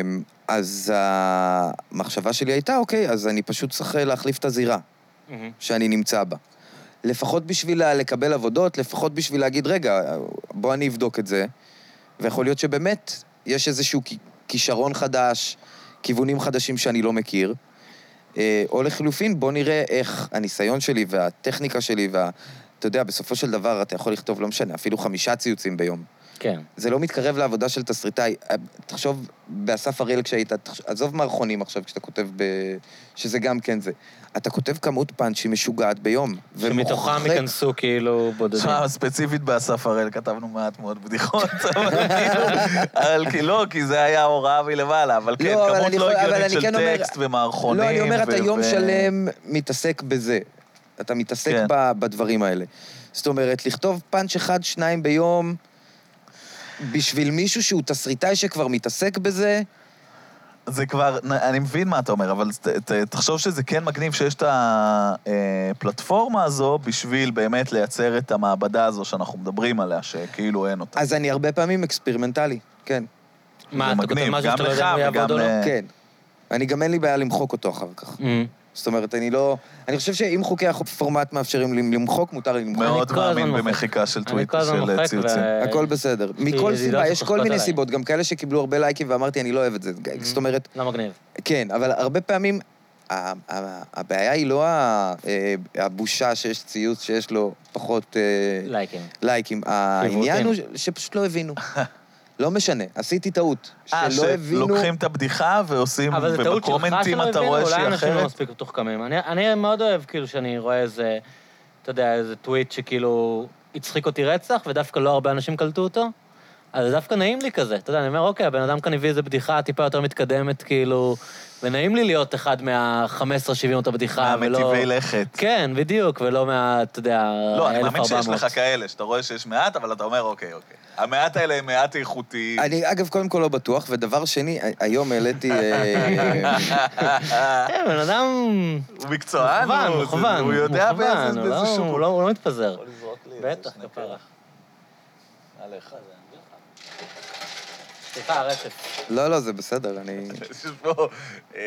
אמ, אז המחשבה שלי הייתה, אוקיי, אז אני פשוט צריך להחליף את הזירה
מהמם.
שאני נמצא בה. לפחות בשביל ה- לקבל עבודות, לפחות בשביל להגיד, רגע, בוא אני אבדוק את זה, ויכול להיות שבאמת יש איזשהו כ- כישרון חדש, כיוונים חדשים שאני לא מכיר. אה, או לחילופין, בוא נראה איך הניסיון שלי והטכניקה שלי וה... אתה יודע, בסופו של דבר אתה יכול לכתוב, לא משנה, אפילו חמישה ציוצים ביום.
כן.
זה לא מתקרב לעבודה של תסריטאי. אה, תחשוב, באסף אריאל כשהיית, תחש- עזוב מערכונים עכשיו כשאתה כותב ב... שזה גם כן זה. אתה כותב כמות פאנצ'ים משוגעת ביום.
שמתוכם
ומוחק-
ייכנסו כאילו בודדים.
שמע, אה, ספציפית באסף הראל כתבנו מעט מאוד בדיחות, אבל כאילו, אבל כי לא, כי זה היה הוראה מלמעלה, אבל כן,
לא, אבל
כמות
אני
לא
יכול- אבל
הגיונית
אני כן
של
אומר-
טקסט ומערכונים.
לא, אני אומר,
ו-
אתה יום
ו-
שלם מתעסק בזה. אתה מתעסק
כן.
ב- בדברים האלה. זאת אומרת, לכתוב פאנץ' אחד, שניים ביום, בשביל מישהו שהוא תסריטאי שכבר מתעסק בזה,
זה כבר, נ- אני מבין מה אתה אומר, אבל ת- ת- תחשוב שזה כן מגניב שיש את הפלטפורמה הזו בשביל באמת לייצר את המעבדה הזו שאנחנו מדברים עליה, שכאילו אין אותה.
אז אני הרבה פעמים אקספרימנטלי, כן,
מה, אתה כותב
מגניב,
משהו
גם
שאתה לא יודע
לך
אם הוא יעבוד
וגם
או לא?
ל- אה.
כן. אני גם אין לי בעיה למחוק אותו אחר כך.
מהמם.
זאת אומרת, אני לא... אני חושב שאם חוקי הפורמט מאפשרים לי למחוק, מותר לי למחוק.
מאוד
כל הזמן
מאמין
מוחק.
במחיקה של
אני כל
טוויטר,
הזמן
של אה,
מוחק
ציוצים.
ו...
הכל בסדר. מכל
לא
ידידות
סיבה, יש
שצוחקות
כל מיני
עליי.
סיבות, גם כאלה שקיבלו הרבה לייקים ואמרתי, אני לא אוהב את זה.
Mm-hmm.
זאת אומרת,
לא מגניב.
כן, אבל הרבה פעמים ה- ה- הבעיה היא לא ה- אה, הבושה שיש ציוץ שיש לו פחות אה,
לייקים.
לייקים. העניין הוא ש- שפשוט לא הבינו. לא משנה, עשיתי טעות.
אה,
שלא לא הבינו...
שלוקחים את הבדיחה ועושים,
אבל זו טעות שלך
ובקומנטים
שלא
אתה
הבינו,
רואה
אולי
שהיא
אנשים לא
אחרת.
מספיק מתוחכמים. אני- אני מאוד אוהב כאילו שאני רואה איזה, אתה יודע, איזה טוויט שכאילו הצחיק אותי רצח, ודווקא לא הרבה אנשים קלטו אותו. אז זה דווקא נעים לי כזה. אתה יודע, אני אומר, אוקיי, הבן אדם כאן הביא איזו בדיחה טיפה יותר מתקדמת, כאילו, ונעים לי להיות אחד מה-15 70 אותה בדיחה, ולא...
מהמטיבי לכת.
כן, בדיוק, ולא מה, אתה יודע,
לא, אני מאמין שיש
1400.
לך כאלה, שאתה רואה שיש מעט, אבל אתה אומר, אוקיי, אוקיי. המעט האלה הם מעט איכותיים.
אני, אגב, קודם כל לא בטוח, ודבר שני, ה- היום העליתי... אה,
כן, בן אדם...
הוא מקצוען,
מכוון,
הוא-
מכוון,
הוא יודע
מכוון,
באיזה
הוא לא-
באיזה
הוא
שהוא...
לא- הוא לא מתפזר.
יכול לזרוק לי איזה
בטח,
שני
כפרה.
קרח. עליך.
סליחה, הרצף.
לא, לא, זה בסדר, אני...
יש פה... אה,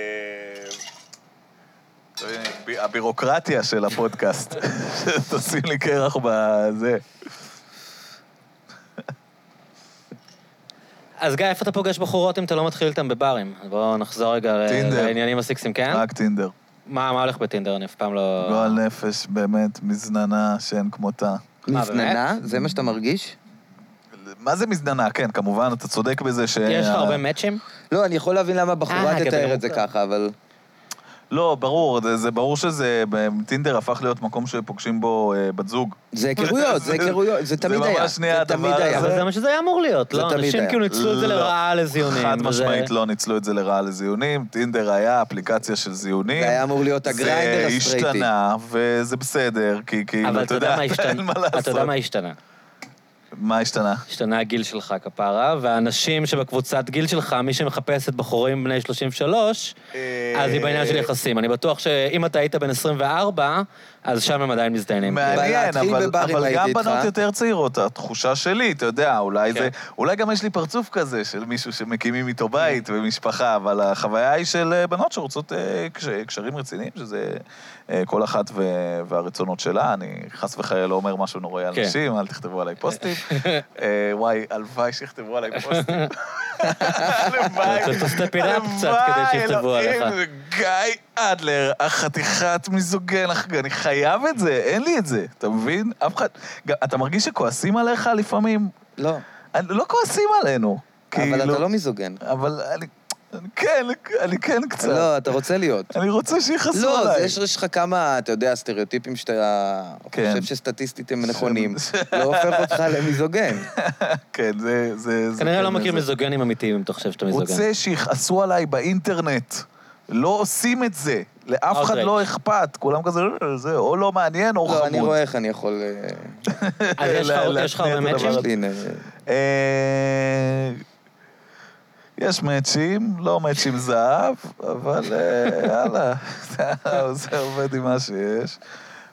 לא יודע, ב- הבירוקרטיה של הפודקאסט. תשים לי קרח בזה.
אז גיא, איפה אתה פוגש בחורות אם אתה לא מתחיל איתן בברים? בואו נחזור רגע ל-
טינדר.
לעניינים הסיקסים, כן?
רק טינדר.
מה מה הולך בטינדר? אני אף פעם לא...
גועל נפש, באמת, מזננה שאין כמותה.
באמת?
מזננה? זה מה שאתה מרגיש?
מה זה מזננה? כן, כמובן, אתה צודק בזה ש...
יש לך הרבה מאצ'ים?
לא, אני יכול להבין למה בחורה
אה,
תתאר
גבר
את זה
מוכר.
ככה, אבל...
לא, ברור, זה, זה ברור שזה, טינדר הפך להיות מקום שפוגשים בו אה, בת זוג.
זה היכרויות, זה
זה-
היכרויות, זה
זה
תמיד
ממש
היה.
נהיה
זה תמיד
הדבר
היה.
אבל
הזה.
זה מה שזה היה אמור להיות,
זה
לא?
תמיד
אנשים
היה.
כאילו ניצלו את זה
לא.
לרעה לזיונים.
חד
וזה-
משמעית לא ניצלו את זה לרעה לזיונים, טינדר היה אפליקציה של זיונים.
זה היה אמור להיות הגריינדר
זה
הסטרייטי.
השתנה, וזה בסדר, כי כאילו,
אבל אתה יודע מה
אין
השתנה?
מה לעשות.
אתה יודע מה השתנה?
מה השתנה?
השתנה הגיל שלך, כפרה, והאנשים שבקבוצת גיל שלך, מי שמחפשת בחורים בני 33,
אה,
אז היא בעניין של יחסים. אני בטוח שאם אתה היית בן 24, אז שם הם עדיין מזדיינים.
מעניין,
להתחיל
אבל,
בברים
אבל
הייתי
גם
איתך.
בנות יותר צעירות, התחושה שלי, אתה יודע, אולי
כן.
זה... אולי גם יש לי פרצוף כזה של מישהו שמקימים איתו בית ומשפחה, אבל החוויה היא של אה, בנות שרוצות אה, קש- קשרים רציניים, שזה אה, כל אחת ו- והרצונות שלה. אני חס וחלילה לא אומר משהו נוראי על
כן.
נשים, אל תכתבו עליי פוסטים. אה, וואי, הלוואי שיכתבו עליי פוסטים. הלוואי.
אתה צריך to step it up קצת כדי שיכתבו
הלוואי,
עליך.
אלוהים, גיא אדלר, החתיכת מיזוגן, אח- אני חייב את זה, אין לי את זה, אתה מבין? אף אחד... גם- אתה מרגיש שכועסים עליך לפעמים?
לא,
אני- לא כועסים עלינו.
אבל
כאילו,
אתה לא מיזוגן.
אבל אני... כן, אני כן קצת.
לא, אתה רוצה להיות.
אני רוצה שיכעסו
לא, זה-
עליי.
יש יש לך כמה, אתה יודע, סטריאוטיפים שאתה
כן.
חושב שסטטיסטית הם
ש-
נכונים.
ש-
לא הופך אותך למיזוגן.
כן, זה... זה- זה-
כנראה לא
כן,
מכיר
זה-
מיזוגנים אמיתיים אם אתה חושב שאתה מיזוגן.
רוצה שיכעסו עליי באינטרנט. לא עושים את זה.
אוקיי.
לאף אחד
Outrage.
לא אכפת. כולם כזה, "אה, זה או לא מעניין או
לא, אני
חמוד.
רואה איך אני יכול... אה,
אז יש לך-
לה-
יש לך הרבה
להתניע את הדבר
מאצ'ים?
יש
הזה.
לי, אה,
אה, יש מאצ'ים, לא מאצ'ים זהב, אבל אה, יאללה, זה עובד עם מה שיש.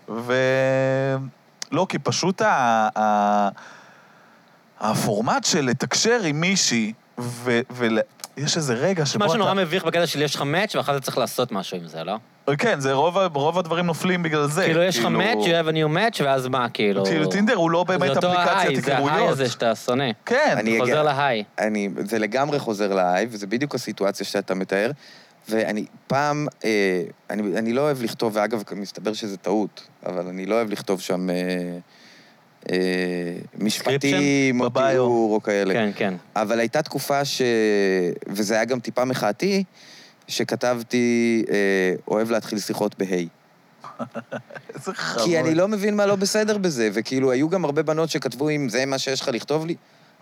ולא, כי פשוט ה... ה... הפורמט של לתקשר עם מישהי, ו... ול... יש איזה רגע שבו
מה
אתה...
שנורא מביך בקטע של יש לך מאץ' ואחר אתה צריך לעשות משהו עם זה, לא?
כן, זה רוב, ה- רוב הדברים נופלים בגלל זה.
כאילו, יש לך מאץ', you have a new match, ואז מה, כאילו...
כאילו, טינדר הוא לא
זה
באמת
אותו
אפליקציית
ההיי, זה ההיי
היכרויות.
הזה שאתה שונא.
כן,
אני אגיע.
חוזר להיי.
אני, זה לגמרי חוזר להיי, וזה בדיוק הסיטואציה שאתה מתאר. ואני פעם, אה, אני, אני לא אוהב לכתוב, ואגב, מסתבר שזה טעות, אבל אני לא אוהב לכתוב שם אה, אה, משפטים או
בביו.
תיאור או כאלה.
כן, כן.
אבל הייתה תקופה ש... וזה היה גם טיפה מחאתי, שכתבתי, אה, אוהב להתחיל שיחות בהיי. כי
איזה חמוד.
אני לא מבין מה לא בסדר בזה, וכאילו, היו גם הרבה בנות שכתבו, אם זה מה שיש לך לכתוב לי,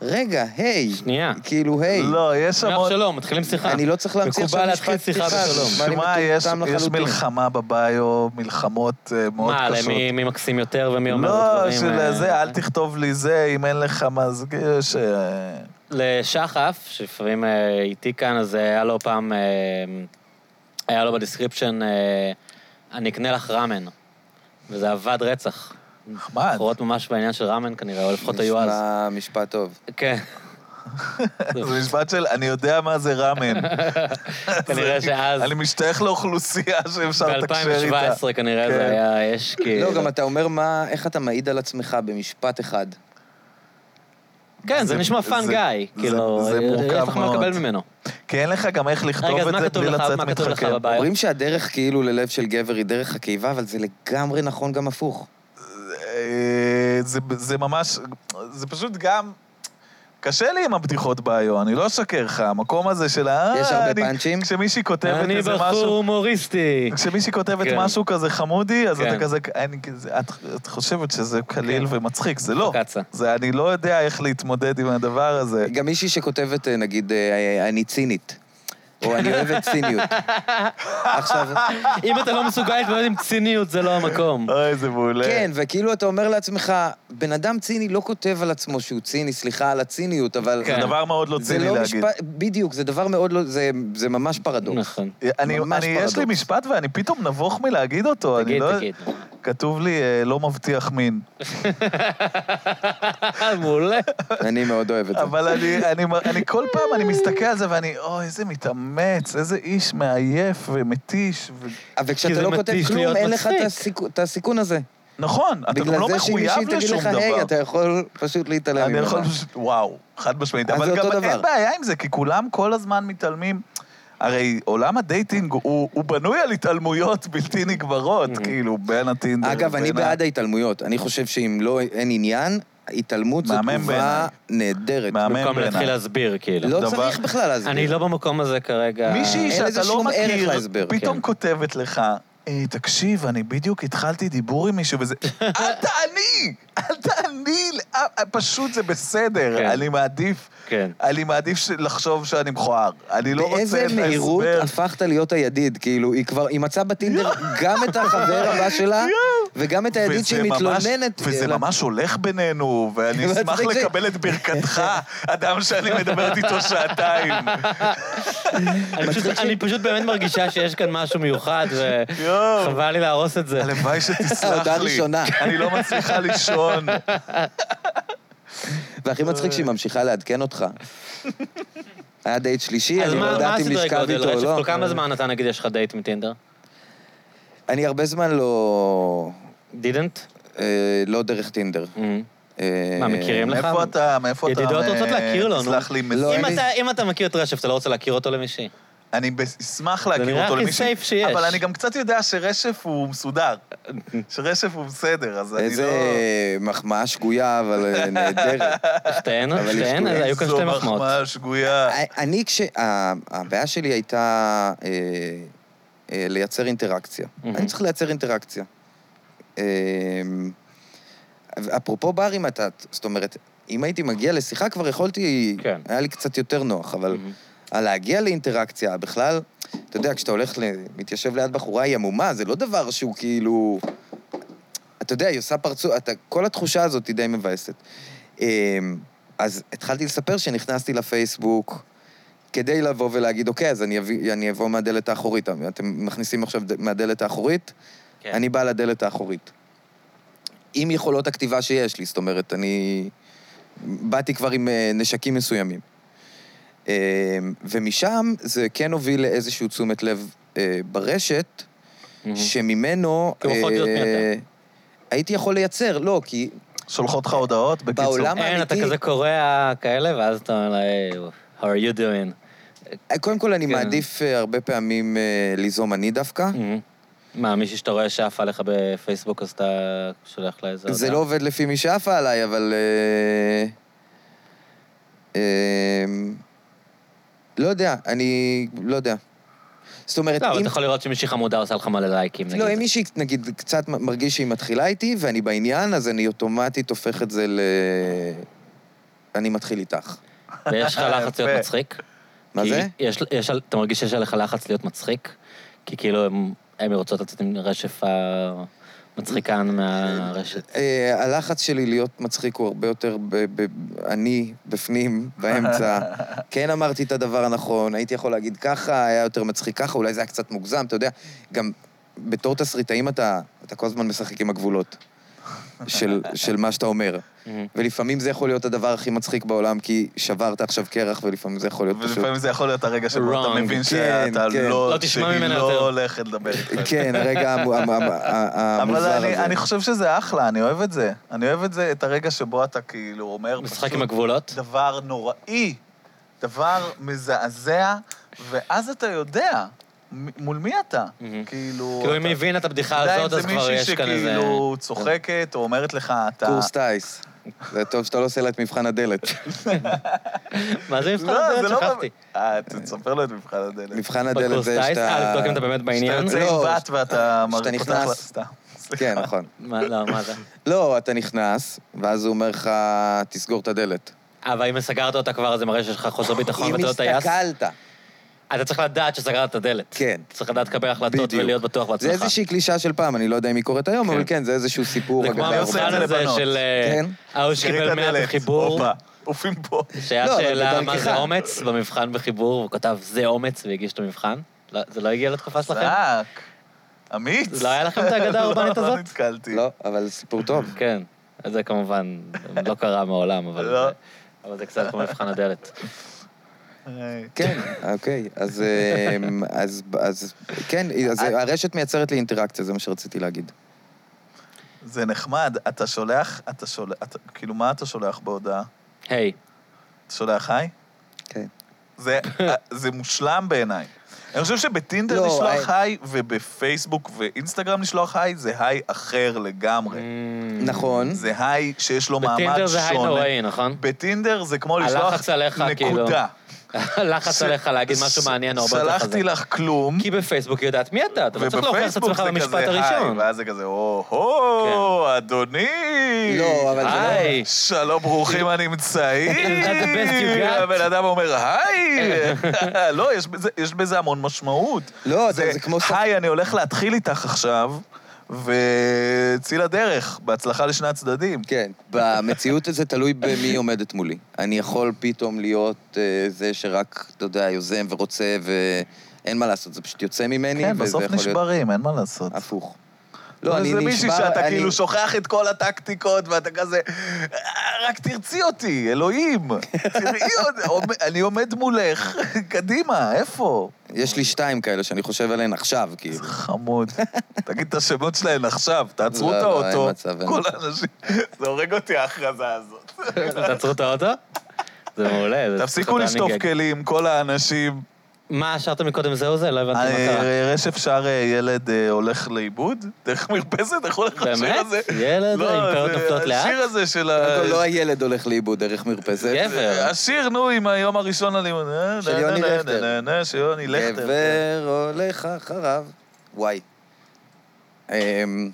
רגע, היי.
שנייה.
כאילו, היי.
לא, יש
שלום,
המון...
שלום, מתחילים שיחה.
אני לא צריך להמציא
מקובל
עכשיו משפט
להתחיל שיחה בשלום.
נשמע לי
שמע, יש,
מטומטם
יש
לחלוטין.
מלחמה בביו, מלחמות אה, מאוד
מה,
קשות.
למי מי מקסים יותר ומי אומר
לא,
דברים, אה,
של זה, אל תכתוב לי זה, אם אין לך מה זה, כאילו, ש...
לשחף, שלפעמים אה, איתי כאן, אז היה לו פעם, אה, היה לו בדיסקריפשן, אה, אני אקנה לך ראמן. וזה עבד רצח.
אה, נחמד.
בחורות ממש בעניין של ראמן כנראה, או לפחות היו אז.
נשמע משפט טוב.
כן,
זה משפט של, אני יודע מה זה ראמן.
כנראה
זה-
שאז,
אני משתייך לאוכלוסייה שאפשר לתקשר איתה.
ב-2017 כנראה
כן.
זה היה, יש כאילו...
לא, גם אתה אומר מה, איך אתה מעיד על עצמך במשפט אחד.
כן, זה
זה-
נשמע פאן
זה-
גאי,
זה-
כאילו,
זה מורכב
יש לך מה
מאוד.
לקבל ממנו.
כי אין לך גם איך לכתוב
רגע, אז
את
מה
זה
כתוב
בלי
לך-
לצאת
מה כתוב לך
מתחכם.
בבית? בעיה.
אומרים שהדרך כאילו ללב של גבר היא דרך הקיבה, אבל זה לגמרי נכון גם הפוך.
אה, זה- זה ממש, זה פשוט גם... קשה לי עם הבדיחות ביו, אני לא אשקר לך, המקום הזה של ה...
יש הרבה
אני-
פאנצ'ים?
כשמישהי כותבת
אני
איזה משהו...
בחור הומוריסטי.
כשמישהי כותבת
כן.
משהו כזה חמודי, אז
כן.
אתה כזה, אני כזה- את- את חושבת שזה קליל
כן.
ומצחיק, זה לא.
פוקצה.
זה, אני לא יודע איך להתמודד עם הדבר
אה.
הזה.
גם מישהי שכותבת, אה, נגיד, אה, אני צינית. או אני אוהבת ציניות. עכשיו,
אם אתה לא מסוגל להתמודד עם ציניות, זה לא המקום.
אוי, זה מעולה.
כן, וכאילו אתה אומר לעצמך, בן אדם ציני לא כותב על עצמו שהוא ציני, סליחה על הציניות, אבל...
כן.
זה דבר מאוד לא
זה
ציני
לא
להגיד.
משפט, בדיוק, זה דבר מאוד לא, זה, זה ממש
לא.
פרדוקס.
נכון.
אני,
ממש
אני, יש לי
פרדוקס.
משפט ואני פתאום נבוך מלהגיד אותו. אני
תגיד,
לא-
תגיד.
כתוב לי, אה, לא מבטיח מין.
אה, מעולה.
אני מאוד אוהב את זה.
אבל אני, אני, אני כל פעם, אני מסתכל על זה ואני, אוי, איזה מתאמץ, איזה איש מעייף ומתיש. ו...
כי זה
וכשאתה לא כותב
מתיש להיות
כלום, אין לך את
מצחיק.
הסיכו- את הסיכון הזה.
נכון, אתה גם
בגלל
לא
זה שמישהי
מחויב
תגיד
לשום
לך,
דבר.
היי, אתה יכול פשוט להתעלם
אני
ממנה.
יכול פשוט, וואו, חד משמעית.
אז זה
אבל
אותו
גם
דבר.
אין בעיה עם זה, כי כולם כל הזמן מתעלמים. הרי עולם הדייטינג הוא הוא בנוי על התעלמויות בלתי נגמרות, כאילו, בין הטינדר.
Mm-hmm. אגב, אני
ובין ה-
בעד ההתעלמויות. אני חושב שאם לא, אין עניין, התעלמות זו
מהמם
תגובה
בעיניי.
נהדרת.
מהמם.
במקום
בעיניי.
להתחיל להסביר, כאילו.
לא
דבר-
צריך בכלל להסביר.
אני לא במקום הזה כרגע.
מישהי
אין לזה
שאתה לא
שום ערך
מכיר,
להסבר,
פתאום
כן.
כותבת לך, "אה, תקשיב, אני בדיוק התחלתי דיבור עם מישהו וזה... אל תעני! אל תעני! לאף- פשוט זה
כן.
בסדר, אני מעדיף...
כן.
אני מעדיף ש- לחשוב שאני מכוער. אני לא רוצה
באיזה
את
מהירות
ההסבר.
הפכת להיות הידיד, כאילו, היא כבר, היא מצאה בטינדר גם את החבר הבא שלה, וגם את הידיד
לא. וזה
שהיא
ממש-
מתלוננת.
וזה
אליו.
ממש הולך בינינו, ואני
ואת
אשמח
תקשיב.
לקבל את ברכתך, אדם שאני מדברת איתו שעתיים.
אני פשוט-
מצחיק ש-
אני פשוט באמת מרגישה שיש כאן משהו מיוחד,
יואו.
וחבל לי להרוס את זה.
הלוואי שתסלח
ההודעה
לי.
הראשונה.
אני לא מצליחה לישון.
נכון. והכי מצחיק שהיא ממשיכה לעדכן אותך. היה דייט שלישי,
אז
אני לא
מה מה
יודעת אם
הסדרי
לשכב
גודל?
איתו או
רשף,
לא.
כל כמה זמן אתה, נגיד, יש לך דייט מטינדר?
אני הרבה זמן לא...
דידנט?
אה, לא דרך טינדר.
Mm.
אה,
מה, מכירים לך?
מאיפה אתה, מאיפה אתה...
ידידות רוצות
אה,
להכיר לו, נו.
תסלח לי,
לא,
מזיז.
אין
אם
לי-
אתה- אם אתה מכיר את רשף, אתה לא רוצה להכיר אותו למישהי.
אני אשמח להכיר
נראה
אותו
הכי
למישהו.
safe שיש.
אבל אני גם קצת יודע שרשף הוא מסודר. שרשף הוא בסדר, אז אני לא...
איזה מחמאה שגויה, אבל אה, נהדרת.
שתיהן,
אבל יש
שתיהן,
שתיים.
אה, היו כאן שתי מחמאות.
זו מחמאה שגויה.
אני, כש... ה- הבעיה שלי הייתה אה, אה, לייצר אינטראקציה.
מהמם.
אני צריך לייצר אינטראקציה. אה, אפרופו ברים, אתה... זאת אומרת, אם הייתי מגיע לשיחה, כבר יכולתי...
כן.
היה לי קצת יותר נוח, אבל...
מהמם.
להגיע לאינטראקציה, בכלל, אתה יודע, כשאתה הולך, ל... מתיישב ליד בחורה, היא עמומה, זה לא דבר שהוא כאילו... אתה יודע, היא עושה פרצוף, אתה... כל התחושה הזאת היא די מבאסת. אמ, אז התחלתי לספר שנכנסתי לפייסבוק כדי לבוא ולהגיד, אוקיי, אז אני, אביא, אני אבוא מהדלת האחורית. אתם מכניסים עכשיו ד- מהדלת האחורית,
כן.
אני בא לדלת האחורית. עם יכולות הכתיבה שיש לי, זאת אומרת, אני... באתי כבר עם אה, נשקים מסוימים. אה, ומשם זה כן הוביל לאיזשהו תשומת לב אה, ברשת,
מהמם.
שממנו...
כי הוא יכול להיות מי אתה.
אה, הייתי יכול לייצר, לא, כי
שולחות לך הודעות, בקיצור.
בעולם- למה
אין, אתה
אמיתי?
כזה קורע כאלה, ואז אתה אומר לה, "היי, how are you doing?
אה, קודם כל אני
כן.
מעדיף אה, הרבה פעמים אה, ליזום אני דווקא.
מהמם. מה, מישהי שאתה רואה שעפה לך בפייסבוק, אז אתה שולח לה איזה הודעה?
זה לא עובד לפי מי שעפה עליי, אבל... אה, אה, לא יודע, אני לא יודע. זאת אומרת,
לא, אבל
אם...
אתה יכול לראות שמישהי חמודה עושה לך מלא לייקים, נגיד.
לא, אם מישהי, נגיד, קצת מרגיש שהיא מתחילה איתי, ואני בעניין, אז אני אוטומטית הופך את זה ל... אני מתחיל איתך.
ויש לך לחץ
יפה.
להיות מצחיק?
מה
כי
זה?
יש- יש על- אתה מרגיש שיש עליך לחץ להיות מצחיק? כי כאילו הם- הם רוצות לצאת עם רשף המצחיקן מהרשת.
אה, הלחץ שלי להיות מצחיק הוא הרבה יותר ב- ב- אני, בפנים, באמצע. כן אמרתי את הדבר הנכון, הייתי יכול להגיד ככה, היה יותר מצחיק ככה, אולי זה היה קצת מוגזם, אתה יודע, גם בתור תסריטאים אתה, אתה כל הזמן משחק עם הגבולות של, של מה שאתה אומר.
מהמם.
ולפעמים זה יכול להיות הדבר הכי מצחיק בעולם, כי שברת עכשיו קרח, ולפעמים זה יכול להיות פשוט...
ולפעמים זה יכול להיות הרגע שבו
Wrong,
אתה מבין
כן,
שאתה
כן.
לא...
לא תשמע
שהיא
ממנה
לא
יותר.
הולכת לדבר איתך.
כן, הרגע המו- המ- המ- ה-
אבל
המוזר
אני,
הזה.
אני חושב שזה אחלה, אני אוהב את זה. אני אוהב את זה, את הרגע שבו אתה כאילו אומר
משחק
פשוט
עם הגבולות?
דבר נוראי, דבר מזעזע, ואז אתה יודע מ- מול מי אתה.
מהמם.
כאילו...
כאילו אם
אתה-
היא הבינה את הבדיחה
אתה יודע אם
הזאת, אז כבר יש כאן
זה
איזה... כן.
מישהי שכאילו צוחקת או אומרת לך, אתה...
קורס טיס. זה טוב שאתה לא עושה לה את מבחן הדלת.
מה זה מבחן
לא, זה
הדלת?
לא...
שכחתי.
אה, תספר לו את מבחן הדלת.
מבחן הדלת
בקורס
זה
טיס, אה,
שאתה...
לבדוק אם אתה באמת בעניין?
שאתה יוצא
לא,
עם בת ואתה מר-
שאתה
פותח
נכנס.
לה- סתם.
כן, נכון.
מה, לא, מה זה?
לא, אתה נכנס, ואז הוא אומר לך, תסגור את הדלת.
אבל אם סגרת אותה כבר, אז זה מראה שיש לך חוסר ביטחון
אם
ואתה לא טייס.
הסתכלת.
אתה צריך לדעת שסגרת את הדלת.
כן.
צריך לדעת לקבל החלטות
בדיוק.
ולהיות בטוח
זה
בעצמך.
איזושהי קלישה של פעם, אני לא יודע אם היא קורית היום,
כן.
אבל כן, זה איזשהו סיפור.
זה כמו
אגדה.
אני עושה את
המבחן
זה
הזה
לבנות.
של... אה,
כן.
ההוא שקיבל 100 בחיבור,
הופה, עופים פה.
שהיה
לא, אבל
שאלה מה
בדרכך.
זה אומץ במבחן בחיבור, הוא כתב זה אומץ והגיש את המבחן. לא- זה לא הגיע לתקופה שלכם?
זק. אמיץ.
לא היה לכם את האגדה האורבנית
לא,
הזאת?
לא נתקלתי.
לא, אבל סיפור טוב.
כן. אז זה כמובן לא קרה מעולם, אבל
לא.
זה- אבל זה קצת כמו מבחן הדלת.
היי.
כן, אוקיי. אז אמ, אז- אז כן, אז
אה,
הרשת מייצרת לי אינטראקציה, זה מה שרציתי להגיד.
זה נחמד, אתה שולח, אתה שולח, אתה- כאילו, מה אתה שולח בהודעה?
היי,
אתה שולח היי?
כן.
זה, אה, זה מושלם בעיניי. אני חושב שבטינדר
לא,
לשלוח
אה.
היי, ובפייסבוק ואינסטגרם לשלוח היי, זה היי אחר לגמרי.
אה,
נכון.
זה היי שיש לו מעמד שונה.
בטינדר זה היי נוראי, נכון?
בטינדר זה כמו לשלוח
הלחץ עליך, כאילו.
נקודה.
לחץ עליך להגיד משהו
ש-
מעניין הרבה יותר חזק.
שלחתי לך כלום,
כי בפייסבוק היא יודעת מי אתה, אתה לא צריך להוכיח את
ובפייסבוק
עצמך
זה
במשפט
כזה היי,
הראשון. כן.
ואז זה כזה, או-הו, אדוני.
לא, אבל זה לא-
היי.
שלום, ברוכים הנמצאים.
Is that the best you got?
הבן אדם אומר, היי. לא, יש בזה- יש בזה המון משמעות.
לא, זה זה כמו... ס-
היי, אני הולך להתחיל איתך עכשיו, וצאי לדרך, בהצלחה לשני הצדדים.
כן, במציאות זה תלוי במי עומדת מולי. אני יכול פתאום להיות אה, זה שרק, אתה יודע, יוזם ורוצה, ואין מה לעשות, זה פשוט יוצא ממני,
כן,
וזה
בסוף
יכול להיות
נשברים, אין מה לעשות.
הפוך.
לא,
לא, אני
זה
נשבר...
מישהי שאתה
אני-
כאילו שוכח את כל הטקטיקות, ואתה כזה, "אה, רק תרצי אותי, אלוהים. תראי עוד, עומד- אני עומד מולך, קדימה, איפה?
יש לי שתיים כאלה שאני חושב עליהן עכשיו, כאילו.
חמוד. תגיד את השמות שלהן עכשיו, תעצרו
לא,
את
לא, אין
האוטו.
מצב, אין
כל האנשים, זה הורג אותי ההכרזה הזאת.
תעצרו את האוטו? אה? זה כן. מעולה. זה צריך
תפסיקו
להיות
לשטוף
running gag.
כלים, כל האנשים.
מה, שרת מקודם זה או זה? לא הבנתי מה קרה.
אה, רשף שר אה, ילד אה, הולך לאיבוד, דרך מרפסת, איך הולך השיר
באמת?
הזה?
ילד,
לא,
עם פאות
זה-
נופלות לאט?
השיר הזה של
קודם
ה...
כל, לא הילד הולך לאיבוד דרך מרפסת.
גבר.
השיר, נו, עם היום הראשון ללימוד. אה,
של
נה,
יוני
נה, נה,
לכטר.
נה, נה, של יוני לכטר.
גבר הולך אחריו. וואי. אמ,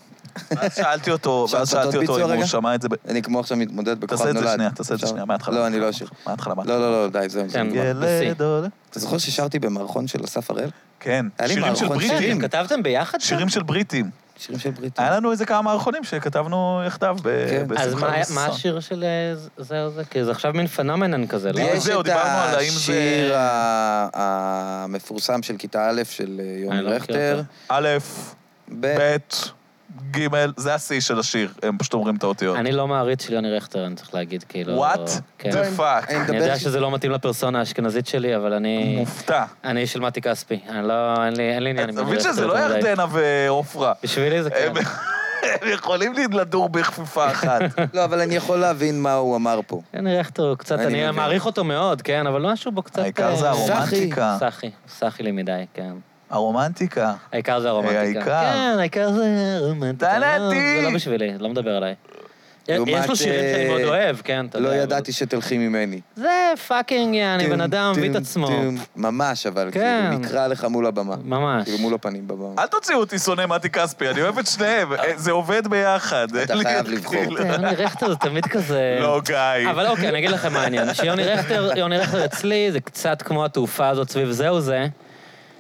ואז כן. שאלתי אותו,
אפשר
ואז
לעשות עוד
שאלתי אותו
ביצוע
אם הוא
רגע?
שמע את זה. ב-
אני כמו עכשיו מתמודד בכוכב
תעשה
נולד.
את זה שנייה, תעשה את זה
אפשר?
שנייה, מההתחלה.
לא, אני לא אשיר.
מההתחלה,
לא,
מההתחלה.
לא, לא, די, זהו.
כן.
זהו.
ילד הולך...
אתה זוכר ששרתי במערכון של אסף הראל?
כן,
היה לי
שירים של
מערכון
בריטים.
שירים.
כתבתם ביחד? שם?
שירים של בריטים.
שירים של בריטים.
היה לנו איזה כמה מערכונים שכתבנו יחדיו ב-
כן.
בשמחה
אז מה-
ובששון.
מה השיר של אה, זה- זה או זה? כי זה עכשיו מין פנומנן כזה, לא?
יש
זהו,
את
דיברנו על האם זה-
השיר ה- המפורסם של כיתה א' של אה, יוני
אני לא מכיר
רכטר.
אותו.
א',
ב-
ב', ג', זה השיא של השיר, הם פשוט אומרים את האותיות.
אני לא מעריץ של יוני רכטר, אני צריך להגיד, כאילו...
וואט
כן.
לא,
דה פאק.
אני
אני יודע
מדבר-
שזה לא מתאים לפרסונה האשכנזית שלי, אבל אני...
מופתע.
אני איש של מתי כספי. אני לא... אין לי אין לי עניין
אתה
עם
מבין
רכטר
שזה לא אה,
יותר מדי.
ירדנה ועופרה.
בשבילי זה כן.
הם הם יכולים לדור בכפיפה אחת.
לא, אבל אני יכול להבין מה הוא אמר פה.
יוני רכטר כן, הוא קצת...
אני
אני
מבין.
מעריך אותו מאוד, כן, אבל משהו בו קצת...
העיקר
אה,
זה הרומנטיקה.
סחי, סחי לי מדי, כן.
הרומנטיקה.
העיקר זה הרומנטיקה.
העיקר.
כן, העיקר זה הרומנטיקה.
דנתי!
לא, זה לא בשבילי, לא מדבר עליי.
לעומת,
יש לו שירים שאני
אה,
מאוד אוהב, כן, אתה יודע.
לא
אבל-
ידעתי שתלכי ממני.
זה פאקינג יעני, בן
טים,
אדם מביא את
טים,
עצמו.
טים. ממש, אבל
כן.
כאילו, נקרע לך מול הבמה.
ממש.
כאילו, מול הפנים בבמה.
אל תוציאו אותי שונא מתי כספי, אני אוהב את שניהם, אה, זה עובד ביחד.
אתה
אין לי-
חייב לבחור.
כאילו-
כן, יוני רכטר זה תמיד כזה...
לא, גיא.
אבל אוקיי, אני אגיד לכם מה העניין. שיוני רכטר, יוני רכטר אצלי, זה קצת כמו התעופה הזאת סביב זהו זה,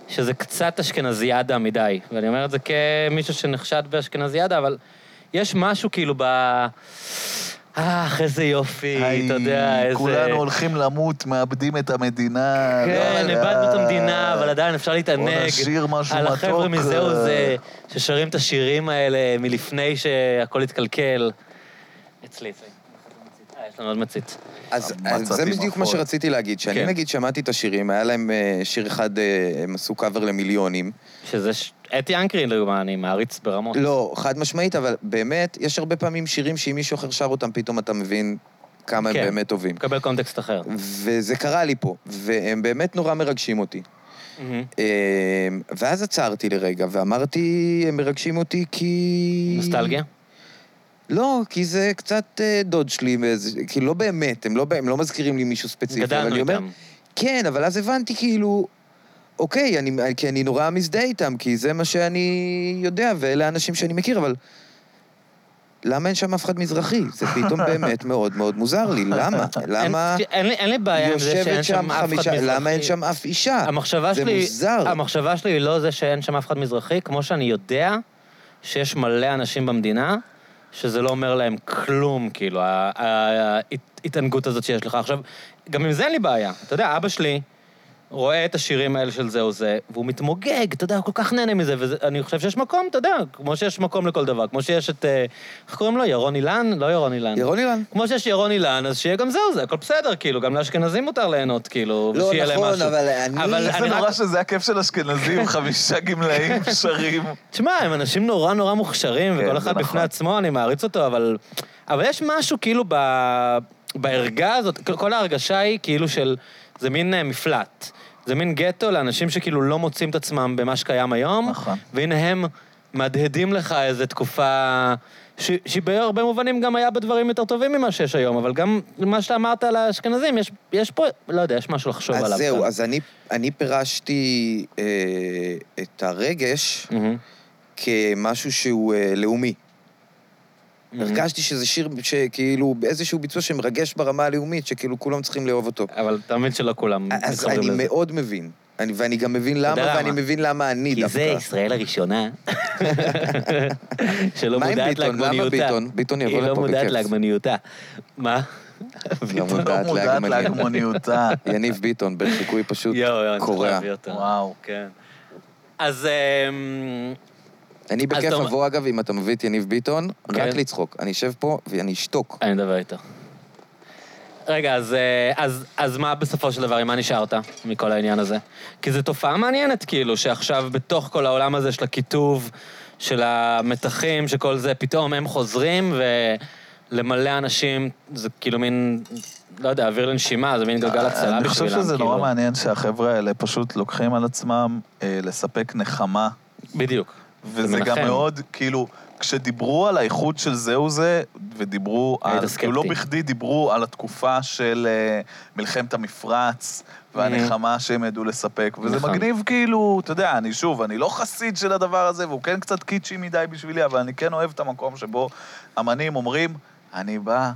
שזה קצת אשכנזיאדה מדי. ואני אומר את זה כמישהו שנחשד באשכנזיאדה, אבל יש משהו כאילו ב... אה, איזה יופי,
היי,
אתה יודע, איזה...
כולנו הולכים למות, מאבדים את המדינה.
כן,
לא,
איבדנו את
אה,
המדינה, אבל עדיין אפשר להתענג.
נשיר משהו
על החבר'ה
מתוק,
מזהו
אה.
זה, ששרים את השירים האלה מלפני שהכל התקלקל. אצלי זה. אה, יש לנו עוד מצית.
אז
מצאתי
אז זה בדיוק מה
מחול.
שרציתי להגיד, שאני
כן.
נגיד שמעתי את השירים, היה להם אה, שיר אחד, אה, הם עשו קאבר למיליונים.
שזה ש- אתי אנקרי, לדוגמה, אני מעריץ ברמות.
לא, חד משמעית, אבל באמת, יש הרבה פעמים שירים שאם מישהו אחר שר אותם, פתאום אתה מבין כמה הם
כן.
באמת טובים.
מקבל קונטקסט אחר.
וזה קרה לי פה, והם באמת נורא מרגשים אותי. אה, ואז עצרתי לרגע ואמרתי, הם מרגשים אותי כי...
נוסטלגיה?
לא, כי זה קצת אה, דוד שלי, מאיזה- כי לא באמת, הם לא, הם לא מזכירים לי מישהו ספציפי. אבל
גדלנו
אני אומר,
איתם.
כן, אבל אז הבנתי כאילו, אוקיי, אני, כי אני נורא מזדהה איתם, כי זה מה שאני יודע, ואלה האנשים שאני מכיר, אבל... למה אין שם אף אחד מזרחי? זה פתאום באמת מאוד מאוד מוזר לי. למה? למה
אין- אין לי- אין לי בעיה עם זה שאין
יושבת
שם
שם
אף אחד
חמישה...
מזרחי.
למה אין שם אף אישה?
המחשבה
זה
שלי...
מוזר.
המחשבה שלי היא לא זה שאין שם אף אחד מזרחי, כמו שאני יודע שיש מלא אנשים במדינה, שזה לא אומר להם כלום, כאילו, ה- ה- ההתענגות הזאת שיש לך. עכשיו, גם עם זה אין לי בעיה. אתה יודע, אבא שלי רואה את השירים האלה של זה או זה, והוא מתמוגג, אתה יודע, הוא כל כך נהנה מזה, ואני חושב שיש מקום, אתה יודע, כמו שיש מקום לכל דבר. כמו שיש את... אה, איך קוראים לו? ירון אילן? לא ירון אילן.
ירון אילן.
כמו שיש ירון אילן, אז שיהיה גם זהו זה, הכל בסדר, כאילו, גם לאשכנזים מותר ליהנות, כאילו,
לא,
ושיהיה להם
נכון,
משהו.
אבל אני-
אבל
איך זה
אני רק...
נורא שזה הכיף של אשכנזים, חמישה גמלאים שרים.
תשמע, הם אנשים נורא נורא מוכשרים,
כן,
וכל
זה
אחד
נכון.
בפני עצמו, אני מעריץ אותו, אבל... אבל יש משהו כאילו ב... בערגה הזאת, כל- כל ההרגשה היא כאילו של... זה מין אה, מפלט. זה מין גטו לאנשים שכאילו לא מוצאים את עצמם במה שקיים היום.
נכון.
והנה הם מהדהדים לך איזו תקופה... ש- שהיא בהרבה מובנים גם היה בדברים יותר טובים ממה שיש היום, אבל גם מה שאתה אמרת על האשכנזים, יש, יש פה, לא יודע, יש משהו לחשוב עליו.
אז זהו,
כאן.
אז אני, אני פירשתי אה, את הרגש
מהמם.
כמשהו שהוא אה, לאומי.
Mm-hmm. מהמם.
הרגשתי שזה שיר שכאילו, באיזשהו ביצוע שמרגש ברמה הלאומית, שכאילו כולם צריכים לאהוב אותו.
אבל אתה מבין שלא כולם
אז
מתחברים
אני
Mm-hmm. לזה.
מאוד מבין. אני, ואני גם מבין
יודע
למה, ואני
למה.
מבין למה אני
כי
דווקא.
זה ישראל הראשונה שלא
מה עם
מודעת
ביטון? למה
להגמניותה.
ביטון? ביטון יבוא
היא לא
לפה
מודעת
בכיף.
להגמניותה. מה?
לא
לא
מודעת
מודעת
להגמניות.
להגמוניותה.
יניב ביטון, בחיקוי פשוט
יואו, יואו, אני צריך
קורע.
להביא אותה.
וואו.
כן. אז... אמ,
אני בכיף
אתה-
אבוא, אגב, אם אתה מביא את יניב ביטון,
כן.
רק לצחוק. אני אשב פה ואני אשתוק.
אני אדבר איתו. רגע, אז, אה, אז, אז מה בסופו של דבר, עם מה נשארת מכל העניין הזה? כי זו תופעה מעניינת, כאילו, שעכשיו בתוך כל העולם הזה של הקיטוב, של המתחים, שכל זה, פתאום הם חוזרים, ולמלא אנשים, זה כאילו מין לא יודע, אוויר לנשימה, זה מין גלגל הצלה בשבילם.
אה, אני חושב שזה
כאילו.
נורא מעניין שהחבר'ה האלה פשוט לוקחים על עצמם אה, לספק נחמה.
בדיוק.
וזה גם
מנחם.
מאוד, כאילו, כשדיברו על האיכות של זהו זה, ודיברו
היית
על, כאילו לא
סקפטי.
בכדי דיברו על התקופה של אה, מלחמת המפרץ, והנחמה שהם ידעו לספק, וזה
Mm. נכון.
מגניב כאילו, אתה יודע, אני שוב, אני לא חסיד של הדבר הזה, והוא כן קצת קיצ'י מדי בשבילי, אבל אני כן אוהב את המקום שבו אמנים אומרים, אני בא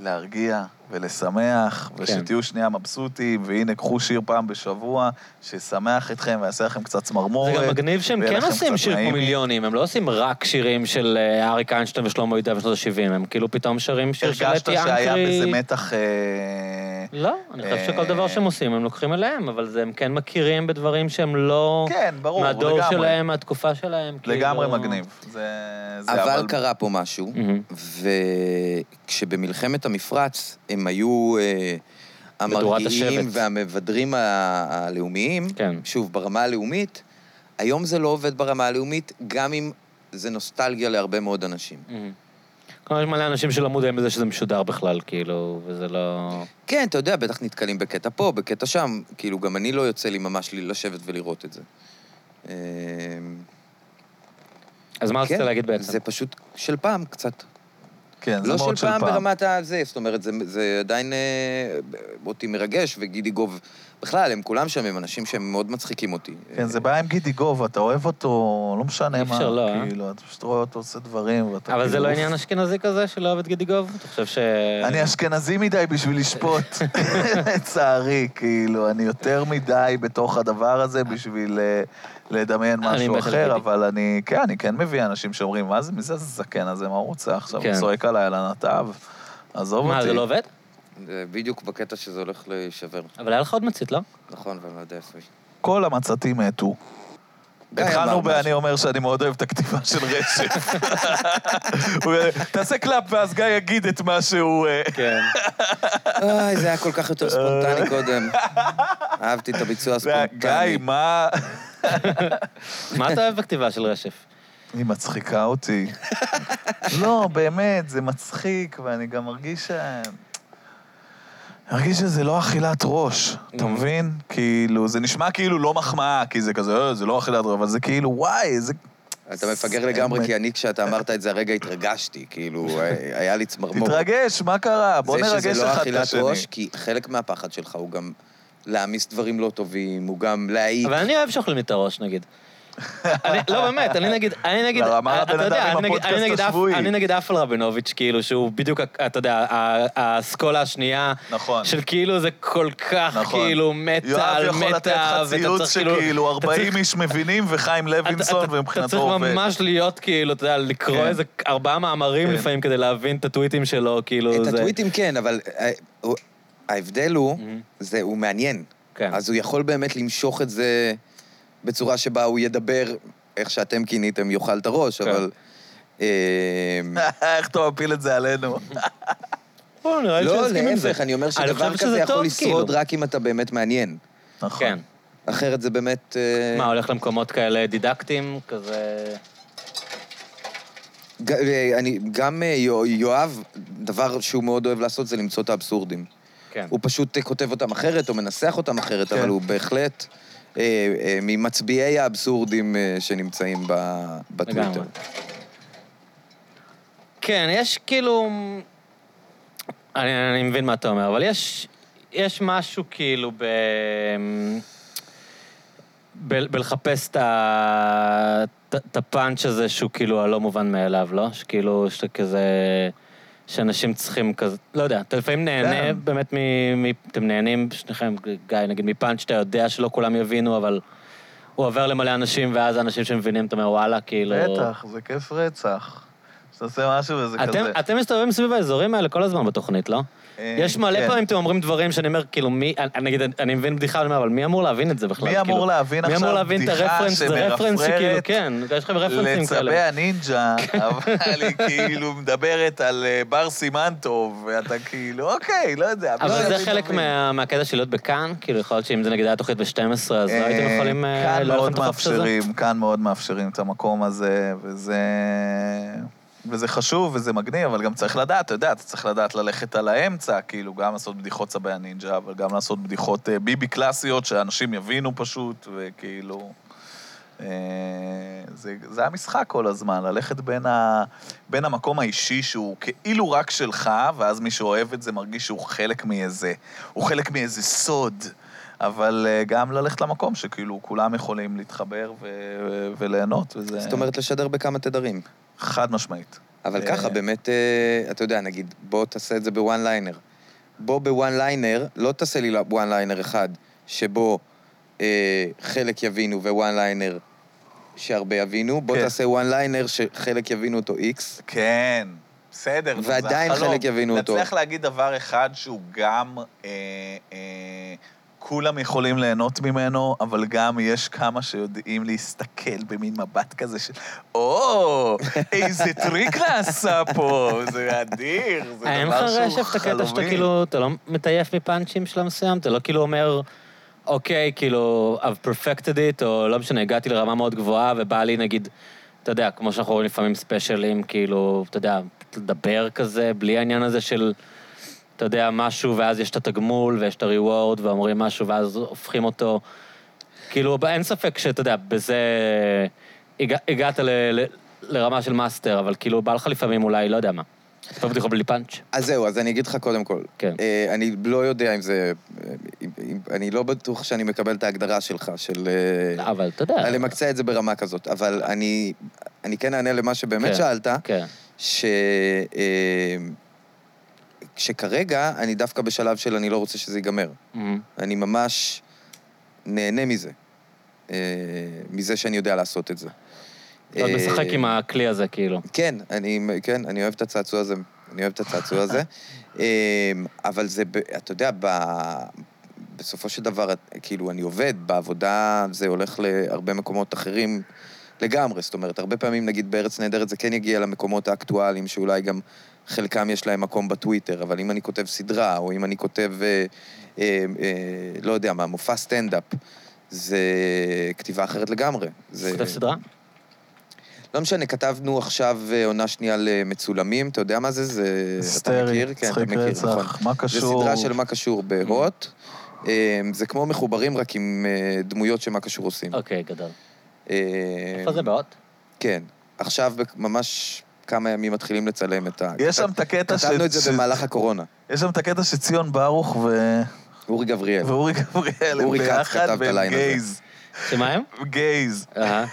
להרגיע ולשמח,
כן.
ושתהיו שנייה מבסוטים, והנה, קחו שיר פעם בשבוע, שישמח אתכם ויעשה לכם קצת
זה
צמרמורת.
גם מגניב שהם
ויהיה
כן
לכם
עושים
קצת
שיר כמו
נעים.
מיליונים, הם לא עושים רק שירים של אה, אריק איינשטיין ושלמה יהודה בשנות ה-70, הם כאילו פתאום שרים שיר של
הרגשת
אתי
שהיה
אנקרי.
בזה מתח... אה,
לא, אני חושב שכל
אה,
דבר שהם עושים הם לוקחים אליהם, אבל זה הם כן מכירים בדברים שהם לא...
כן, ברור,
מהדור
לגמרי.
שלהם, מהתקופה שלהם.
לגמרי
כאילו.
מגניב. זה... זה,
אבל קרה פה משהו,
מהמם.
וכשבמלחמת המפרץ הם היו אה,
מדורת
המרגיעים
השבט.
והמבדרים ה- הלאומיים,
כן.
שוב, ברמה הלאומית, היום זה לא עובד ברמה הלאומית, גם אם זה נוסטלגיה להרבה מאוד אנשים.
מהמם. כלומר, יש מלא אנשים שלא מודעים לזה שזה משודר בכלל, כאילו, וזה לא...
כן, אתה יודע, בטח נתקלים בקטע פה, בקטע שם, כאילו, גם אני לא יוצא לי ממש לי לשבת ולראות את זה. אה,
אז מה רצית
כן,
להגיד בעצם?
זה פשוט של פעם קצת.
כן, זה
לא של
מאוד של
פעם
פעם.
ברמת הזה, זאת אומרת, זה, זה עדיין אה, אותי מרגש, וגידי גוב, בכלל, הם כולם שם, הם אנשים שהם מאוד מצחיקים אותי.
כן, זה בעיה עם גידי גוב, אתה אוהב אותו, לא
אי
משנה מה.
אפשר לא, אה?
כאילו, אתה פשוט רואה אותו עושה דברים, ואתה כאילו...
אבל זה לא
אוף.
עניין אשכנזי כזה שלא אוהב את גידי גוב? אתה חושב ש...
אני אשכנזי מדי בשביל לשפוט, לצערי, כאילו, אני יותר מדי בתוך הדבר הזה בשביל אה, לדמיין
אני
משהו
מת על
אחר,
גידי.
אבל אני, כן, אני כן מביא אנשים שאומרים, מה זה, מי זה הזקן הזה, מה הוא רוצה עכשיו? הוא
כן.
צועק עליי על הנתב, עזוב אותי.
מה, זה לא עובד?
זה בדיוק בקטע שזה הולך להישבר,
אבל היה לך עוד מצית, לא?
נכון, ואני לא יודע איפה היא.
כל המצתים מתו.
די, אמר
התחלנו ב"אני
משהו.
אומר שאני מאוד אוהב את הכתיבה של רשף". הוא אומר, תעשה קלאפ ואז גיא יגיד את מה שהוא... אה,
כן.
אוי, זה היה כל כך יותר ספונטני קודם. אהבתי את הביצוע הספונטני.
גיא, מה...
מה אתה אוהב בכתיבה של רשף?
היא מצחיקה אותי. לא, באמת, זה מצחיק, ואני גם מרגיש ש... אני מרגיש שזה לא אכילת ראש, אתה
Mm.
מבין? כאילו, זה נשמע כאילו לא מחמאה, כי זה כזה, "אה, זה לא אכילת ראש, אבל זה כאילו, וואי, איזה...
אתה מפגר לגמרי, כי אני, כשאתה אמרת את זה הרגע התרגשתי, כאילו, אה, היה לי צמרמור.
תתרגש, מה קרה? בוא
זה שזה
נרגש
לא
אחד את
אכילת
השני.
ראש, כי חלק מהפחד שלך הוא גם להעמיס דברים לא טובים, הוא גם להעיק.
אבל אני אוהב שאוכלים לי את הראש, נגיד. אני, לא, באמת, אני נגיד, אני נגיד,
לרמה
אתה
הבן אדם
יודע,
עם
אני נגיד, אני
הפודקאסט
נגיד, אף-
השבועי.
אני נגיד אפל רבינוביץ', כאילו, שהוא בדיוק, אתה יודע, ה- האסכולה השנייה,
נכון.
של כאילו זה כל כך,
נכון.
כאילו, מטא על
יואב יכול לתת
מטא,
לך ציוץ שכאילו
כאילו- אתה
40
צריך-
איש מבינים וחיים לוינסון,
אתה- אתה
ומבחינתו
צריך
עובד.
ממש להיות, כאילו, אתה יודע, לקרוא
כן.
איזה ארבעה מאמרים
כן.
לפעמים כדי להבין את הטוויטים שלו, כאילו,
את
זה...
הטוויטים כן, אבל אה, הוא- ההבדל הוא,
Mhm.
זה הוא מעניין.
כן.
אז הוא יכול באמת למשוך את זה בצורה שבה הוא ידבר, איך שאתם כיניתם, יאכל את הראש,
כן.
אבל... אה,
איך אתה מפיל את זה עלינו?
בוא, נראה לי
לא,
שיסכים עם זה.
להפך, אני אומר
אני
שדבר
חושב שזה
כזה
טוב,
יכול לשרוד
כאילו.
רק אם אתה באמת מעניין.
נכון.
כן.
אחרת זה באמת... אה,
מה, הולך למקומות כאלה דידקטיים, כזה...
ג- אה, אני- גם אה, יו- יואב, דבר שהוא מאוד אוהב לעשות זה למצוא את האבסורדים.
כן.
הוא פשוט אה, כותב אותם אחרת, או מנסח אותם אחרת,
כן.
אבל הוא בהחלט אה, אה, ממצביעי האבסורדים אה, שנמצאים ב- בטוויטר.
לגמרי. כן, יש כאילו... אני, אני מבין מה אתה אומר, אבל יש, יש משהו כאילו ב... ב- בלחפש את ה- את- את הפאנץ' הזה שהוא כאילו הלא מובן מאליו, לא? שכאילו, שאתה כזה... שאנשים צריכים כזה... לא יודע, אתה לפעמים נהנה
כן.
באמת מ... מ... אתם נהנים, שניכם, גיא, נגיד, מפאנץ' שאתה יודע שלא כולם יבינו, אבל הוא עובר למלא אנשים, ואז האנשים שמבינים, אתה אומר, וואלה, כאילו...
בטח, זה כיף רצח. שאתה עושה משהו וזה
אתם,
כזה.
אתם מסתובבים סביב האזורים האלה כל הזמן בתוכנית, לא?
אה,
יש מלא
כן.
פעמים אתם אומרים דברים שאני אומר, כאילו, מי, אני- נגיד, אני- אני מבין בדיחה, אני אומר, אבל מי אמור להבין את זה בכלל?
מי
כאילו,
אמור להבין
מי
עכשיו
אמור להבין את
בדיחה
הרפרנס? זה רפרנס שכאילו,
שמרפררת
כן, יש לכם רפרנסים כאלה. כן.
לצבע נינג'ה, אבל היא כאילו מדברת על אה, בר סימן טוב, ואתה כאילו, אוקיי, לא יודע. מי
אבל
שמבין,
זה חלק
מבין.
מה- מהקטע של להיות בכאן, כאילו, יכול להיות שאם זה נגיד היה תוכנית ב-12, אז לא
אה,
הייתם יכולים... אה,
כאן
לא היה לכם
מאוד
את החופש הזה?
מאפשרים, כאן מאוד מאפשרים את המקום הזה, וזה... וזה חשוב וזה מגניב, אבל גם צריך לדעת, אתה יודע, אתה צריך לדעת ללכת על האמצע, כאילו, גם לעשות בדיחות צבי הנינג'ה, אבל גם לעשות בדיחות אה, ביבי קלאסיות, שאנשים יבינו פשוט, וכאילו... אה, זה, זה המשחק כל הזמן, ללכת בין, ה, בין המקום האישי שהוא כאילו רק שלך, ואז מי שאוהב את זה מרגיש שהוא חלק מאיזה, הוא חלק מאיזה סוד, אבל אה, גם ללכת למקום שכאילו כולם יכולים להתחבר ו, ו, וליהנות, וזה...
זאת אומרת, לשדר בכמה תדרים.
חד משמעית.
אבל
אה,
ככה, באמת, אה, אתה יודע, נגיד, בוא תעשה את זה בוואן ליינר. בוא בוואן ליינר, לא תעשה לי וואן ליינר אחד, שבו אה, חלק יבינו ווואן ליינר שהרבה יבינו, בוא
כן.
תעשה וואן ליינר שחלק יבינו אותו איקס.
כן, בסדר, נו, זה
ועדיין
החלום.
חלק יבינו אותו.
נצליח להגיד דבר אחד שהוא גם... אה, אה, כולם יכולים ליהנות ממנו, אבל גם יש כמה שיודעים להסתכל במין מבט כזה של, או, איזה טריק נעשה פה, זה אדיר, זה
אין לך
דבר שהוא
רשף את הקטע שאתה
חלומי.
כאילו, אתה לא מטייף מפאנצ'ים שלב מסוים? אתה לא כאילו אומר, אוקיי, כאילו, I've perfected it, או לא משנה, הגעתי לרמה מאוד גבוהה, ובא לי נגיד, אתה יודע, כמו שאנחנו רואים לפעמים ספיישלים, כאילו, אתה יודע, לדבר כזה, בלי העניין הזה של, אתה יודע, משהו, ואז יש את התגמול, ויש את ה-reward, ואומרים משהו, ואז הופכים אותו. כאילו, אין ספק שאתה יודע, בזה הגע, הגעת ל, ל, לרמה של מאסטר, אבל כאילו, בא לך לפעמים אולי, לא יודע מה. לספר בדיחות בלי פאנץ'.
אז זהו, אז אני אגיד לך קודם כל.
כן.
אה, אני לא יודע אם זה... אה, אם, אם, אני לא בטוח שאני מקבל את ההגדרה שלך, של... אה,
אבל אתה יודע.
למקצע את זה ברמה כזאת. אבל אני, אני כן אענה למה שבאמת
כן,
שאלת,
כן.
ש... אה, שכרגע אני דווקא בשלב של אני לא רוצה שזה ייגמר.
אמ,
אני ממש נהנה מזה. אה, מזה שאני יודע לעשות את זה.
אתה עוד
אה,
משחק עם הכלי הזה, כאילו.
כן, אני, כן, אני אוהב את הצעצוע הזה. אני אוהב את הצעצוע הזה. אמ, אבל זה, ב- אתה יודע, ב... בסופו של דבר, כאילו, אני עובד, בעבודה זה הולך להרבה מקומות אחרים לגמרי. זאת אומרת, הרבה פעמים, נגיד, בארץ נהדרת זה כן יגיע למקומות האקטואליים, שאולי גם חלקם יש להם מקום בטוויטר, אבל אם אני כותב סדרה, או אם אני כותב, אה, אה, אה, לא יודע מה, מופע סטנדאפ, זה כתיבה אחרת לגמרי. זה- כן.
כותב סדרה?
לא משנה, כתבנו עכשיו אה, עונה שנייה למצולמים, אתה יודע מה זה? זה... אתה מכיר?
היסטרי,
כן, אתה
צחיק
מכיר, נכון.
רצח, מה
זה
קשור? Mm.
סדרה של מה קשור בהוט. אה, זה כמו מחוברים, רק עם אה, דמויות שמה קשור עושים.
אוקיי, גדול.
אה,
איפה זה באות?
כן. עכשיו, בק- ממש כמה ימים מתחילים לצלם את ה...
יש שם את הקטע ש...
כתבנו את זה
ש-
במהלך הקורונה.
יש שם את הקטע שציון ברוך ו-
אורי גבריאל.
ואורי גבריאל הם
כן. אורי כץ
ביחד
כתב את
והם
הליין הזה.
גייז.
שמה הם?
גייז.
אה,
אהה.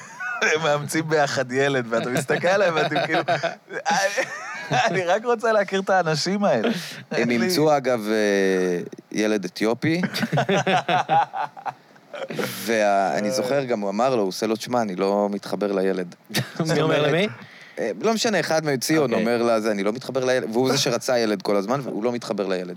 הם מאמצים ביחד ילד, ואתה מסתכל עליהם ואתם כאילו... אני רק רוצה להכיר את האנשים האלה. אין
הם
לי-
אימצו, אגב, אה, ילד אתיופי. ואני זוכר, גם הוא אמר לו, הוא עושה לו, תשמע, אני לא מתחבר לילד.
מי אומר למי?
אה, לא משנה, אחד מציון okay.
אוקיי.
אומר לה, זה, אני לא מתחבר לילד, והוא זה שרצה ילד כל הזמן, והוא לא מתחבר לילד.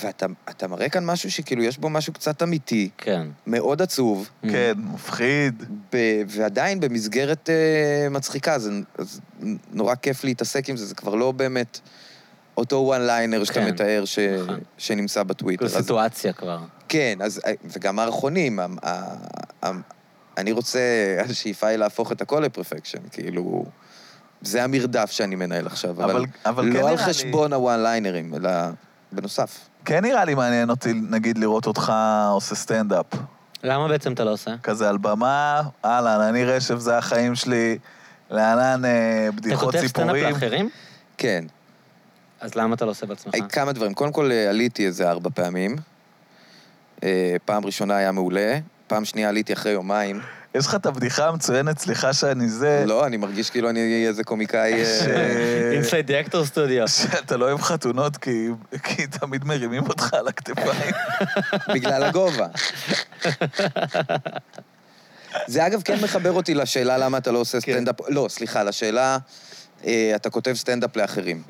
ואתה אתה מראה כאן משהו שכאילו יש בו משהו קצת אמיתי,
כן.
מאוד עצוב,
כן, מפחיד.
ב, ועדיין במסגרת אה, מצחיקה, זה, אז נורא כיף להתעסק עם זה, זה כבר לא באמת אותו וואן ליינר שאתה
כן,
מתאר ש,
נכון.
שנמצא בטוויטר.
כאילו
אז,
סיטואציה כבר.
כן, אז, אה, וגם מערכונים, ה- ה- ה- אני רוצה, השאיפה היא להפוך את הכל לפרפקשן, כאילו... זה המרדף שאני מנהל עכשיו, אבל...
אבל אבל כן
לא
נראה
על
לי...
חשבון הוואן ליינרים, אלא בנוסף.
כן נראה לי מעניין אותי, נגיד, לראות אותך עושה סטנדאפ.
למה בעצם אתה לא עושה?
כזה על במה, אהלן, אני רשף, זה החיים שלי, להלן אה,
אתה
בדיחות
כותב סטנדאפ
סיפורים.
לאחרים?
כן.
אז למה אתה לא עושה בעצמך?
היי, כמה דברים. קודם כל, אה, עליתי איזה ארבע פעמים. אה, פעם ראשונה היה מעולה, פעם שנייה עליתי אחרי יומיים.
יש לך את הבדיחה המצוינת, סליחה שאני זה,
לא, אני מרגיש כאילו אני איזה קומיקאי... אה,
ש-
אינסייד דיאקטור סטודיו.
שאתה לא אוהב חתונות כי כי תמיד מרימים אותך על הכתפיים.
בגלל הגובה. זה אגב כן מחבר אותי לשאלה למה אתה לא עושה סטנדאפ, לא, סליחה, לשאלה, אה, אתה כותב סטנדאפ לאחרים.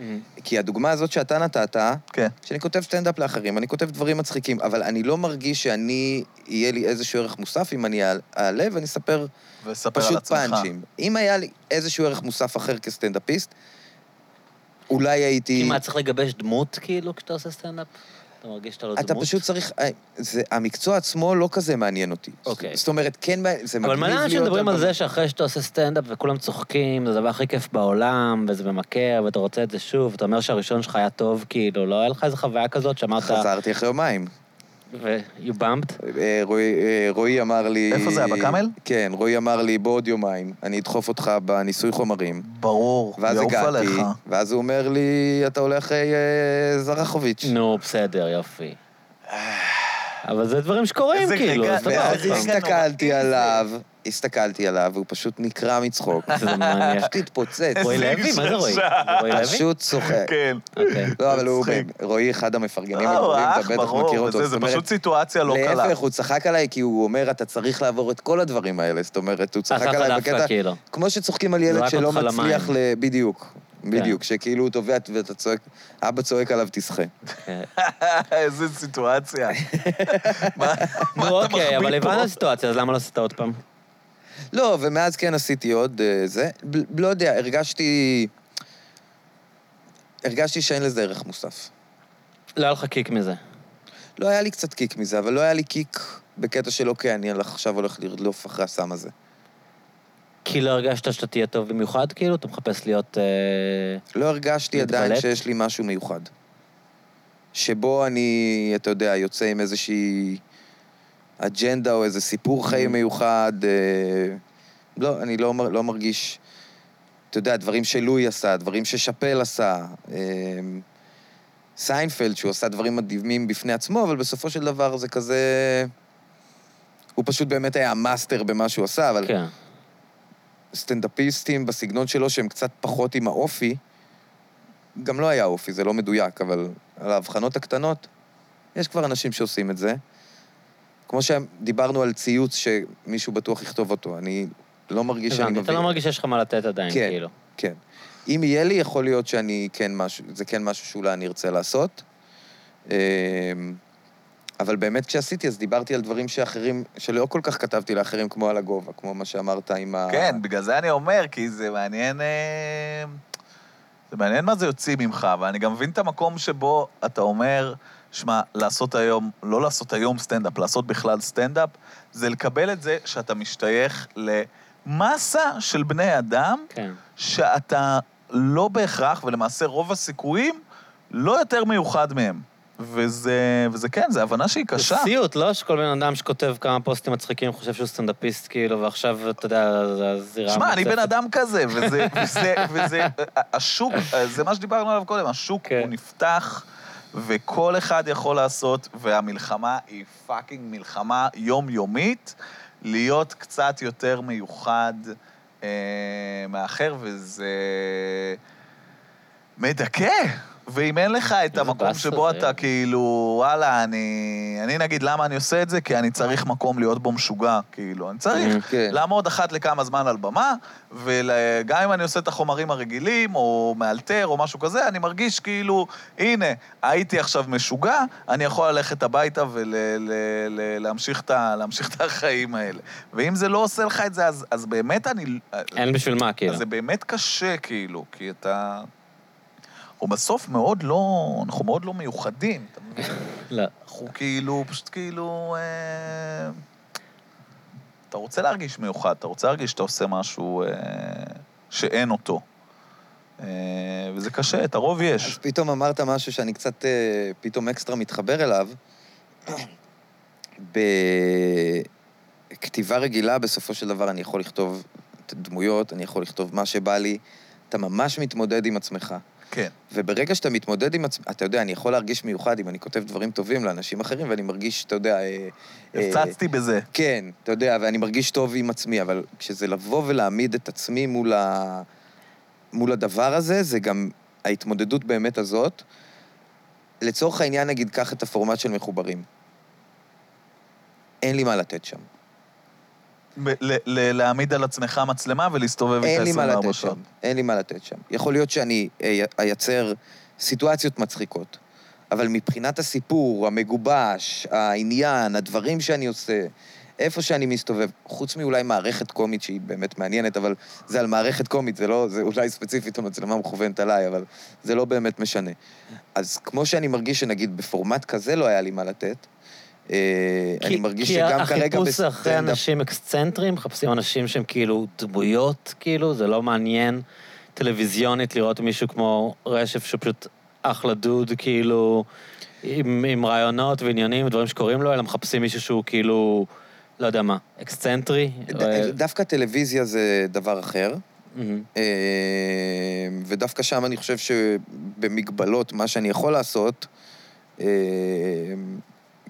כי הדוגמה הזאת שאתה נתת,
כן.
שאני כותב סטנדאפ לאחרים, אני כותב דברים מצחיקים, אבל אני לא מרגיש שאני, יהיה לי איזשהו ערך מוסף אם אני אעלה ואני אספר
וספר על
פשוט
עצמך.
פאנצ'ים. אם היה לי איזשהו ערך מוסף אחר כסטנדאפיסט, אולי הייתי...
כמעט צריך לגבש דמות, כאילו, כשאתה עושה סטנדאפ? אתה מרגיש שאתה לא דמות?
אתה פשוט צריך... אה, זה, המקצוע עצמו לא כזה מעניין אותי.
אוקיי.
זאת אומרת, כן, מה- זה מגניב
אבל
להיות...
מלא אנשים מדברים על
הבמה.
זה שאחרי שאתה עושה סטנדאפ וכולם צוחקים, זה הדבר הכי כיף בעולם, וזה ממכר, ואתה רוצה את זה שוב, אתה אומר שהראשון שלך היה טוב, כאילו, לא היה לך איזו חוויה כזאת שאמרת...
חזרתי אחרי יומיים.
ו- you bumped?
אה, רועי- אה, רועי אמר לי...
איפה זה היה, בקאמל?
כן, רועי אמר לי, בוא עוד יומיים, אני אדחוף אותך בניסוי חומרים.
ברור,
ואז
יעוף
הגעתי,
עליך.
ואז הוא אומר לי, אתה הולך אחרי אה, זרחוביץ'.
נו, בסדר, יופי. אבל זה דברים שקורים,
איזה
כאילו,
רגע-
אז אתה בא עוד
ואז
רגע
פעם.
הסתכלתי
כן,
עליו, הסתכלתי עליו, והוא פשוט נקרע מצחוק.
זה מניאק.
פשוט התפוצץ.
רועי
איזה
לוי? מה זה רועי?
אישה.
זה רועי לוי?
פשוט צוחק.
כן.
אוקיי.
לא, אבל הוא,
מצחיק.
רועי, אחד המפרגנים
אה, הוא
הגדולים,
אח,
אתה בטח מכיר
ברור,
אותו.
וזה-
זאת
זה
אומרת,
פשוט סיטואציה לא קלה.
להפך, הוא צחק עליי כי הוא אומר, אתה צריך לעבור את כל הדברים האלה. זאת אומרת, הוא צחק
עשה לך
עליי
דווקא,
בקטע...
כאילו.
כמו שצוחקים על
זרק
ילד שלא
אותך
מצליח
למים. כן.
ל... בדיוק. בדיוק, שכאילו הוא טובע ואתה צועק, אבא צועק עליו, תשחה.
כן.
איזה סיטואציה.
אה.
מה מה
נו,
אתה
אוקיי, אבל
מחביא פה?
הבנת סיטואציה, אז למה לא עשית עוד פעם?
לא, ומאז כן עשיתי עוד אה, זה. ב- לא יודע, הרגשתי... הרגשתי שאין לזה ערך מוסף.
לא היה לך קיק מזה.
לא היה לי קצת קיק מזה, אבל לא היה לי קיק בקטע של אוקיי, אני עכשיו הולך לרדוף אחרי הסם הזה.
כי לא הרגשת שאתה תהיה טוב במיוחד, כאילו? אתה מחפש להיות... אה,
לא הרגשתי עדיין
להתבלט?
שיש לי משהו מיוחד. שבו אני, אתה יודע, יוצא עם איזושהי אג'נדה או איזה סיפור חיים מיוחד. אה, לא, אני לא, מר- לא מרגיש... אתה יודע, דברים שלוי עשה, דברים ששאפל עשה. אה, סיינפלד, שהוא עשה דברים מדהימים בפני עצמו, אבל בסופו של דבר זה כזה... הוא פשוט באמת היה המאסטר במה שהוא עשה, אבל
כן.
סטנדאפיסטים בסגנון שלו שהם קצת פחות עם האופי, גם לא היה אופי, זה לא מדויק, אבל על ההבחנות הקטנות, יש כבר אנשים שעושים את זה. כמו שדיברנו על ציוץ שמישהו בטוח יכתוב אותו, אני לא מרגיש שאני
הבנתי,
מביא.
אתה לא מרגיש שיש לך מה לתת עדיין,
כן.
כאילו.
כן. אם יהיה לי, יכול להיות שאני כן משהו, זה כן משהו שאולי אני ארצה לעשות. אמ, אבל באמת כשעשיתי, אז דיברתי על דברים שאחרים, שלא כל כך כתבתי לאחרים, כמו על הגובה, כמו מה שאמרת עם ה...
כן, בגלל זה אני אומר, כי זה מעניין... אה, זה מעניין מה זה יוציא ממך, ואני גם מבין את המקום שבו אתה אומר, שמע, לעשות היום, לא לעשות היום סטנדאפ, לעשות בכלל סטנדאפ, זה לקבל את זה שאתה משתייך למסה של בני אדם
כן.
שאתה לא בהכרח, ולמעשה רוב הסיכויים, לא יותר מיוחד מהם. וזה, וזה כן, זו הבנה שהיא
זה
קשה.
סיוט, לא? שכל בן אדם שכותב כמה פוסטים מצחיקים חושב שהוא סטנדאפיסט, כאילו, ועכשיו, אתה יודע, זה הזירה...
שמע, אני
המוצפת.
בן אדם כזה, וזה, וזה, וזה, השוק, זה מה שדיברנו עליו קודם, השוק
כן.
הוא נפתח, וכל אחד יכול לעשות, והמלחמה היא פאקינג מלחמה יומיומית, להיות קצת יותר מיוחד אה, מהאחר, וזה מדכא. ואם אין לך את
איזה
המקום
באסה
שבו
זה.
אתה כאילו, וואלה, אני... אני נגיד, למה אני עושה את זה? כי אני צריך מקום להיות בו משוגע, כאילו. אני צריך
כן.
לעמוד אחת לכמה זמן על במה, וגם אם אני עושה את החומרים הרגילים, או מאלתר, או משהו כזה, אני מרגיש כאילו, הנה, הייתי עכשיו משוגע, אני יכול ללכת הביתה ולהמשיך את, ה- להמשיך את החיים האלה. ואם זה לא עושה לך את זה, אז, אז באמת אני...
אין בשביל מה, כאילו.
אז זה באמת קשה, כאילו, כי אתה... הוא בסוף מאוד לא... אנחנו מאוד לא מיוחדים, אתה מבין?
לא.
אנחנו כאילו, פשוט כאילו... אה, אתה רוצה להרגיש מיוחד, אתה רוצה להרגיש שאתה עושה משהו אה, שאין אותו. אה, וזה קשה, את הרוב
אז
יש.
פתאום אמרת משהו שאני קצת, אה, פתאום אקסטרה מתחבר אליו. בכתיבה רגילה, בסופו של דבר, אני יכול לכתוב את הדמויות, אני יכול לכתוב מה שבא לי. אתה ממש מתמודד עם עצמך.
כן.
וברגע שאתה מתמודד עם עצמך, אתה יודע, אני יכול להרגיש מיוחד אם אני כותב דברים טובים לאנשים אחרים, ואני מרגיש, אתה יודע... אה, אה,
הפצצתי בזה.
כן, אתה יודע, ואני מרגיש טוב עם עצמי, אבל כשזה לבוא ולהעמיד את עצמי מול, ה... מול הדבר הזה, זה גם ההתמודדות באמת הזאת. לצורך העניין, נגיד, קח את הפורמט של מחוברים. אין לי מה לתת שם.
ב- ל- ל- להעמיד על עצמך מצלמה ולהסתובב
אין לי
איתה
מה
24
לתת
שעות.
שם. אין לי מה לתת שם. יכול להיות שאני אה, אייצר סיטואציות מצחיקות, אבל מבחינת הסיפור, המגובש, העניין, הדברים שאני עושה, איפה שאני מסתובב, חוץ מאולי מערכת קומית שהיא באמת מעניינת, אבל זה על מערכת קומית, זה לא, זה אולי ספציפית המצלמה מכוונת עליי, אבל זה לא באמת משנה. אז כמו שאני מרגיש שנגיד בפורמט כזה לא היה לי מה לתת, אה, אני מרגיש שגם כרגע
כי החיפוש אחרי אנשים אקסצנטרים, מחפשים אנשים שהם כאילו דמויות, כאילו, זה לא מעניין טלוויזיונית לראות מישהו כמו רשף, שהוא פשוט אחלה דוד, כאילו, עם, עם רעיונות ועניינים ודברים שקורים לו, אלא מחפשים מישהו שהוא כאילו, לא יודע מה, אקסצנטרי.
ד-
או-
דווקא טלוויזיה זה דבר אחר.
מהמם.
Mm-hmm.
אה, ודווקא שם אני חושב שבמגבלות, מה שאני יכול לעשות, אה,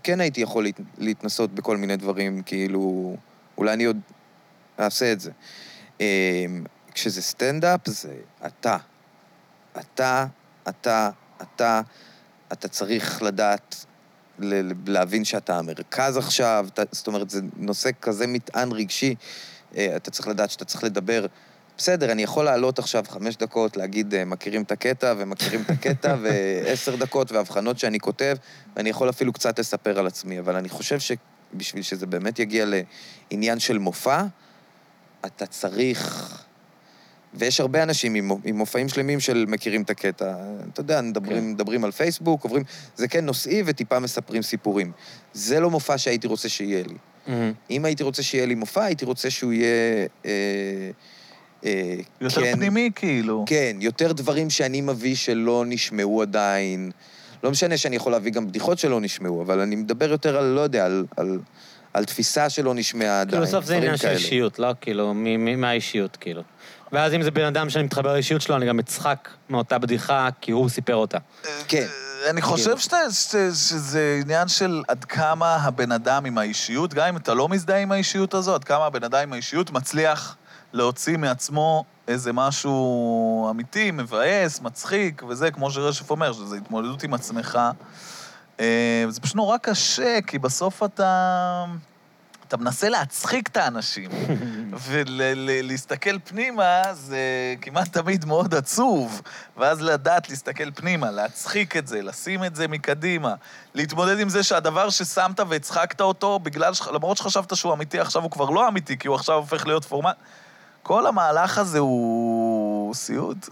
כן הייתי יכול להת- להתנסות בכל מיני דברים, כאילו, אולי אני עוד אעשה את זה. אה, כשזה סטנדאפ, זה אתה. אתה, אתה, אתה, אתה צריך לדעת ל- ל- להבין שאתה המרכז עכשיו, אתה, זאת אומרת, זה נושא כזה מטען רגשי, אה, אתה צריך לדעת שאתה צריך לדבר. בסדר, אני יכול לעלות עכשיו חמש דקות, להגיד, אה, מכירים את הקטע ומכירים את הקטע, ועשר דקות והבחנות שאני כותב, ואני יכול אפילו קצת לספר על עצמי, אבל אני חושב שבשביל שזה באמת יגיע לעניין של מופע, אתה צריך... ויש הרבה אנשים עם, מו- עם מופעים שלמים של מכירים את הקטע. אתה יודע, מדברים,
כן.
כן. מדברים על פייסבוק, עוברים... זה כן נושאי וטיפה מספרים סיפורים. זה לא מופע שהייתי רוצה שיהיה לי.
מהמם.
אם הייתי רוצה שיהיה לי מופע, הייתי רוצה שהוא יהיה... אה, אה,
יותר
כן,
פנימי, כאילו.
כן, יותר דברים שאני מביא שלא נשמעו עדיין. לא משנה שאני יכול להביא גם בדיחות שלא נשמעו, אבל אני מדבר יותר על, לא יודע, על, על, על תפיסה שלא נשמעה עדיין.
Mm-hmm.
כאילו בסוף זה
דברים
עניין של
כאלה.
אישיות, לא? כאילו, מי- מי- מהאישיות, כאילו. ואז אם זה בן אדם שאני מתחבר לאישיות שלו, אני גם אצחק מאותה בדיחה, כי הוא סיפר אותה.
כן.
אה, אני חושב שאתה- ש- שזה עניין של עד כמה הבן אדם עם האישיות, גם אם אתה לא מזדהה עם האישיות הזו, עד כמה הבן אדם עם האישיות מצליח להוציא מעצמו איזה משהו אמיתי, מבאס, מצחיק, וזה, כמו שרשף אומר, שזו התמודדות עם עצמך. אה, זה פשוט נורא קשה, כי בסוף אתה... אתה מנסה להצחיק את האנשים, ולהסתכל פנימה זה כמעט תמיד מאוד עצוב, ואז לדעת להסתכל פנימה, להצחיק את זה, לשים את זה מקדימה, להתמודד עם זה שהדבר ששמת והצחקת אותו, בגלל ש... למרות שחשבת שהוא אמיתי, עכשיו הוא כבר לא אמיתי, כי הוא עכשיו הופך להיות פורמט. כל המהלך הזה הוא סיוט.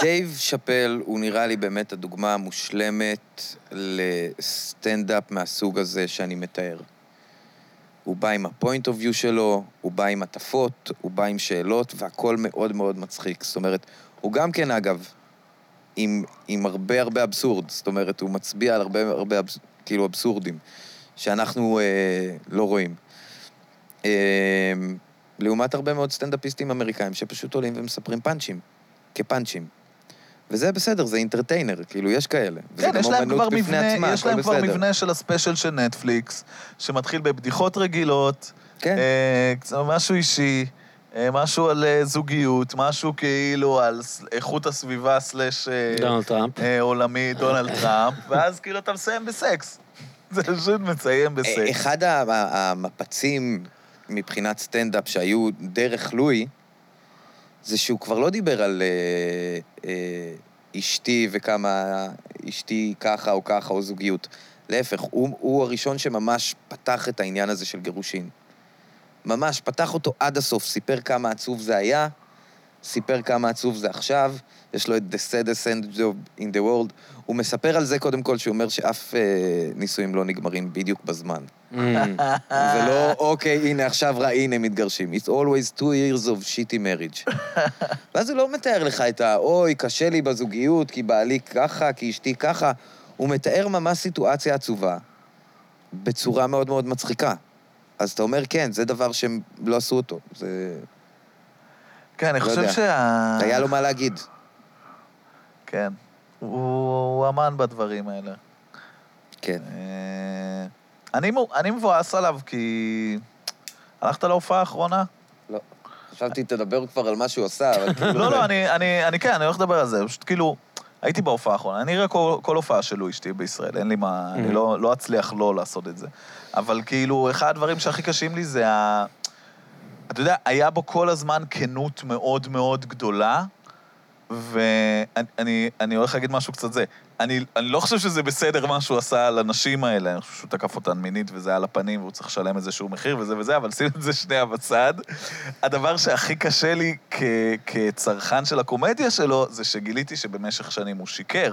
דייב שאפל הוא נראה לי באמת הדוגמה המושלמת לסטנדאפ מהסוג הזה שאני מתאר. הוא בא עם הפוינט אוף יו שלו, הוא בא עם הטפות, הוא בא עם שאלות, והכל מאוד מאוד מצחיק. זאת אומרת, הוא גם כן, אגב, עם, עם הרבה הרבה אבסורד. זאת אומרת, הוא מצביע על הרבה הרבה אבס, כאילו אבסורדים, שאנחנו אה, לא רואים. אה, לעומת הרבה מאוד סטנדאפיסטים אמריקאים שפשוט עולים ומספרים פאנצ'ים. כפאנצ'ים. וזה בסדר, זה אינטרטיינר, כאילו, יש כאלה. וזה
כן,
גם
יש להם
אומנות
כבר
בפני
מבנה,
עצמה,
יש
הכל
להם כבר
בסדר.
מבנה של הספיישל של נטפליקס, שמתחיל בבדיחות רגילות,
כן.
אה, קצת- משהו אישי, אה, משהו על אה, זוגיות, משהו כאילו על ס- איכות הסביבה סלאש אה,
לא.
דונלד טראמפ.
אה, עולמי, דונלד טראמפ, ואז כאילו אתה מסיים בסקס. זה פשוט מסיים
אה,
בסקס.
אחד ה- ה- המפצים מבחינת סטנדאפ שהיו דרך לואי, זה שהוא כבר לא דיבר על אה, אה, אשתי וכמה אשתי ככה או ככה או זוגיות. להפך, הוא, הוא הראשון שממש פתח את העניין הזה של גירושין. ממש פתח אותו עד הסוף, סיפר כמה עצוב זה היה, סיפר כמה עצוב זה עכשיו, יש לו את The saddest end job in the world. הוא מספר על זה קודם כל, שהוא אומר שאף אה, נישואים לא נגמרים בדיוק בזמן.
מהמם.
Mm-hmm.
זה
אה.
לא, אוקיי, הנה, עכשיו ראינו, הם מתגרשים. It's always two years of shitty marriage. ואז הוא לא מתאר לך את ה, אוי, קשה לי בזוגיות, כי בעלי ככה, כי אשתי ככה. הוא מתאר ממש סיטואציה עצובה, בצורה מאוד מאוד מצחיקה. אז אתה אומר, כן, זה דבר שהם לא עשו אותו. זה...
כן, אני
לא
חושב
יודע.
שה...
היה לו מה להגיד.
כן. הוא- הוא אמן בדברים האלה.
כן.
אה, אני מו- אני מבואס עליו כי... הלכת להופעה האחרונה?
לא. חשבתי, תדבר כבר על מה שהוא עשה, אבל כאילו...
לא, לא, אני, אני, אני כן, אני הולך לדבר על זה. פשוט כאילו, הייתי בהופעה האחרונה, אני אראה כל, כל הופעה שלו אשתי בישראל, אין לי מה, אני לא, לא אצליח לא לעשות את זה. אבל כאילו, אחד הדברים שהכי קשים לי זה ה... אתה יודע, היה בו כל הזמן כנות מאוד מאוד גדולה, ואני אני- אני הולך להגיד משהו קצת זה. אני, אני לא חושב שזה בסדר מה שהוא עשה על הנשים האלה, אני חושב שהוא תקף אותן מינית וזה על הפנים והוא צריך לשלם איזשהו מחיר וזה וזה, אבל שים את זה שנייה בצד. הדבר שהכי קשה לי כ, כצרכן של הקומדיה שלו, זה שגיליתי שבמשך שנים הוא שיקר.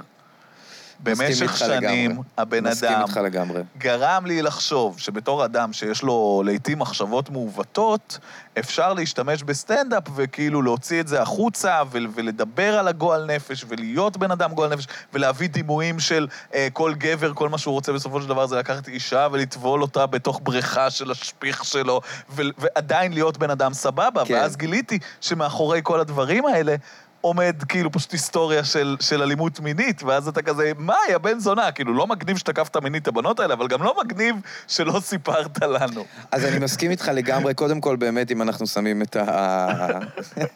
מסכים
במשך
איתך
שנים
לגמרי.
הבן
מסכים
אדם
איתך לגמרי.
גרם לי לחשוב שבתור אדם שיש לו לעיתים מחשבות מעוותות, אפשר להשתמש בסטנדאפ וכאילו להוציא את זה החוצה ו- ולדבר על הגועל נפש ולהיות בן אדם גועל נפש ולהביא דימויים של אה, כל גבר, כל מה שהוא רוצה בסופו של דבר זה לקחת אישה ולטבול אותה בתוך בריכה של השפיך שלו ו- ועדיין להיות בן אדם סבבה.
כן.
ואז גיליתי שמאחורי כל הדברים האלה... עומד כאילו פשוט היסטוריה של, של אלימות מינית, ואז אתה כזה, מה, יא בן זונה? כאילו, לא מגניב שתקפת מינית את הבנות האלה, אבל גם לא מגניב שלא סיפרת לנו.
אז אני מסכים איתך לגמרי, קודם כל, באמת, אם אנחנו שמים את ה...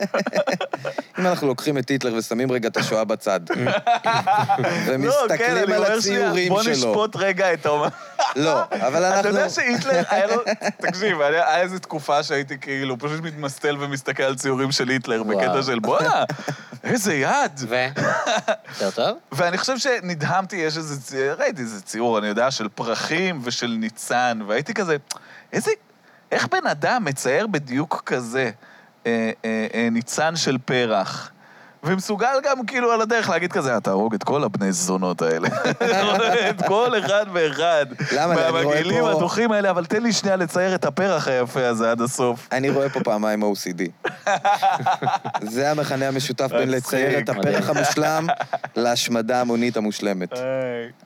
אם אנחנו לוקחים את היטלר ושמים רגע את השואה בצד,
לא, כן,
ומסתכלים על
אני אומר
הציורים
בוא
שלו.
נשפוט רגע את האומן.
לא, אבל
אתה
אנחנו...
יודע שהיטלר, היה לו... תקשיב, היה היה איזו תקופה שהייתי כאילו פשוט מתמסטל ומסתכל על ציורים של היטלר,
וואו.
בקטע של בואנה, איזה יד.
ו? יותר טוב?
ואני חושב שנדהמתי, יש איזה, צי- ראיתי איזה ציור, אני יודע, של פרחים ושל ניצן, והייתי כזה, איזה, איך בן אדם מצייר בדיוק כזה אה, אה, אה, ניצן של פרח? ומסוגל גם כאילו על הדרך להגיד כזה, אתה הרוג את כל הבני זונות האלה. את כל אחד ואחד.
למה? אני רואה
מהמגעילים
פה-
הדוחים האלה, אבל תן לי שנייה לצייר את הפרח היפה הזה עד הסוף.
אני רואה פה פעמיים OCD. זה המכנה המשותף בין לצייר את
מצחיק.
הפרח המושלם להשמדה המונית המושלמת.
היי,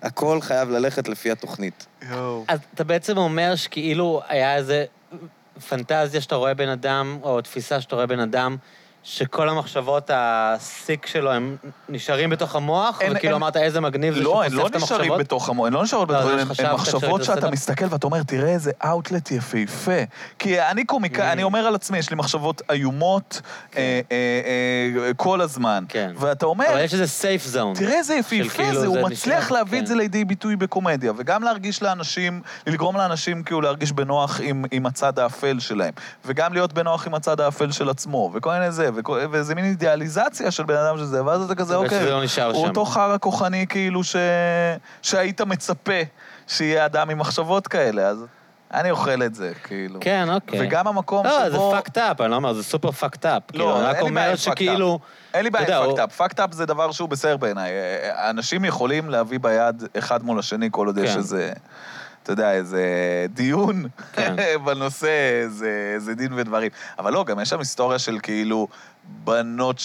הכל חייב ללכת לפי התוכנית.
יואו.
אז אתה בעצם אומר שכאילו היה איזה פנטזיה שאתה רואה בן אדם, או תפיסה שאתה רואה בן אדם, שכל המחשבות, הסיק שלו, הם נשארים בתוך המוח,
אין-
וכאילו
אין-
אמרת איזה מגניב זה
לא,
שהוא
הן לא
חושף את
נשארים
המחשבות?
בתוך המוח, הן לא נשארות
לא,
בתוך
זה מה
המוח, הן
שחשבתי,
מחשבות
חשבתי
שאתה
שזה-
מסתכל ואתה אומר, תראה איזה אאוטלט יפהפה. כי אני קומיקאי, אני אומר על עצמי, יש לי מחשבות איומות אה, אה, אה, כל הזמן.
כן.
ואתה
אבל
אומר,
יש איזה סייף זון.
תראה איזה
של
יפהפה
כאילו
זה,
זה
הוא
נשלח,
מצליח להביא את
כן.
זה לידי ביטוי בקומדיה, וגם להרגיש לאנשים, לגרום לאנשים כאילו להרגיש בנוח עם- עם הצד האפל שלהם, וגם להיות בנוח עם הצד האפל של עצמו, וכל מיני זה, וכל- וזה מין אידיאליזציה של בן אדם שזה, ואז אתה כזה,
ושזה
אוקיי,
לא נשאר
הוא
שם.
אותו חרא כוחני כאילו ש... שהיית מצפה שיהיה אדם עם מחשבות כאלה, אז אני אוכל את זה, כאילו.
כן, אוקיי.
וגם המקום
לא, זה
שבו...
fucked up, אני לא אומר, זה סופר fucked up. כאילו, אני
אין
רק
לי בעיה עם
אומר
fucked up.
שכאילו...
אין לי בעיה
אתה יודע,
עם
הוא-
פאקט-אפ. פאקט-אפ זה דבר שהוא בסדר בעיניי. אה, אה, אנשים יכולים להביא ביד אחד מול השני כל עוד יש
כן.
איזה, אתה יודע, איזה דיון
כן.
בנושא, איזה- איזה דין ודברים. אבל לא, גם יש שם היסטוריה של כאילו בנות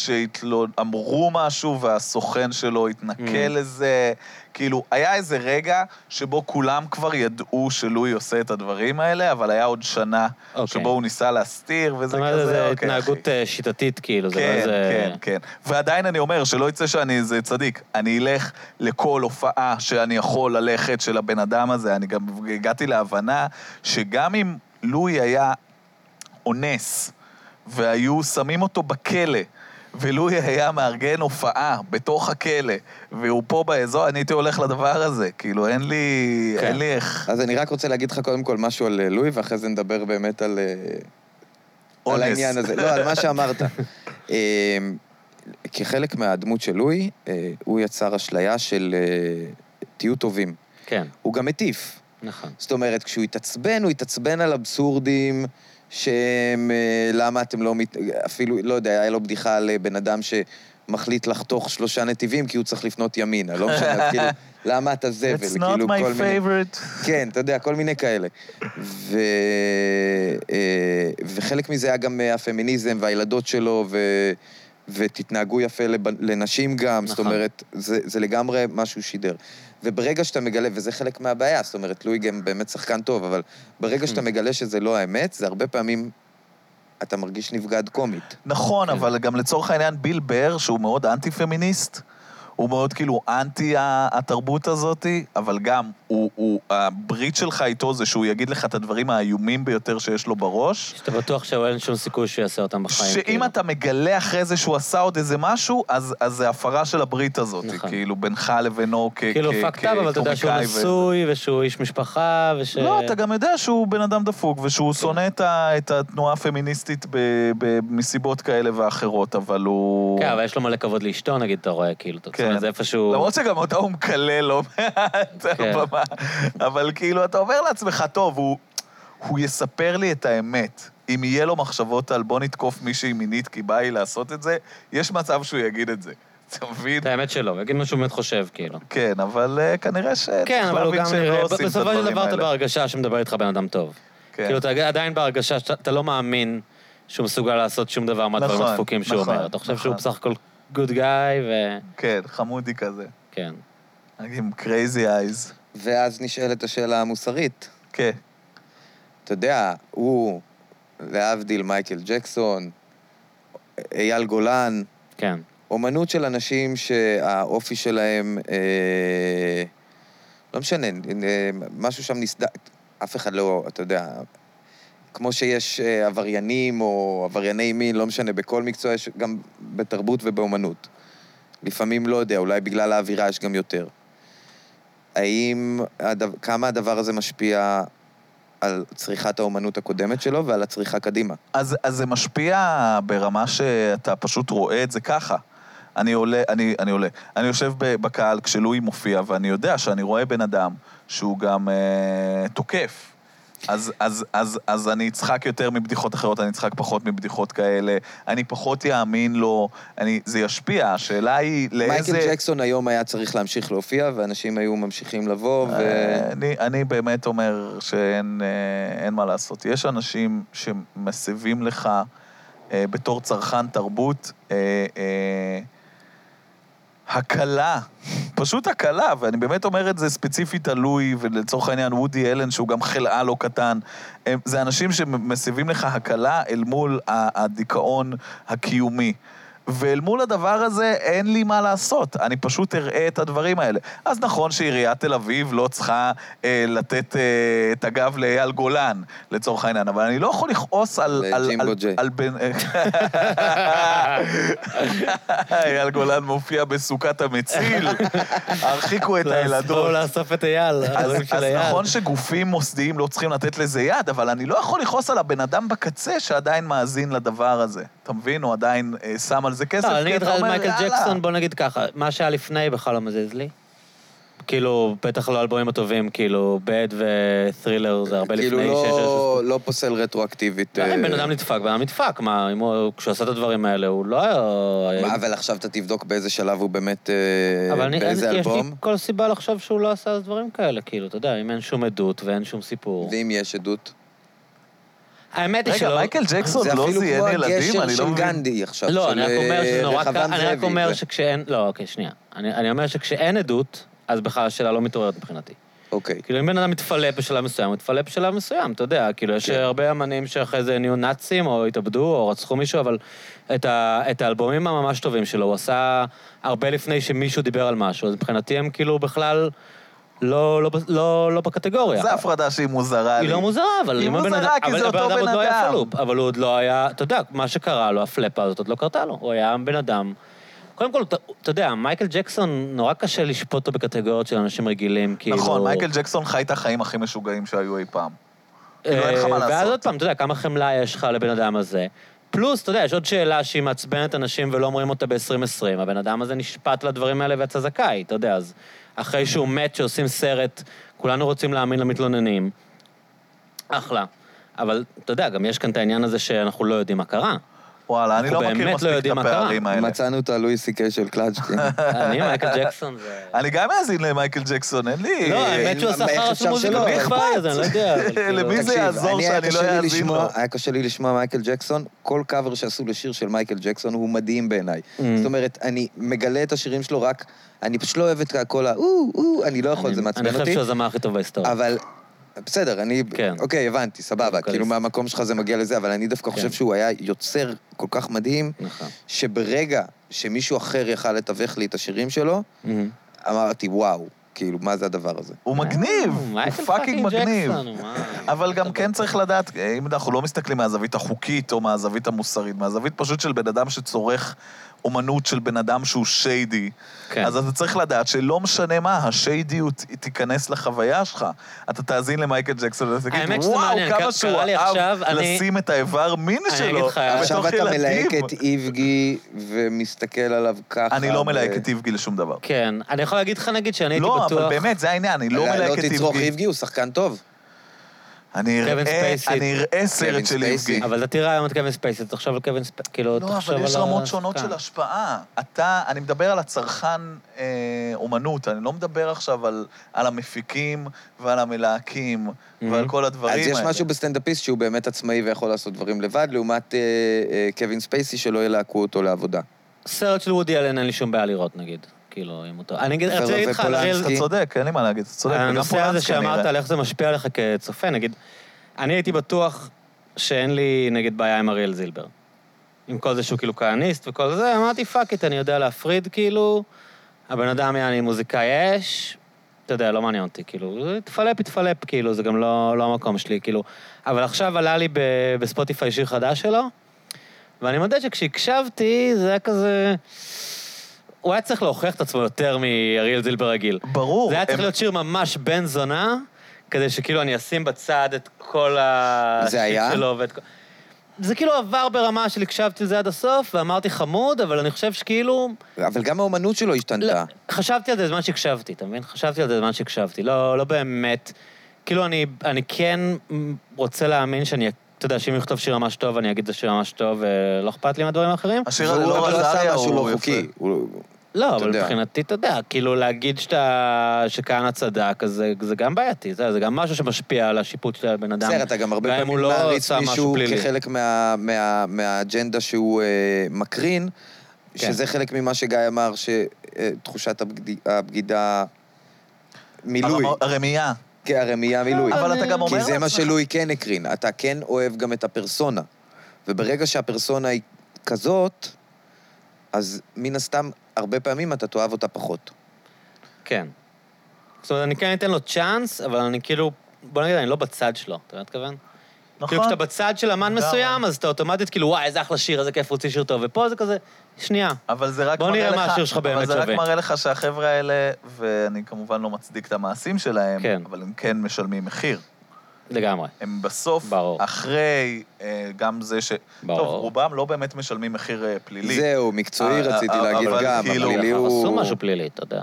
שאמרו משהו והסוכן שלו התנכל
Mm.
לזה. כאילו, היה איזה רגע שבו כולם כבר ידעו שלואי עושה את הדברים האלה, אבל היה עוד שנה
אוקיי.
שבו הוא ניסה להסתיר, וזה
זאת
כזה,
אומרת,
אוקיי,
זה
אחי."
התנהגות אה, שיטתית, כאילו, זה לא
כן,
איזה...
כן, כן. ועדיין אני אומר, שלא יצא שאני איזה צדיק. אני אלך לכל הופעה שאני יכול ללכת של הבן אדם הזה. אני גם הגעתי להבנה שגם אם לואי היה אונס, והיו שמים אותו בכלא, ולואי היה מארגן הופעה בתוך הכלא, והוא פה באזור, אני הייתי הולך לדבר הזה. כאילו, אין לי...
כן.
אין לי איך...
אז אני רק רוצה להגיד לך קודם כל משהו על אה, לואי, ואחרי זה נדבר באמת על... אה,
אונס.
על העניין הזה. לא, על מה שאמרת. אה, כחלק מהדמות של לואי, אה, הוא יצר אשליה של אה, תהיו טובים.
כן,
הוא גם מטיף.
נכון.
זאת אומרת, כשהוא התעצבן, הוא התעצבן על אבסורדים שהם... אה, למה אתם לא... מת... אפילו, לא יודע, היה לו בדיחה על אה, בן אדם שמחליט לחתוך שלושה נתיבים כי הוא צריך לפנות ימינה, לא משנה, אז כאילו, למה אתה זבל?
It's not
כאילו,
my
כל מיני...
favorite.
כן, אתה יודע, כל מיני כאלה. ו... אה, וחלק מזה היה גם אה, הפמיניזם והילדות שלו, ו... ותתנהגו יפה לבנ... לנשים גם, זאת
נכון.
אומרת, זה, זה לגמרי מה שהוא שידר. וברגע שאתה מגלה, וזה חלק מהבעיה, זאת אומרת, לואי גם באמת שחקן טוב, אבל ברגע שאתה מגלה שזה לא האמת, זה הרבה פעמים אתה מרגיש נפגע עד קומית.
נכון,
כן.
אבל גם לצורך העניין ביל בר, שהוא מאוד אנטי-פמיניסט, הוא מאוד כאילו אנטי ה- התרבות הזאת, אבל גם, הוא, הוא, הברית שלך איתו זה שהוא יגיד לך את הדברים האיומים ביותר שיש לו בראש.
שאתה בטוח שאין שום סיכוי שהוא יעשה אותם בחיים.
שאם
כאילו.
אתה מגלה אחרי זה שהוא עשה עוד איזה משהו, אז, אז זה הפרה של הברית הזאת,
נכון.
כאילו, בינך לבינו כ...
כאילו
כ-
fucked up, אבל אתה יודע שהוא
כקומיקאי וזה.
נשוי, ושהוא איש משפחה, וש...
לא, אתה גם יודע שהוא בן אדם דפוק, ושהוא שונא את ה- את התנועה הפמיניסטית ב- ב- מסיבות כאלה ואחרות, אבל הוא...
כן, אבל יש לו מלא כבוד לאשתו, נגיד, אתה רואה, כאילו, אתה
כן.
כן. זה איפשהו...
למרות שגם אותה הוא מקלל לא מעט על
כן.
הבמה, אבל כאילו, אתה אומר לעצמך, טוב, הוא- הוא יספר לי את האמת. אם יהיה לו מחשבות על בוא נתקוף מישהי מינית כי בא לי לעשות את זה, יש מצב שהוא יגיד את זה. אתה מבין?
את האמת שלו, הוא יגיד מה שהוא באמת חושב, כאילו.
כן, אבל אה, כנראה שצריך
כן, אבל הוא
להבין
גם
שהם
נראה...
לא עושים את
בסופו של
הדברים
דבר אתה
האלה.
בהרגשה שמדבר איתך בן אדם טוב.
כן.
כאילו, אתה עדיין בהרגשה שאתה אתה לא מאמין שהוא מסוגל לעשות שום דבר מהדברים
נכון,
הדפוקים שהוא
נכון,
אומר. אתה חושב שהוא
נכון.
בסך הכל גוד גאי, ו...
כן, חמודי כזה.
כן.
עם crazy eyes.
ואז נשאלת השאלה המוסרית.
כן.
אתה יודע, הוא, להבדיל מייקל ג'קסון, אייל גולן,
כן.
אומנות של אנשים שהאופי שלהם, אה, לא משנה, אה, משהו שם נסדק, אף אחד לא, אתה יודע, כמו שיש אה, עבריינים או עברייני מין, לא משנה, בכל מקצוע יש גם בתרבות ובאומנות. לפעמים, לא יודע, אולי בגלל האווירה יש גם יותר. האם, הדבר, כמה הדבר הזה משפיע על צריכת האומנות הקודמת שלו ועל הצריכה קדימה?
אז, אז זה משפיע ברמה שאתה פשוט רואה את זה ככה. אני עולה, אני, אני עולה. אני יושב ב- בקהל כשלואי מופיע, ואני יודע שאני רואה בן אדם שהוא גם אה, תוקף. אז, אז, אז, אז אני אצחק יותר מבדיחות אחרות, אני אצחק פחות מבדיחות כאלה, אני פחות יאמין לו, אני, זה ישפיע, השאלה היא לאיזה...
מייקל ג'קסון היום היה צריך להמשיך להופיע, ואנשים היו ממשיכים לבוא, ו...
אה, אני, אני באמת אומר שאין אה, אין מה לעשות. יש אנשים שמסבים לך אה, בתור צרכן תרבות אה, אה, הקלה, פשוט הקלה, ואני באמת אומר את זה ספציפית על לואי, ולצורך העניין וודי אלן, שהוא גם חלאה לא קטן. הם, זה אנשים שמסבים לך הקלה אל מול ה- הדיכאון הקיומי. ואל מול הדבר הזה אין לי מה לעשות, אני פשוט אראה את הדברים האלה. אז נכון שעיריית תל אביב לא צריכה אה, לתת אה, את הגב לאייל גולן, לצורך העניין, אבל אני לא יכול לכעוס על... על,
לג'ימבו
על,
ג'יי.
על בן... אה, אייל גולן מופיע בסוכת המציל, הרחיקו את
בואו
הילדות.
לאסוף את אייל,
אז,
הדברים לא, של
אז
אייל.
נכון שגופים מוסדיים לא צריכים לתת לזה יד, אבל אני לא יכול לכעוס על הבן אדם בקצה שעדיין מאזין לדבר הזה. אתה מבין? הוא עדיין אה, שם על זה כסף.
לא,
כי
אני אגיד לך
אתה
על
אומר,
מייקל
"יאללה".
ג'קסון, בוא נגיד ככה, מה שהיה לפני בכלל לא מזיז לי. כאילו, בטח לא האלבומים הטובים, כאילו, בד ות'רילר זה הרבה
כאילו
לפני שיש
אה.
איזשהו-
לא, לא פוסל רטרואקטיבית.
לא,
אה,
אם בן אדם נדפק, בן אדם נדפק, מה, אם הוא, כשהוא עשה את הדברים האלה, הוא לא היה...
מה, אבל עכשיו אתה תבדוק באיזה שלב הוא באמת, אה,
אבל אני,
באיזה
אני, יש לי
אלבום,
כל סיבה לחשוב שהוא לא עשה אז דברים כאלה, כאילו, אתה יודע, אם אין שום עדות ואין שום סיפור.
ואם יש עדות.
האמת היא
רגע,
שלא...
מייקל ג'קסון
זה
לא
אפילו
זיין
כמו
ילדים?
הגשר
אני
של
לא מבין.
גנדי עכשיו, של,
לא, אני רק אומר שזה
אה,
נורא
רחבעם
קל, אני רק
זאבי, כן.
אומר
זה-
שכשאין... לא, אוקיי, שנייה. אני אני אומר שכשאין עדות, אז בכלל השאלה לא מתעוררת מבחינתי.
אוקיי.
כאילו, אם בן אדם מתפלא בשלב מסוים, הוא מתפלא בשלב מסוים, אתה יודע. כאילו, יש
כן.
הרבה אמנים שאחרי זה נהיו נאצים, או התאבדו, או רצחו מישהו, אבל את, ה, את האלבומים הממש טובים שלו הוא עשה הרבה לפני שמישהו דיבר על משהו, אז מבחינתי הם כאילו בכלל לא, לא, לא, לא בקטגוריה.
זו הפרדה שהיא מוזרה לי.
היא לא מוזרה, אבל...
היא
אם הבן
מוזרה,
אדם-
כי זה
אבל הבן
אותו
אדם
בן
עוד לא היה
אדם.
פלופ, אבל הוא עוד לא היה... אתה יודע, מה שקרה לו, הפלאפה הזאת עוד לא קרתה לו. הוא היה בן אדם... קודם כל, אתה- אתה יודע, מייקל ג'קסון, נורא קשה לשפוט אותו בקטגוריות של אנשים רגילים, כאילו...
נכון, מייקל ג'קסון חי את החיים הכי משוגעים שהיו אי פעם.
לא
כאילו, אין לך מה
אה, ואז
לעשות.
עוד פעם, אתה יודע, כמה חמלה יש לך לבן אדם הזה. פלוס, אתה יודע, יש עוד שאלה שהיא מעצבנת אנשים ולא אומרים אותה ב-2020. הבן אדם הזה נשפט לדברים האלה ויצא זכאי, אתה יודע, אז אחרי שהוא מת, שעושים סרט, כולנו רוצים להאמין למתלוננים. אחלה. אבל, אתה יודע, גם יש כאן את העניין הזה שאנחנו לא יודעים מה קרה.
וואלה, אני
אנחנו
לא
באמת
מכיר
לא
מספיק את
יודעים מה קרה.
הפערים האלה.
מצאנו את הלואי סי קיי של קלצ'קין.
אני, מייקל ג'קסון זה...
אני גם מאזין למייקל ג'קסון, אין לי...
לא,
אה,
האמת שהוא עשה
איך
חרא
אפשר
של מוזיקה
שלא?
בכלל,
למי
אכפת?
אז אני לא יודע. אבל כאילו-
למי זה
תקשיב,
יעזור
אני,
שאני
היה
לא
קשה לי
אאזין
לשמוע-
לו?
היה קשה לי לשמוע מייקל ג'קסון, כל קאבר שעשו לשיר של מייקל ג'קסון הוא מדהים בעיניי.
Mm.
זאת אומרת, אני מגלה את השירים שלו רק, אני פשוט לא אוהב את הכל ה... או, או, אני לא יכול,
אני-
זה מעצבן
אני
אותי.
חושב שהוא הזמר הכי טוב בהיסטוריה.
אבל בסדר, אני...
כן.
אוקיי, הבנתי, סבבה.
ווקליסט.
כאילו, מהמקום שלך זה מגיע לזה, אבל אני דווקא
כן.
חושב שהוא היה יוצר כל כך מדהים,
נכון.
שברגע שמישהו אחר יכל לתווך לי את השירים שלו, אמרתי, וואו, כאילו, מה זה הדבר הזה?
הוא מגניב, הוא
אה, מייקל
פאקינג מגניב.
ג'קסון, וואי.
אבל גם כן צריך לדעת, אה, אם אנחנו לא מסתכלים מהזווית החוקית או מהזווית המוסרית, מהזווית פשוט של בן אדם שצורך אומנות של בן אדם שהוא שיידי,
כן.
אז אתה צריך לדעת שלא משנה מה, השיידיות היא תיכנס לחוויה שלך. אתה תאזין למייקל ג'קסון ותגיד,
האמת שזה
וואו,
מעניין,
כמה
קרה-
שהוא
קרה לי עכשיו,
אהב
אני-
לשים את האיבר מין
אני
שלו
אגיד לך,
בתוך
אה, עכשיו אתה
ילדים."
מלהק את איבגי ומסתכל עליו ככה.
אני לא מלהק
ו-
את איבגי לשום דבר.
כן, אה, אני יכול להגיד לך נגיד שאני הייתי
לא,
בטוח... אה,
אבל באמת, זה העניין, אני לא מלהק את
לא תצרוך
איבגי.
איבגי, הוא שחקן טוב.
אני
קווין
אראה-
ספייסי.
אני אראה סרט של
ספייסי.
איבגי.
אבל אתה תראה היום את קווין ספייסי, תחשוב על קווין ספייסי, כאילו,
לא,
תחשוב על... כן.
אבל יש רמות
השחקן.
שונות של השפעה. אתה, אני מדבר על הצרכן אה, אומנות, אני לא מדבר עכשיו על, על המפיקים ועל המלהקים
Mm-hmm.
ועל כל הדברים
אז
האלה.
יש משהו בסטנדאפיסט שהוא באמת עצמאי ויכול לעשות דברים לבד, לעומת אה, אה, קווין ספייסי שלא ילהקו אותו לעבודה.
סרט של וודי אלן אין לי שום בעיה לראות, נגיד. כאילו, אם אותו... אני אגיד,
ורוב
רציתי להגיד
לא,
לך, על
ופולנסקי.
אריאל-
אתה צודק, אין לי מה להגיד, אתה צודק, וגם
אה, הנושא הזה
פולנסקי
שאמרת
נראה.
על איך זה משפיע עליך כצופה, נגיד, אני הייתי בטוח שאין לי, נגיד, בעיה עם אריאל זילבר. עם כל זה שהוא כאילו כהניסט וכל זה, אמרתי, פאק איט, אני יודע להפריד, כאילו, הבן אדם יעני מוזיקאי אש, אתה יודע, לא מעניין אותי, כאילו, תפלפ, תפלפ, כאילו, זה גם לא, לא המקום שלי, כאילו. אבל עכשיו עלה לי ב- בספוטיפיי שיר חדש שלו, ואני מודה שכשהקשבתי, זה היה כזה... הוא היה צריך להוכיח את עצמו יותר מאריאל זילבר רגיל.
ברור.
זה היה צריך
הם-
להיות שיר ממש בן זונה, כדי שכאילו אני אשים בצד את כל השיט
זה היה?
שלו ואת כל... זה כאילו עבר ברמה של הקשבתי לזה עד הסוף, ואמרתי חמוד, אבל אני חושב שכאילו...
אבל גם האומנות שלו
לא,
השתנתה.
חשבתי על זה בזמן שהקשבתי, אתה מבין? חשבתי על זה בזמן שהקשבתי, לא, לא באמת. כאילו, אני, אני כן רוצה להאמין שאני... אתה יודע, שאם הוא יכתוב שיר ממש טוב, אני אגיד זה שיר ממש טוב, ולא אכפת לי מהדברים האחרים.
השיר על
והוא
אלאור
אבל לא עשה
עזריה
משהו
הוא
לא
יפה.
חוקי. הוא-
לא,
אתה
אבל
יודע.
מבחינתי, אתה יודע, כאילו להגיד שאתה, שכהנא צדק, אז זה, זה גם בעייתי, זה, זה גם משהו שמשפיע על השיפוט של הבן אדם.
בסדר, אתה גם הרבה
גם אם
פעמים
הוא לא
מעריץ
עשה משהו
מישהו
פלילי.
כחלק מה- מה- מהאג'נדה שהוא אה, מקרין,
כן.
שזה חלק ממה שגיא אמר, שתחושת הבגידה... מילוי,
הרמ- הרמייה.
כהרמייה מילוי.
אבל אתה גם אומר
כי זה מה
לעצמך-
שלואי כן הקרין. אתה כן אוהב גם את הפרסונה. וברגע שהפרסונה היא כזאת, אז מן הסתם, הרבה פעמים אתה תאהב אותה פחות.
כן. זאת אומרת, אני כן אתן לו צ'אנס, אבל אני כאילו, בוא נגיד, אני לא בצד שלו, אתה יודע מה אתכוון? כאילו,
נכון.
כשאתה בצד של אמן
לגמרי.
מסוים, אז אתה אוטומטית כאילו, וואי, איזה אחלה שיר, איזה כיף, הוא הוציא שיר טוב, ופה זה כזה, שנייה.
אבל זה רק
בוא נראה
מראה
מה
לך-
השיר שלך
אבל
באמת
זה רק
שווה.
מראה לך שהחבר'ה האלה, ואני כמובן לא מצדיק את המעשים שלהם,
כן.
אבל הם כן משלמים מחיר.
לגמרי.
הם בסוף,
ברור.
אחרי אה, גם זה ש...
ברור.
טוב, רובם לא באמת משלמים מחיר אה, פלילי.
זהו, מקצועי
אה,
רציתי
אה,
להגיד
אבל
גם,
כאילו-
הפלילי
אבל עשו
הוא...
משהו פלילי, אתה יודע.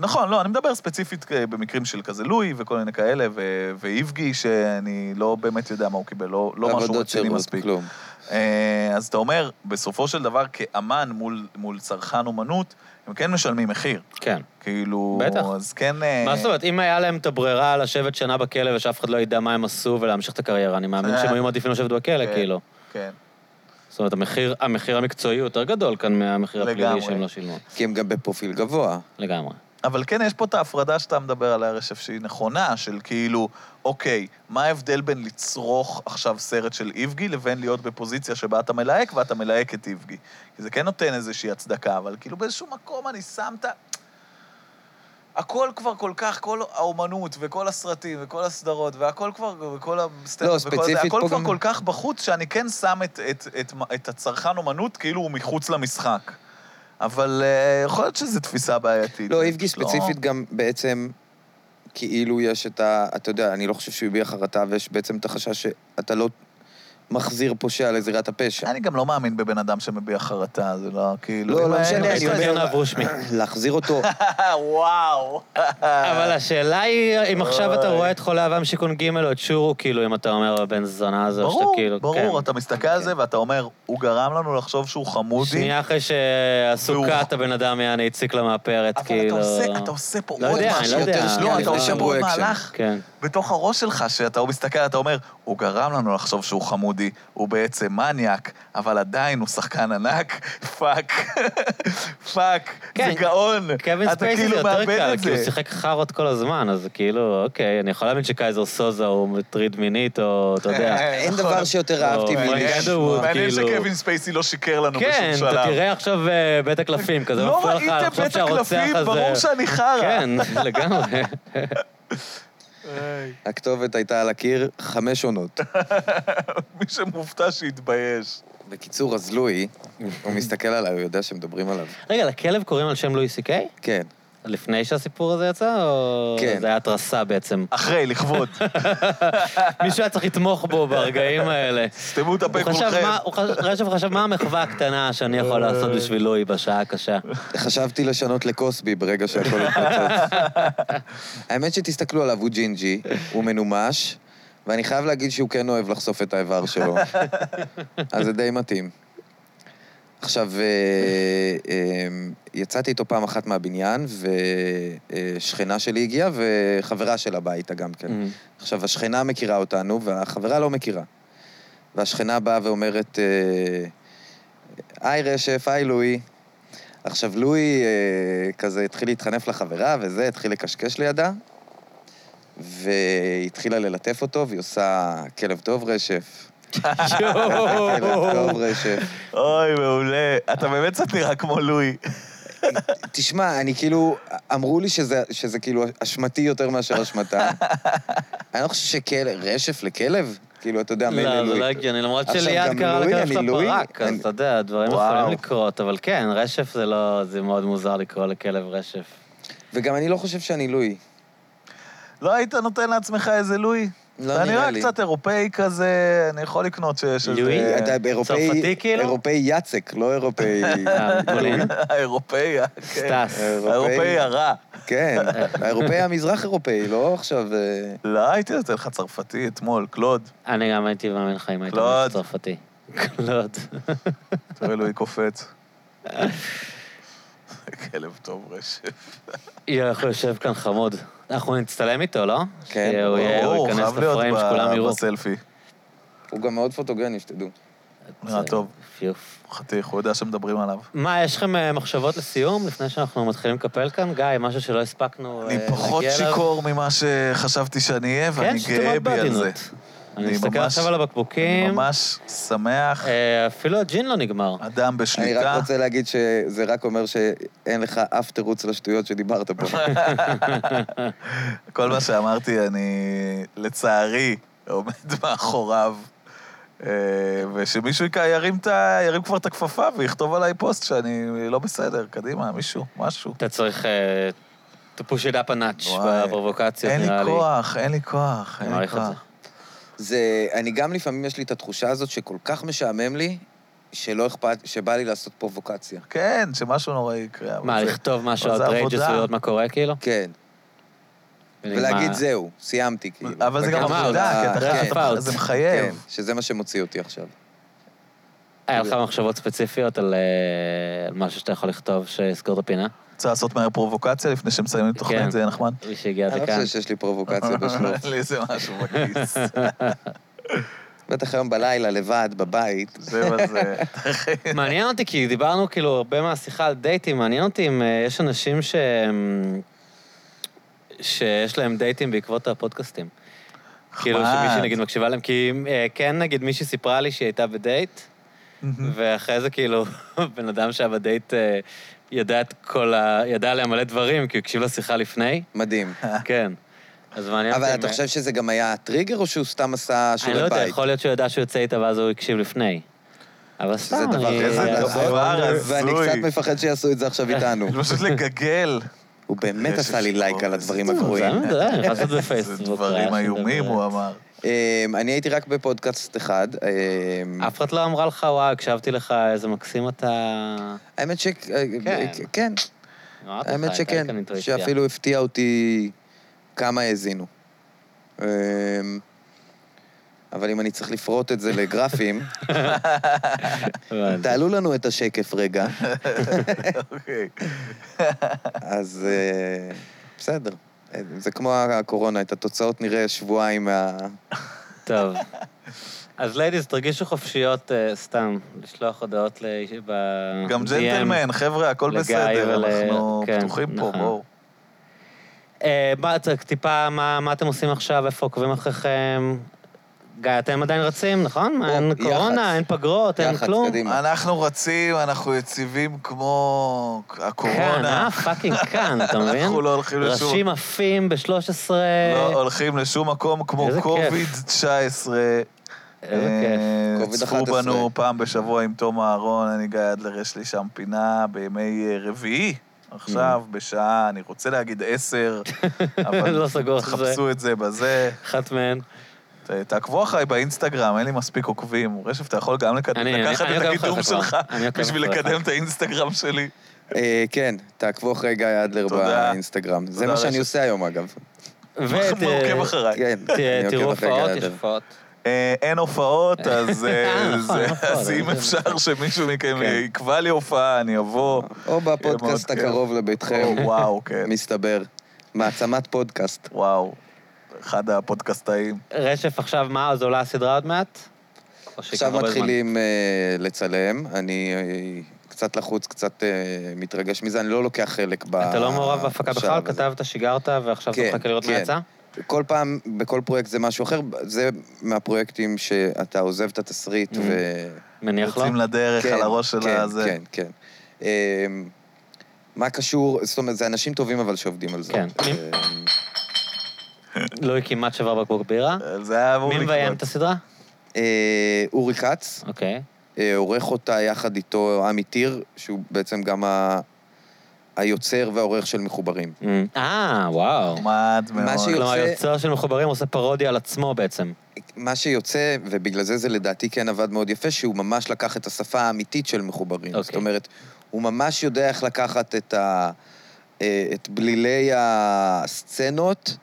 נכון, לא, אני מדבר ספציפית אה, במקרים של כזה לואי וכל מיני כאלה, ו- ואיבגי, שאני לא באמת יודע מה הוא קיבל, לא, לא משהו
עבודות
רציני
שירות,
מספיק.
כלום.
אה, אז אתה אומר, בסופו של דבר, כאמן מול, מול צרכן אומנות, הם כן משלמים מחיר.
כן.
כאילו...
בטח.
אז כן... אה,
מה זאת אומרת, אם היה להם את הברירה לשבת שנה בכלא ושאף אחד לא ידע מה הם עשו ולהמשיך את הקריירה, אני מאמין
אה.
שהם היו מעדיפים לשבת
כן.
בכלא, כאילו.
כן.
זאת אומרת, המחיר, המחיר המקצועי הוא יותר גדול כאן מהמחיר
לגמרי.
הפלילי שהם לא שילמו.
כי הם גם בפרופיל גבוה.
לגמרי.
אבל כן, יש פה את ההפרדה שאתה מדבר עליה, רשף, שהיא נכונה, של כאילו, אוקיי, מה ההבדל בין לצרוך עכשיו סרט של איבגי לבין להיות בפוזיציה שבה אתה מלהק ואתה מלהק את איבגי? כי זה כן נותן איזושהי הצדקה, אבל כאילו באיזשהו מקום אני שם את ה... הכל כבר כל כך, כל האומנות וכל הסרטים וכל הסדרות והכל כבר, וכל הסטנדאפ
לא,
וכל זה,
ספציפית
הכל
פה
כבר
גם-
כל כך בחוץ, שאני כן שם את, את, את, את הצרכן אומנות כאילו הוא מחוץ למשחק. אבל אה, יכול להיות שזו תפיסה בעייתית.
לא, איבגי ספציפית גם בעצם, כאילו יש את ה... אתה יודע, אני לא חושב שהוא הביע חרטה, ויש בעצם את החשש שאתה לא מחזיר פושע לזירת הפשע.
אני גם לא מאמין בבן אדם שמביע חרטה, זה לא כאילו...
לא,
אם
לא
היה-
משנה,
יש
אני
לו את יונה
אומר...
אברושמי.
להחזיר אותו,
וואו. אה.
אבל השאלה היא, אם עכשיו אתה רואה את חולה אבם שיכון ג' או את שורו, כאילו, אם אתה אומר בן זונה הזה, או שאתה
ברור,
כאילו...
ברור,
כן.
אתה מסתכל על זה ואתה אומר, הוא גרם לנו לחשוב שהוא חמודי,
שנייה אחרי שעשו
והוא-
קאט, הבן אדם יעני הציק לה מהפרט,
אבל אתה
כאילו...
עושה- אתה עושה פה
לא
עוד
יודע,
משהו.
לא יודע.
יותר שנייה,
לא,
אתה
לפני
עושה פה
שאמרו
עוד
אקשן.
מהלך
כן.
בתוך הראש שלך, שאתה מסתכל, אתה אומר, הוא גרם לנו לחשוב שהוא חמוד, דודי הוא בעצם מניאק, אבל עדיין הוא שחקן ענק, פאק. פאק,
כן,
זה גאון.
קווין
אתה
ספייסי זה
כאילו
יותר
מאבד
קל,
את
כי הוא
זה.
שיחק חארות כל הזמן, אז כאילו, אוקיי, אני יכול להבין שקייזר סוזה הוא מטריד מינית, או אתה יודע.
אין
נכון.
דבר שיותר
או,
אהבתי
פרנק
מלשמוע.
אדווד,
מעניין
כאילו-
שקווין ספייסי לא שיקר לנו
כן,
בשום
אתה
שלב.
תראה עכשיו אה, בית הקלפים, כזה
לא
מפריע לך,
ראיתם
עכשיו
בית
שהרוצח
הקלפים?
הזה-
ברור שאני חרא.
כן, לגמרי.
היי,
הכתובת הייתה על הקיר חמש עונות.
מי שמופתע שיתבייש.
בקיצור, אז לואי, הוא מסתכל עליי, הוא יודע שמדברים עליו.
רגע, לכלב קוראים על שם לואי סי קיי?
כן.
לפני שהסיפור הזה יצא, או...
כן.
זה היה התרסה בעצם.
אחרי, לכבוד.
מישהו היה צריך לתמוך בו ברגעים האלה.
סתמו את
הוא
הפה
חשב,
כולכם.
מה, הוא חשב, רשף חשב, מה המחווה הקטנה שאני יכול
אה.
לעשות בשביל לואי בשעה הקשה?
חשבתי לשנות לקוסבי ברגע שהכל התפוצץ. האמת שתסתכלו עליו, הוא ג'ינג'י, הוא מנומש, ואני חייב להגיד שהוא כן אוהב לחשוף את האיבר שלו. אז זה די מתאים. עכשיו, אה, אה, יצאתי איתו פעם אחת מהבניין, ושכנה שלי הגיעה, וחברה שלה באה איתה גם כן. עכשיו, השכנה מכירה אותנו, והחברה לא מכירה. והשכנה באה ואומרת, אה, היי רשף, היי לואי. עכשיו, לואי אה, כזה התחיל להתחנף לחברה וזה, התחיל לקשקש לידה, והתחילה ללטף אותו, והיא עושה כלב טוב רשף. כלב טוב רשף.
אוי, מעולה. אתה באמת קצת נראה כמו לואי.
תשמע, אני כאילו, אמרו לי שזה, שזה כאילו אשמתי יותר מאשר אשמתה. אני לא חושב שכלב, רשף לכלב? כאילו, אתה יודע, מילא
לא, זה לא
לואי.
הגיוני, למרות
עכשיו,
שליעד
גם
קרא
לואי,
לכלב
אני
שלה
לואי,
ברק, אז
אני-
אתה יודע, הדברים
וואו.
יכולים לקרות, אבל כן, רשף זה לא, זה מאוד מוזר לקרוא לכלב רשף.
וגם אני לא חושב שאני לואי.
לא היית נותן לעצמך איזה לואי?
לא
אתה
נראה
נראה
לי.
קצת אירופאי כזה, אני יכול לקנות שיש איזה...
לואי?
אה, אתה אירופאי...
צרפתי כאילו?
אירופאי יצק, לא אירופאי...
אה, פולין.
האירופאי, כן.
סטס.
אה,
האירופאי הרע.
כן,
אה.
האירופאי המזרח אירופאי, לא עכשיו... אה,
לא, הייתי נותן לך צרפתי אתמול, קלוד.
אני גם הייתי מאמין לך אם היית
קלוד.
אומר צרפתי. קלוד.
תראה לואי קופץ. כלב טוב רשף.
יואו, איך הוא יושב כאן חמוד. אנחנו נצטלם איתו, לא?
כן,
שהוא יהיה-
ברור,
הוא
הוא
ייכנס
חייב להיות
לפריים שכולם
ב-
יראו.
בסלפי.
הוא גם מאוד פוטוגני, שתדעו.
נראה
זה-
טוב.
יופ.
חתיך, הוא יודע שמדברים עליו.
מה, יש לכם אה, מחשבות לסיום, לפני שאנחנו מתחילים לקפל כאן? גיא, משהו שלא הספקנו אה,
אני
להגיע אליו?
פחות שיכור ממה שחשבתי שאני אהיה,
כן,
ואני
שאתם
גאה
מאוד
בי על זה.
בעדינות. אני
אני
מסתכל
ממש-
עכשיו על
אני
הבקבוקים,
ממש שמח,
אה, אפילו הג'ין לא נגמר.
אדם
אני
בשליטה.
רק רוצה להגיד שזה רק אומר שאין לך אף תירוץ לשטויות שדיברת פה.
כל מה שאמרתי, אני לצערי עומד מאחוריו. אה, ושמישהו יקע- ירים, את ה... ירים כבר את הכפפה ויכתוב עליי פוסט שאני לא בסדר, קדימה, מישהו, משהו.
אתה צריך... אה, to push it up a notch
וואי,
בפרובוקציות,
אין
נראה
לי
לי.
כוח, אין לי כוח,
אני
אין לי
מעריך את זה.
כוח.
זה... אני גם לפעמים יש לי את התחושה הזאת שכל כך משעמם לי, שלא אכפת... שבא לי לעשות פרובוקציה.
כן, שמשהו נורא יקרה. אבל
מה,
זה-
לכתוב משהו
אבל זה
outrageous
עבודה.
ולראות מה קורה, כאילו?
כן, ולהגיד זהו, סיימתי, כאילו.
אבל זה גם
בקטע
וגם
עבודה,
של
כי
ה-
אתה
כן.
חייב, אתה- זה
כן,
מחייב.
שזה מה שמוציא אותי עכשיו.
אה, היה לך מחשבות ספציפיות על אה, על משהו שאתה יכול לכתוב שיסגור את הפינה?
רוצה לעשות מהר פרובוקציה לפני שמסיימים את
כן.
התוכנית, זה יהיה נחמד.
מי שהגיע
אני
עד
לא
לכאן.
חושב שיש לי פרובוקציה בשלוף.
לי איזה משהו בכיס.
בטח היום בלילה, לבד, בבית.
זהו, אז... אה,
מעניין אותי, כי דיברנו כאילו הרבה מהשיחה על דייטים, מעניין אותי אם אה, יש אנשים שהם... שיש להם דייטים בעקבות הפודקאסטים. כאילו שמישהי
נחמד.
נגיד מקשיבה להם, כי אה, כן נגיד מישהי סיפרה לי שהיא הייתה בדייט, ואחרי זה כאילו בן אדם שהיה בדייט אה, ידע את כל ה... ידע עליה מלא דברים, כי הוא הקשיב לשיחה לפני,
מדהים.
כן. אז מעניין אותי...
אה. אבל
אם,
אתה
אה,
חושב שזה גם היה טריגר, או שהוא סתם עשה
אני
שיעורי
לא
בית?
יודע, יכול להיות שהוא ידע שהוא יוצא איתה ואז הוא הקשיב לפני. אבל סתם,
שזה דבר
אני... לא
כזה,
אני-
נכון.
דבר
ואני
הזוי.
קצת מפחד שיעשו את זה עכשיו איתנו.
זה פשוט לגגל.
הוא באמת
יש
עשה לי
אפשרות.
לייק על הדברים הגרועים.
זה, זה, לא אני יכול לעשות את זה
זה
בפייסבוק.
דברים
ראה,
איומים,
שדבר.
הוא אמר.
אה?
אמ, אני הייתי רק בפודקאסט אחד. אמ,
אף אחד לא אמרה לך, וואו, הקשבתי לך, איזה מקסים אתה...
האמת ש...
כן.
כן,
אמרתי לך,
האמת
הייתה לי כאן
שכן.
אינטואיציה.
שאפילו הפתיע אותי כמה האזינו. אמ, אבל אם אני צריך לפרוט את זה לגרפים,
הבנתי.
תעלו לנו את השקף רגע,
אוקיי.
אז אה, בסדר. זה כמו הקורונה, את התוצאות נראה שבועיים מה...
טוב. אז ליידיז, תרגישו חופשיות אה, סתם, לשלוח הודעות ל... ב-
גם
DM.
ג'נטלמן, חבר'ה, הכל
לגיא
בסדר,
ול-
אנחנו
כן,
פתוחים פה,
נכון.
בואו.
אה, מה, ת- טיפה, מה מה אתם עושים עכשיו, איפה עוקבים אחריכם? גיא, אתם עדיין רצים, נכון?
או,
אין
יח"צ.
קורונה, אין פגרות, אין
יח"צ,
כלום.
קדימה.
אנחנו רצים, אנחנו יציבים כמו
כאן,
הקורונה.
אה? פאקינג כאן, אתה מבין?
אנחנו לא הולכים לשום...
ראשים עפים ב-13...
לא הולכים לשום מקום כמו
אה, איזה כיף.
קוביד-19.
איזה כיף.
COVID-19.
צפו בנו פעם בשבוע עם תום אהרון, אני גיא אדלר, יש לי שם פינה בימי אה, רביעי. עכשיו, בשעה, אני רוצה להגיד עשר, אבל
Mm. לא סגור את זה.
תחפשו את זה בזה.
אחת מהן.
ת- תעקבו אחריי באינסטגרם, אין לי מספיק עוקבים. רשף, אתה יכול גם לקד-
אני-
לקחת
אני- אני
את
עוקב
הקידום
אחריך כבר.
שלך
אני עוקב
בשביל
אחריך.
לקדם את האינסטגרם שלי.
אה, כן, תעקבו אחרי גיא אדלר
תודה.
באינסטגרם. זה
תודה,
מה שאני
רשת.
עושה היום, אגב.
ות-
הוא עוקב אחריי.
כן, אני
ת-
עוקב
תראו
אחרי גיא
הופעות, יש
אדלר.
הופעות.
אה, אין הופעות, אז אה,
אה, נכון,
זה-
נכון,
אז אם
זה-
אפשר שמישהו מכם
כן.
יקבע לי הופעה, אני אבוא.
או
יהיה מאוד
בפודקאסט
כיף.
הקרוב לביתכם,
או, וואו, כן.
מסתבר. מעצמת פודקאסט.
וואו. אחד הפודקאסטאים.
רשף עכשיו, מה, אז עולה הסדרה עוד מעט? או שכבר
עכשיו
הרבה זמן?
מתחילים אה, לצלם, אני אה, קצת לחוץ, קצת אה, מתרגש מזה, אני לא לוקח חלק ב...
אתה לא מעורב בהפקה
בשלב
בכלל?
הזה.
כתבת, שיגרת, ועכשיו אתה
כן,
מחכה לראות מה
כן.
יצא?
כל פעם, בכל פרויקט זה משהו אחר, זה מהפרויקטים שאתה עוזב את התסריט
Mm.
ו...
מניח לא? לו?
יוצאים לדרך על הראש של
כן,
הזה.
כן, כן. אמ, מה קשור, זאת אומרת, זה אנשים טובים אבל שעובדים על זה.
כן.
אמ,
לואי לא כמעט שבר בקבוק בירה?
זה היה אמור
מי מביים את
לקרות.
הסדרה?
אה, אורי כץ,
אוקיי.
אה, עורך אותה יחד איתו עמי טיר, שהוא בעצם גם ה- היוצר והעורך של מחוברים.
אה, וואו.
נחמד מאוד.
שיוצא-
כלומר, היוצר של מחוברים עושה פרודיה על עצמו בעצם.
מה שיוצא, ובגלל זה זה לדעתי כן עבד מאוד יפה, שהוא ממש לקח את השפה האמיתית של מחוברים.
אוקיי.
זאת אומרת, הוא ממש יודע איך לקחת את, ה, אה, את בלילי הסצנות,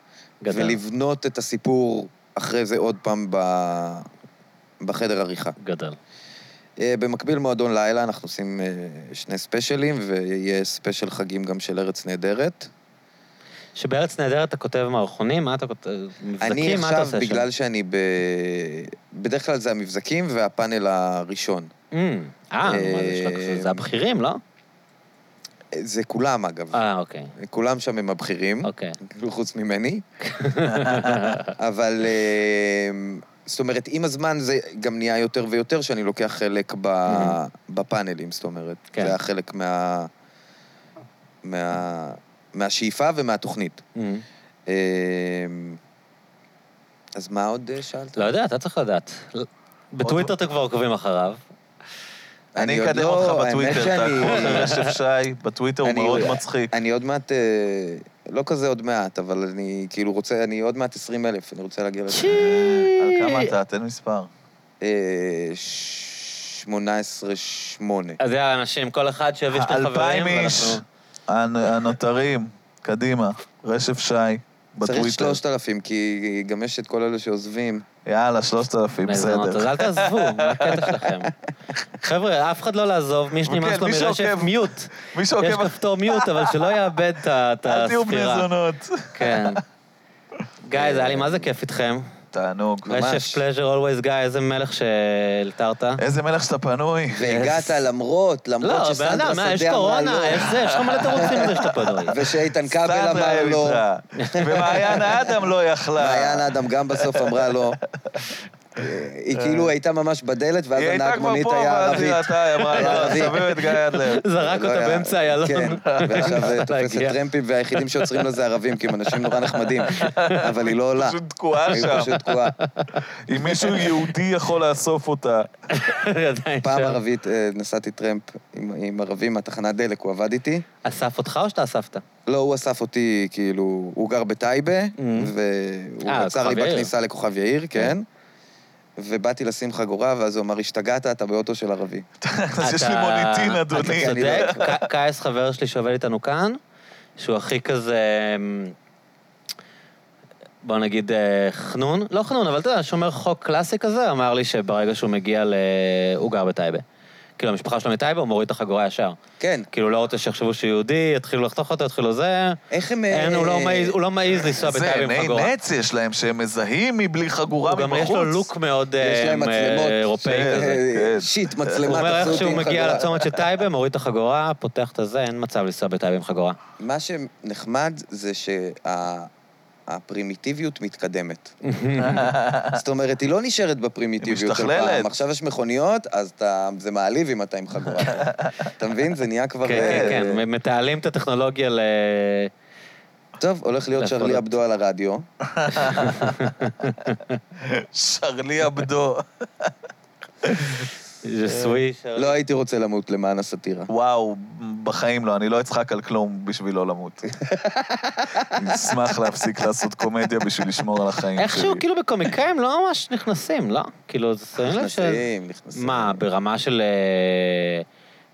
גדל.
ולבנות את הסיפור אחרי זה עוד פעם ב... בחדר עריכה.
גדל.
אה, במקביל מועדון לילה, אנחנו עושים אה, שני ספיישלים, ויהיה ספיישל חגים גם של ארץ נהדרת.
שבארץ נהדרת אתה כותב מערכונים, מה אתה כותב?
אני
מבזקים, מה
עכשיו,
אתה עושה שם?
בגלל שאני ב... בדרך כלל זה המבזקים והפאנל הראשון.
אמ, אה, מה זה יש לך קשור? זה הבכירים, לא?
אה, זה כולם, אגב.
אה, אוקיי.
כולם שם הם הבכירים,
אוקיי.
כאילו, חוץ ממני. אבל אה, זאת אומרת, עם הזמן זה גם נהיה יותר ויותר שאני לוקח חלק ב- בפאנלים, זאת אומרת.
כן.
זה היה חלק מה... מה... מהשאיפה ומהתוכנית.
אמ,
אה, אז מה עוד אה, שאלת?
לא יודע, אתה צריך לדעת. בטוויטר
לא.
אתם כבר עוקבים אחריו.
אני
עוד
אקדם
לא-
אותך
האמת
בטוויטר,
שאני-
תעקבו אחרי רשף שי, בטוויטר הוא
אני-
מאוד מצחיק.
אני עוד מעט, אה, לא כזה עוד מעט, אבל אני כאילו רוצה, אני עוד מעט 20 אלף, אני רוצה להגיע לזה.
על כמה אתה? תן מספר.
אה, 18-8.
אז יאללה, אנשים, כל אחד שיביא שני חברים.
האלפיים איש
ואנחנו-
הנ- הנותרים, קדימה, רשף שי,
צריך
בטוויטר.
3,000, כי גם יש את כל אלה שעוזבים.
יאללה, שלושת אלפים,
מזונות, אז
בסדר.
אל תעזבו, מה הקטע שלכם? חבר'ה, אף אחד לא לעזוב, מי שנמאס
כן,
לו
מי
מרשף
שעוקב.
מיוט.
מי
יש
שעוקב,
כפתור מיוט, אבל שלא יאבד את ה- את הספירה.
אל תהיו בני זונות. אה,
כן. גיא, זה היה לי מה זה כיף איתכם.
תענוג.
ממש.
רשף פלז'ר אולווייז גיא, איזה מלך שהלתרת.
איזה מלך שאתה פנוי.
והגעת למרות, למרות
לא, בן
שסנדרה
אדם, מה, יש
שדה אמרה
קורונה,
לא,
יש זה, יש לך מלא תירוצים לזה שאתה פנוי.
ושאיתן כבל
סנדרה
אמר לא,
אביטרה. אה, ומעיין האדם לא יכלה.
מעיין אדם גם בסוף אמרה לא. אה, היא כאילו הייתה ממש בדלת, ואז
היא הייתה
הנהג
כבר
מונית
פה,
היה
ואז
ערבית.
היא ראתה, היא אמרה,
היה
לא,
ערבית."
סבב את גיא אדלר.
זרק
לא
אותה
היה-
באמצע איילון.
כן, ועכשיו אה, תופסת
להגיע.
טרמפים, והיחידים שעוצרים לה זה ערבים, כי הם אנשים נורא נחמדים. אבל היא לא עולה.
פשוט תקועה
היא
שם.
פשוט תקועה.
אם מישהו יהודי יכול לאסוף אותה.
היא עדיין
פעם
שם.
ערבית אה, נסעתי טרמפ עם עם ערבים מהתחנת דלק, הוא עבד איתי.
אסף אותך או שאתה אספת?
לא, הוא אסף אותי, כאילו, הוא גר בטייבה, והוא
Mm. אה,
עצר לי
כוכב יאיר. Mm.
בכניסה לכוכב יאיר, כן. ובאתי לשים חגורה, ואז הוא אמר, השתגעת, אתה באוטו של ערבי.
אז יש לי
אתה-
מוניטין, אדוני.
אני
אתה
לא
צודק, ק- קייס חבר שלי שעובד איתנו כאן, שהוא הכי כזה... אמ, בוא נגיד אה, חנון, לא חנון, אבל אתה יודע, שומר חוק קלאסי כזה, אמר לי שברגע שהוא מגיע ל... הוא גר בטייבה. כאילו, המשפחה שלו מטייבה, הוא מוריד את החגורה ישר.
כן.
כאילו, לא רוצה שיחשבו שהוא יהודי, יתחילו לחתוך אותו, יתחילו זה.
איך הם...
אין,
אה,
הוא לא מעז- הוא לא מעז לנסוע
זה
בטייבה עם
עיני
חגורה.
נץ יש להם, שהם מזהים מבלי חגורה
הוא
מבחוץ.
גם יש לו לוק מאוד
יש להם
אה,
מצלמות.
אירופאי
אה,
כזה.
כן.
שיט,
הוא
מצלמה,
אומר
תפסו
איך
אותי
שהוא
עם
מגיע
חגורה.
לצומת של טייבה, מוריד את החגורה, פותח את הזה, אין מצב לנסוע בטייבה עם חגורה.
מה שנחמד זה שהפרימיטיביות מתקדמת. זאת אומרת, היא לא נשארת בפרימיטיביות של
משתכללת.
פעם. עכשיו יש מכוניות, אז אתה, זה מעליב אם אתה עם חגורה. אתה מבין? זה נהיה כבר...
כן, כן,
אה,
כן, מ- מתעלים את הטכנולוגיה ל...
טוב, הולך להיות
לאכול
שרלי
אותה.
עבדו על הרדיו.
שרלי עבדו. אה,
ז'סוי.
לא הייתי רוצה למות למען הסאטירה.
וואו, בחיים לא, אני לא אצחק על כלום בשביל לא למות. אני אשמח להפסיק לעשות קומדיה בשביל לשמור על החיים שלי.
איכשהו, כאילו, בקומיקאים לא ממש נכנסים, לא? כאילו, זה שמים לב ש...
נכנסים, נכנסים. לא,
מה, ברמה של אה,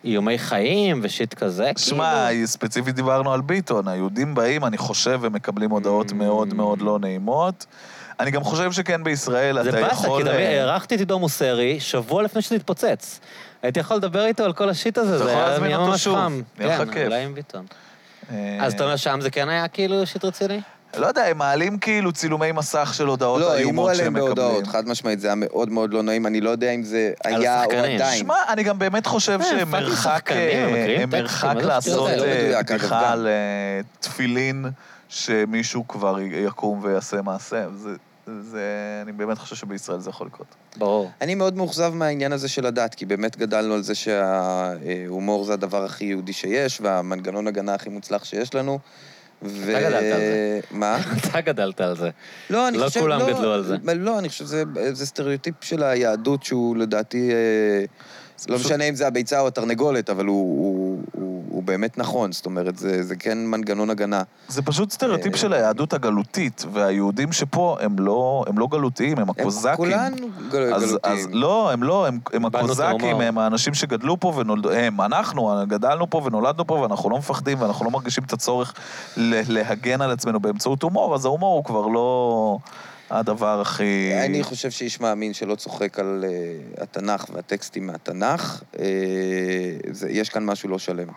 איומי חיים ושיט כזה? כאילו,
שמע,
כאילו-
ספציפית דיברנו על ביטון, היהודים באים, אני חושב, ומקבלים
Mm.
הודעות מאוד מאוד לא נעימות. אני גם חושב שכן בישראל,
זה
אתה
באסה, כי
יכול...
תמיד
אה,
הארחתי את עידו מוסרי שבוע לפני שזה התפוצץ. הייתי יכול לדבר איתו על כל השיט הזה,
אתה
זה
יכול
היה
להזמין
נהיה
אותו
ממש
שוב,
חם.
יהיה לך
כן,
כיף.
אולי עם ביטון.
אה,
אז אתה אומר, שם זה כן היה כאילו שיט רציני?
לא יודע, הם מעלים כאילו צילומי מסך של הודעות
לא, איימו
איומות
עליהם
שהם
בהודעות,
מקבלים.
חד משמעית, זה היה מאוד מאוד לא נעים, אני לא יודע אם זה
על
היה או
השחקנים.
עדיין.
שמע, אני גם באמת חושב
אה, פאקינג
שמרחק
שחקנים, הם
אה,
מקריאים טקסטים,
מרחק
מה זה השטויות
לעשות
האלה?
לא
אה,
מדויק, אגב,
בדיחה
גם.
על אה, תפילין, שמישהו כבר י- יקום ויעשה מעשה. זה- זה, אני באמת חושב שבישראל זה יכול לקרות.
ברור.
אני מאוד מאוכזב מהעניין הזה של הדת, כי באמת גדלנו על זה שההומור זה הדבר הכי יהודי שיש, והמנגנון הגנה הכי מוצלח שיש לנו. ו...
אתה גדלת על זה.
מה?
אתה גדלת על זה.
לא, אני
לא
חושב...
כולם גדלו על זה.
לא, אני חושב שזה זה סטריאוטיפ של היהדות שהוא לדעתי... אה, לא
פשוט-
משנה אם זה הביצה או התרנגולת, אבל הוא, הוא, הוא, הוא באמת נכון, זאת אומרת, זה, זה כן מנגנון הגנה.
זה פשוט סטריאוטיפ
אה,
של היהדות הגלותית, והיהודים שפה הם לא, הם לא גלותיים, הם
הם
הקוזקים.
כולנו גל,
אז,
גלותיים.
אז לא, הם לא, הם, הם
איבדנו את
הקוזקים,
ההומור.
הם האנשים שגדלו פה ונולדו, הם, אנחנו, גדלנו פה ונולדנו פה ואנחנו לא מפחדים ואנחנו לא מרגישים את הצורך ל- להגן על עצמנו באמצעות הומור, אז ההומור הוא כבר לא הדבר הכי...
אני חושב שאיש מאמין שלא צוחק על אה, התנ"ך והטקסטים מהתנ"ך, אה, זה- יש כאן משהו לא שלם.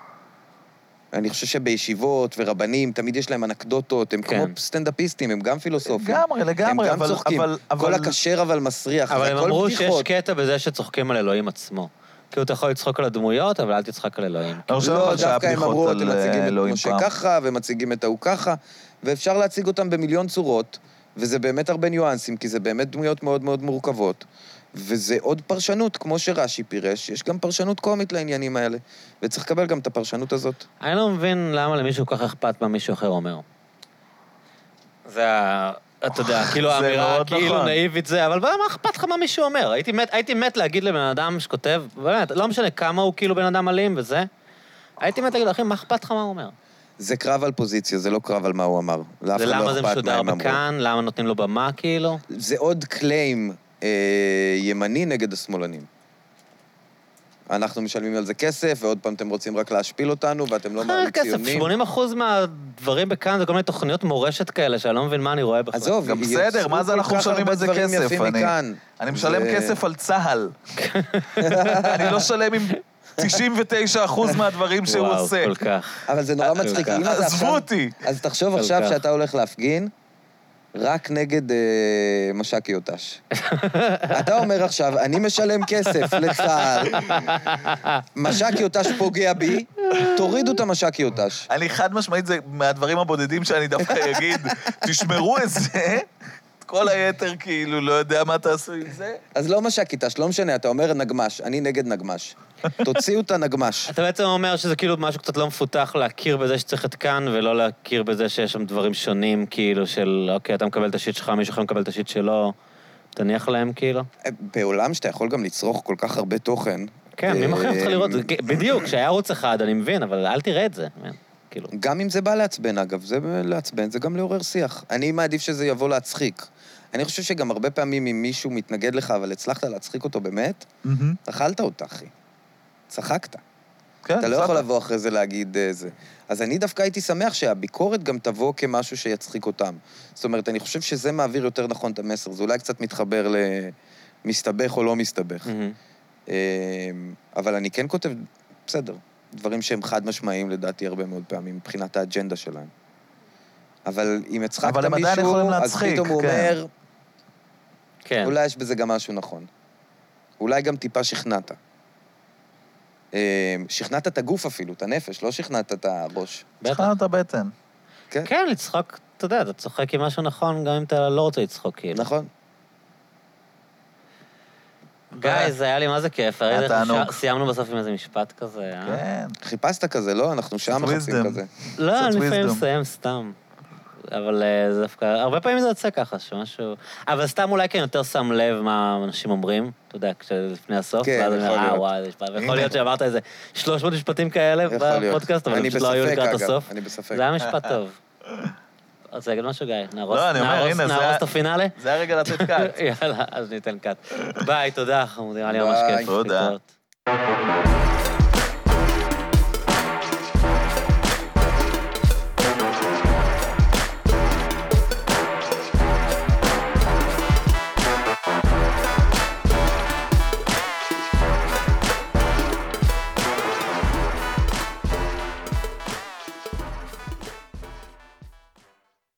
אני חושב שבישיבות ורבנים, תמיד יש להם אנקדוטות, הם
כן.
כמו סטנדאפיסטים, הם גם פילוסופים.
לגמרי, לגמרי,
הם גם
אבל...
צוחקים.
אבל, אבל...
כל הכשר אבל מסריח,
אבל
זה
הם
הכל
אמרו שיש
בדיחות.
קטע בזה שצוחקים על אלוהים עצמו. כאילו, אתה יכול לצחוק על הדמויות, אבל אל תצחק על אלוהים.
אני חושב
לא,
אבל שהיה
דווקא הם
בדיחות
אמרו,
על,
אתם
אה,
מציגים את
אלוהים
משה
פעם.
ככה, ומציגים את ההוא ככה, ואפשר להציג אותם במיליון צורות, וזה באמת הרבה ניואנסים, כי זה באמת דמויות מאוד מאוד מורכבות. וזה עוד פרשנות, כמו שרש"י פירש, יש גם פרשנות קומית לעניינים האלה, וצריך לקבל גם את הפרשנות הזאת.
אני לא מבין למה למישהו כל כך אכפת מה מישהו אחר אומר. זה ה... אתה יודע, כאילו
זה
האמירה
מאוד
כאילו
נכון.
נאיבית זה, אבל מה אכפת לך מה מישהו אומר? הייתי מת- הייתי מת להגיד לבן אדם שכותב, באמת, לא משנה כמה הוא כאילו בן אדם אלים וזה, הייתי מת להגיד לו, אחי, מה אכפת לך מה הוא אומר?
זה קרב על פוזיציה, זה לא קרב על מה הוא אמר. לאף אחד
זה למה
לא
זה
אכפת מה
משודר
הם אמרו.
בכאן, למה נותנים לו במה כאילו?
זה עוד קליים אה, ימני נגד השמאלנים. אנחנו משלמים על זה כסף, ועוד פעם אתם רוצים רק להשפיל אותנו, ואתם לא
אחר
מעלים
כסף,
ציונים.
80% מהדברים בכאן זה כל מיני תוכניות מורשת כאלה, שאני לא מבין מה אני רואה בכלל.
עזוב,
גם בסדר, מה זה
יצאו
אנחנו
כל כך
משלמים
הרבה
על זה
דברים
כסף?
יפים
אני-
מכאן.
אני משלם
זה-
כסף על צה"ל. אני לא שלם עם 99% מהדברים שהוא
וואו,
עושה.
כל כך.
אבל זה נורא מצחיק,
כל
אם
כך.
אתה עכשיו...
אה, עזבו אותי.
אז תחשוב
כל
עכשיו
כך.
שאתה הולך להפגין רק נגד אה, מש"קי יוטש. אתה אומר עכשיו, אני משלם כסף לצה"ל, מש"קי יוטש פוגע בי, תורידו את המש"קי יוטש.
אני חד משמעית, זה מהדברים הבודדים שאני דווקא אגיד, תשמרו את זה, את כל היתר כאילו, לא יודע מה תעשו עם זה.
אז לא מש"קי יוטש, לא משנה, אתה אומר נגמ"ש, אני נגד נגמ"ש. תוציאו את הנגמ"ש.
אתה בעצם אומר שזה כאילו משהו קצת לא מפותח להכיר בזה שצריך את כאן, ולא להכיר בזה שיש שם דברים שונים, כאילו, של אוקיי, אתה מקבל את השיט שלך, מישהו אחר מקבל את השיט שלו, תניח להם כאילו.
אה, בעולם שאתה יכול גם לצרוך כל כך הרבה תוכן...
כן, מי
אה,
מכריח אותך לראות? זה כ- בדיוק, כשהיה ערוץ אחד, אני מבין, אבל אל תראה את זה. כאילו,
גם אם זה בא לעצבן, אגב, זה לעצבן, זה גם לעורר שיח. אני מעדיף שזה יבוא להצחיק. אני חושב שגם הרבה פעמים אם מישהו מתנגד לך, אבל הצלחת להצחיק אותו באמת, אכלת אותה, אחי. צחקת.
כן,
אתה לא
בסדר.
יכול לבוא אחרי זה להגיד אה, זה. אז אני דווקא הייתי שמח שהביקורת גם תבוא כמשהו שיצחיק אותם. זאת אומרת, אני חושב שזה מעביר יותר נכון את המסר. זה אולי קצת מתחבר למסתבך או לא מסתבך. אה, אבל אני כן כותב, בסדר, דברים שהם חד-משמעיים לדעתי הרבה מאוד פעמים, מבחינת האג'נדה שלהם. אבל אם הצחקת
אבל הם עדיין יכולים
מישהו, אז
להצחיק,
פתאום הוא
כן.
אומר,
כן.
אולי יש בזה גם משהו נכון. אולי גם טיפה שכנעת. אה, שכנעת את הגוף אפילו, את הנפש, לא שכנעת את הראש.
בטח.
התחלנו את הבטן.
כן, לצחוק, אתה יודע, אתה צוחק עם משהו נכון, גם אם אתה לא רוצה לצחוק, כאילו.
נכון?
גיא, זה היה לי מה זה כיף, הרי
אה, היה
איך אפשר-
תענוג.
סיימנו בסוף עם איזה משפט כזה, אה?
כן.
חיפשת כזה, לא? אנחנו שם
It's
מחפשים
wisdom.
כזה.
לא,
קצת
אני לפעמים
wisdom.
מסיים סתם. אבל אה, זה דווקא, הרבה פעמים זה יוצא ככה, שמשהו... אבל סתם אולי כן יותר שם לב מה אנשים אומרים, אתה יודע, כשלפני הסוף,
כן,
ואז אני
יכול
אומר, אה,
להיות.
וואי, זה משפט...
הנה.
יכול להיות שאמרת איזה 300 משפטים כאלה
יכול להיות.
בפודקאסט, אבל
אני
הם פשוט לא היו
בספק,
לקראת
אגב,
הסוף.
אני בספק.
זה היה משפט טוב. רוצה להגיד משהו, גיא? נהרוס
לא, אני אומר,
נהרוס-
הנה, זה
נהרוס
היה-
את הפינאלה?
זה היה רגע לתת
יאללה, אז ניתן קאט. ביי, תודה, חמודי, היה לי ממש
ביי.
כיף.
תודה.
להתראות.